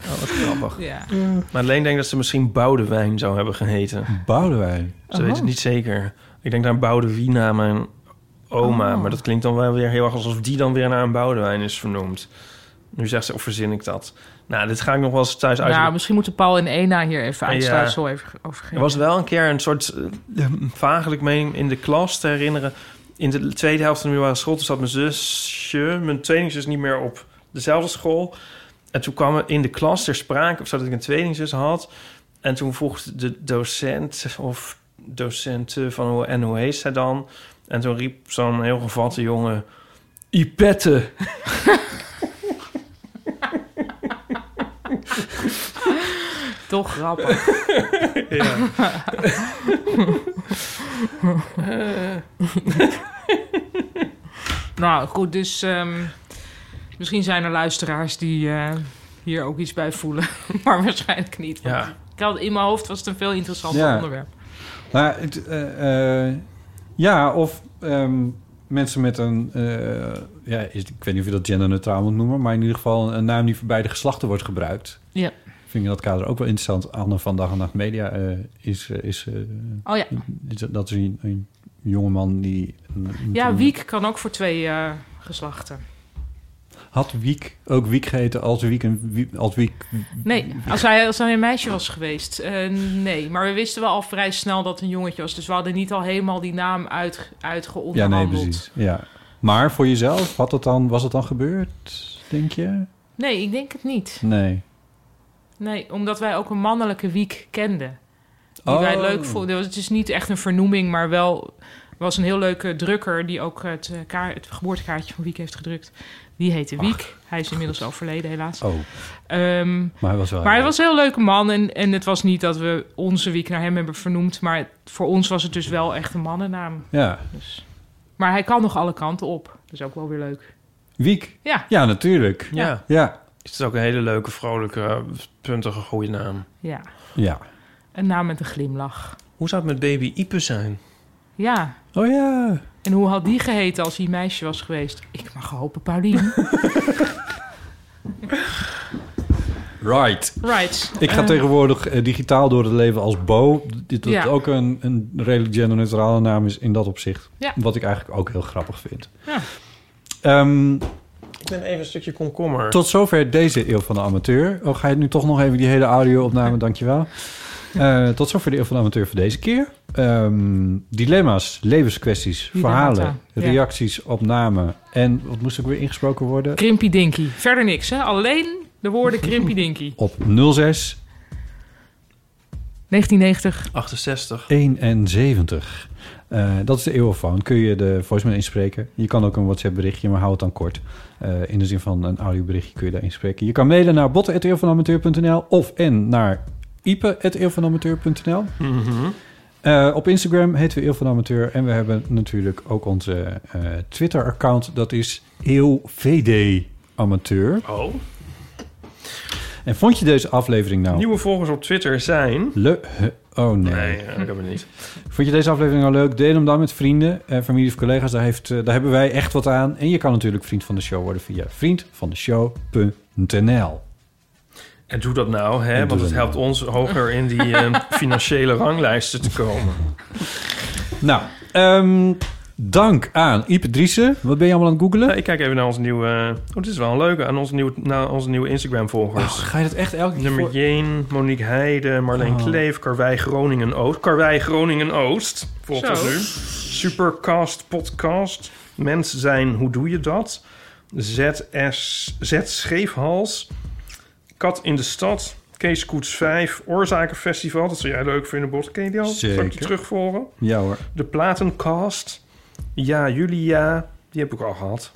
Grappig.
ja.
Maar Leen denkt dat ze misschien Boudewijn zou hebben geheten.
Boudewijn.
Ze weet het niet zeker. Ik denk aan Boudewien aan mijn oma. Maar dat klinkt dan wel weer heel erg alsof die dan weer naar een Boudewijn is vernoemd. Nu zegt ze, of verzin ik dat? Nou, dit ga ik nog wel eens thuis
Nou,
uit.
misschien moeten Paul en eh, Ena hier even
Ja.
uitsluitsel even over
Er
geven.
was wel een keer een soort eh, vagelijk mening in de klas te herinneren. In de tweede helft van de middelbare school toen zat mijn zusje, mijn tweelingzus, niet meer op dezelfde school. En toen kwam er in de klas ter sprake of zo dat ik een tweelingzus had. En toen vroeg de docent of docenten van hoe en hoe heet zij dan? En toen riep zo'n heel gevatte jongen... Ipette!
Toch grappig.
Ja.
Nou goed, dus ehm, misschien zijn er luisteraars die eh, hier ook iets bij voelen. maar waarschijnlijk niet. want
ja.
Ik had, in mijn hoofd was het een veel interessanter
Ja.
onderwerp.
Maar het, eh, eh, ja, of ehm, mensen met een... eh, ja, is, ik weet niet of je dat genderneutraal moet noemen... maar in ieder geval een naam die voor beide geslachten wordt gebruikt.
Ja.
Vind ik in dat kader ook wel interessant. Anne van Dag en Nacht Media eh, is... eh, is eh,
Oh ja.
is- dat is een, een jongeman die... een-
Ja,
een-
Wiek kan ook voor twee eh, geslachten.
Had Wiek ook Wiek geheten als Wiek, een, Wiek- als Wiek
Nee, als hij, als hij een meisje was geweest. eh, nee, maar we wisten wel al vrij snel dat het een jongetje was. Dus we hadden niet al helemaal die naam uit,
Ja, nee,
uitgeonderhandeld.
precies. Ja. Maar voor jezelf, had het dan, was het dan gebeurd, denk je?
Nee, ik denk het niet.
Nee.
Nee, omdat wij ook een mannelijke Wiek kenden. Die
Oh.
wij leuk vonden. Het is niet echt een vernoeming, maar wel... was een heel leuke drukker die ook het, eh, kaar- het geboortekaartje van Wiek heeft gedrukt. Die heette Wiek. hij is inmiddels overleden, helaas.
Oh,
Ehm,
maar hij was wel...
maar hij was een heel leuke man. En, en het was niet dat we onze Wiek naar hem hebben vernoemd. Maar het- voor ons was het dus wel echt een mannennaam.
Ja.
Dus. Maar hij kan nog alle kanten op. Dat is ook wel weer leuk.
Wiek?
Ja,
Ja, natuurlijk.
ja,
Ja.
het is ook een hele leuke, vrolijke, puntige, goede naam.
ja.
Ja.
Een naam met een glimlach.
Hoe zou het met baby Ipe zijn?
Ja,
Oh ja.
En hoe had die geheten als hij meisje was geweest? Ik mag hopen, Pauline.
Right.
Right.
Ik ga
Eh,
tegenwoordig eh, digitaal door het leven als Bo. Dit dat
Ja.
ook een, een redelijk genderneutrale naam is in dat opzicht.
Ja.
Wat ik eigenlijk ook heel grappig vind.
Ja.
Ehm,
Ik ben even een stukje komkommer.
Tot zover deze Eeuw van de Amateur. Oh, ga je nu toch nog even die hele audio opname, dankjewel. Eh tot zover de Eeuw van de Amateur voor deze keer. Ehm, dilemma's, levenskwesties,
Dilemmata,
verhalen,
ja.
reacties op namen. En wat moest ook weer ingesproken worden?
Krimpy Dinky. Verder niks, hè? Alleen de woorden Krimpy Dinky.
Op 06
1990.
68.
71. Eh, dat is de eeuwofoon. Kun je de voicemail inspreken. Je kan ook een WhatsApp berichtje, maar hou het dan kort. Eh, in de zin van een audioberichtje kun je daar inspreken. Je kan mailen naar botten.eeuwvanamateur.nl of en naar ipe.eeuwvanamateur.nl.
Mhm.
Eh, op Instagram heten we Eeuw van Amateur. En we hebben natuurlijk ook onze eh, Twitter-account. Dat is eeuwvdamateur. Amateur.
Oh.
En vond je deze aflevering nou...
Nieuwe volgers op Twitter zijn...
Le oh
Nee, eh, ik heb het niet.
Vond je deze aflevering nou leuk? Deel hem dan met vrienden, eh, familie of collega's. Daar, heeft, eh, daar hebben wij echt wat aan. En je kan natuurlijk vriend van de show worden via vriendvandeshow.nl.
En doe dat nou, hè?
doe
want
dat
het helpt ons hoger in die eh, financiële ranglijsten te komen.
Nou, ehm, dank aan Ipe Driessen. Wat ben je allemaal aan het googelen?
Nou, ik kijk even naar onze nieuwe... eh, Oh, dit is wel een leuke. Aan onze nieuwe, naar onze nieuwe
Oh,
Instagram-volgers.
ga je dat echt elke keer
Nummer
voor-
Jeen, Monique Heijden, Marleen
Oh.
Kleef, Karwei Groningen-Oost. Karwei Groningen-Oost, volgt
Zo.
ons nu. Supercast Podcast. Mens zijn, hoe doe je dat? ZS, Z Scheefhals. Kat in de stad. Kees Koets 5. Oorzakenfestival. Dat zou jij leuk vinden, Bot. Ken je die al? Zal ik die
Zeker.
terugvolgen?
Ja hoor.
De Platencast. Ja, Julia. Die heb ik al gehad.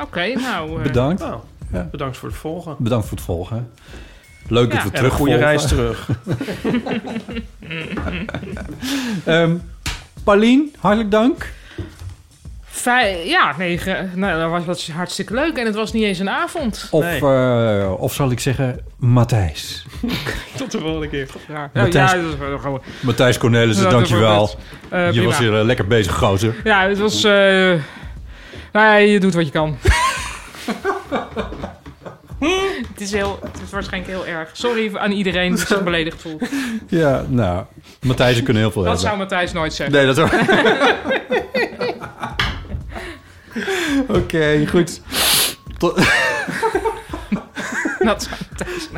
Oké, nou. eh,
Bedankt.
Nou,
Ja.
nou,
bedankt voor het volgen.
Bedankt voor het volgen. Leuk dat
Ja.
we
En een
terug
goede reis terug.
Ehm, Paulien, hartelijk dank.
Vij- ja, nee, ge- nou, dat, was, dat is hartstikke leuk. En het was niet eens een avond.
Of,
Nee.
eh, of zal ik zeggen, Matthijs.
Tot de volgende keer. Ja, nou,
Matthijs-
ja, dat is wel gewoon.
Matthijs Cornelissen,
Dat
dankjewel.
wordt
je
eh, prima.
was hier eh, lekker bezig, gozer.
Ja, het was. eh nou ja, je doet wat je kan. het, is heel, het is waarschijnlijk heel erg. Sorry aan iedereen die zich beledigd voelt.
Ja, nou, Matthijs, kunnen heel veel
Dat zou
hebben.
Matthijs nooit zeggen.
Nee, dat zou... Oké, goed. Tot...
Dat zou Matthijs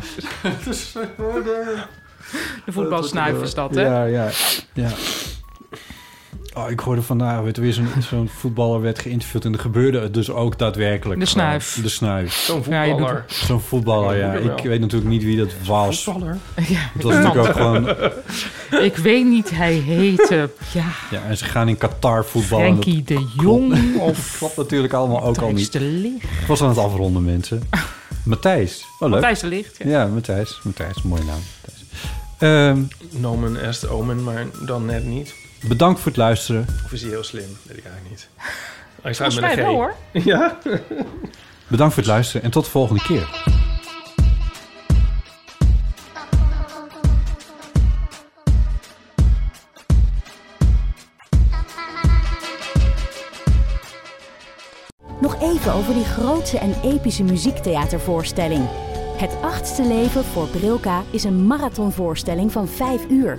nooit zeggen. De voetbalsnuif is dat, hè?
Ja, ja, ja. Oh, ik hoorde vandaag werd er weer zo'n zo'n voetballer werd geïnterviewd en er gebeurde het dus ook daadwerkelijk.
De
gewoon.
snuif.
De snuif.
Zo'n
Ja, je doet-
voetballer.
Zo'n voetballer, ja. Ik weet natuurlijk niet wie dat was.
Voetballer.
Het was natuurlijk ook gewoon...
Ik weet niet, hij heette. Ja,
Ja, en ze gaan in Qatar voetballen. Dat
Frankie de Jong of.
klopt natuurlijk allemaal ook al
Matthijs
niet.
de Licht.
Ik was aan het afronden, mensen. Matthijs. Oh, leuk.
Matthijs de Licht, ja.
Ja, Matthijs. Matthijs, mooie naam. Matthijs. Ehm,
Nomen est omen, maar dan net niet.
bedankt voor het luisteren.
Of is hij heel slim? Weet ik eigenlijk niet. Hij schrijft
Volgens
met een
mij
G.
wel hoor.
Ja?
Bedankt voor het luisteren en tot de volgende keer.
Nog even over die grootse en epische muziektheatervoorstelling. Het achtste leven voor Brilka is een marathonvoorstelling van 5 uur.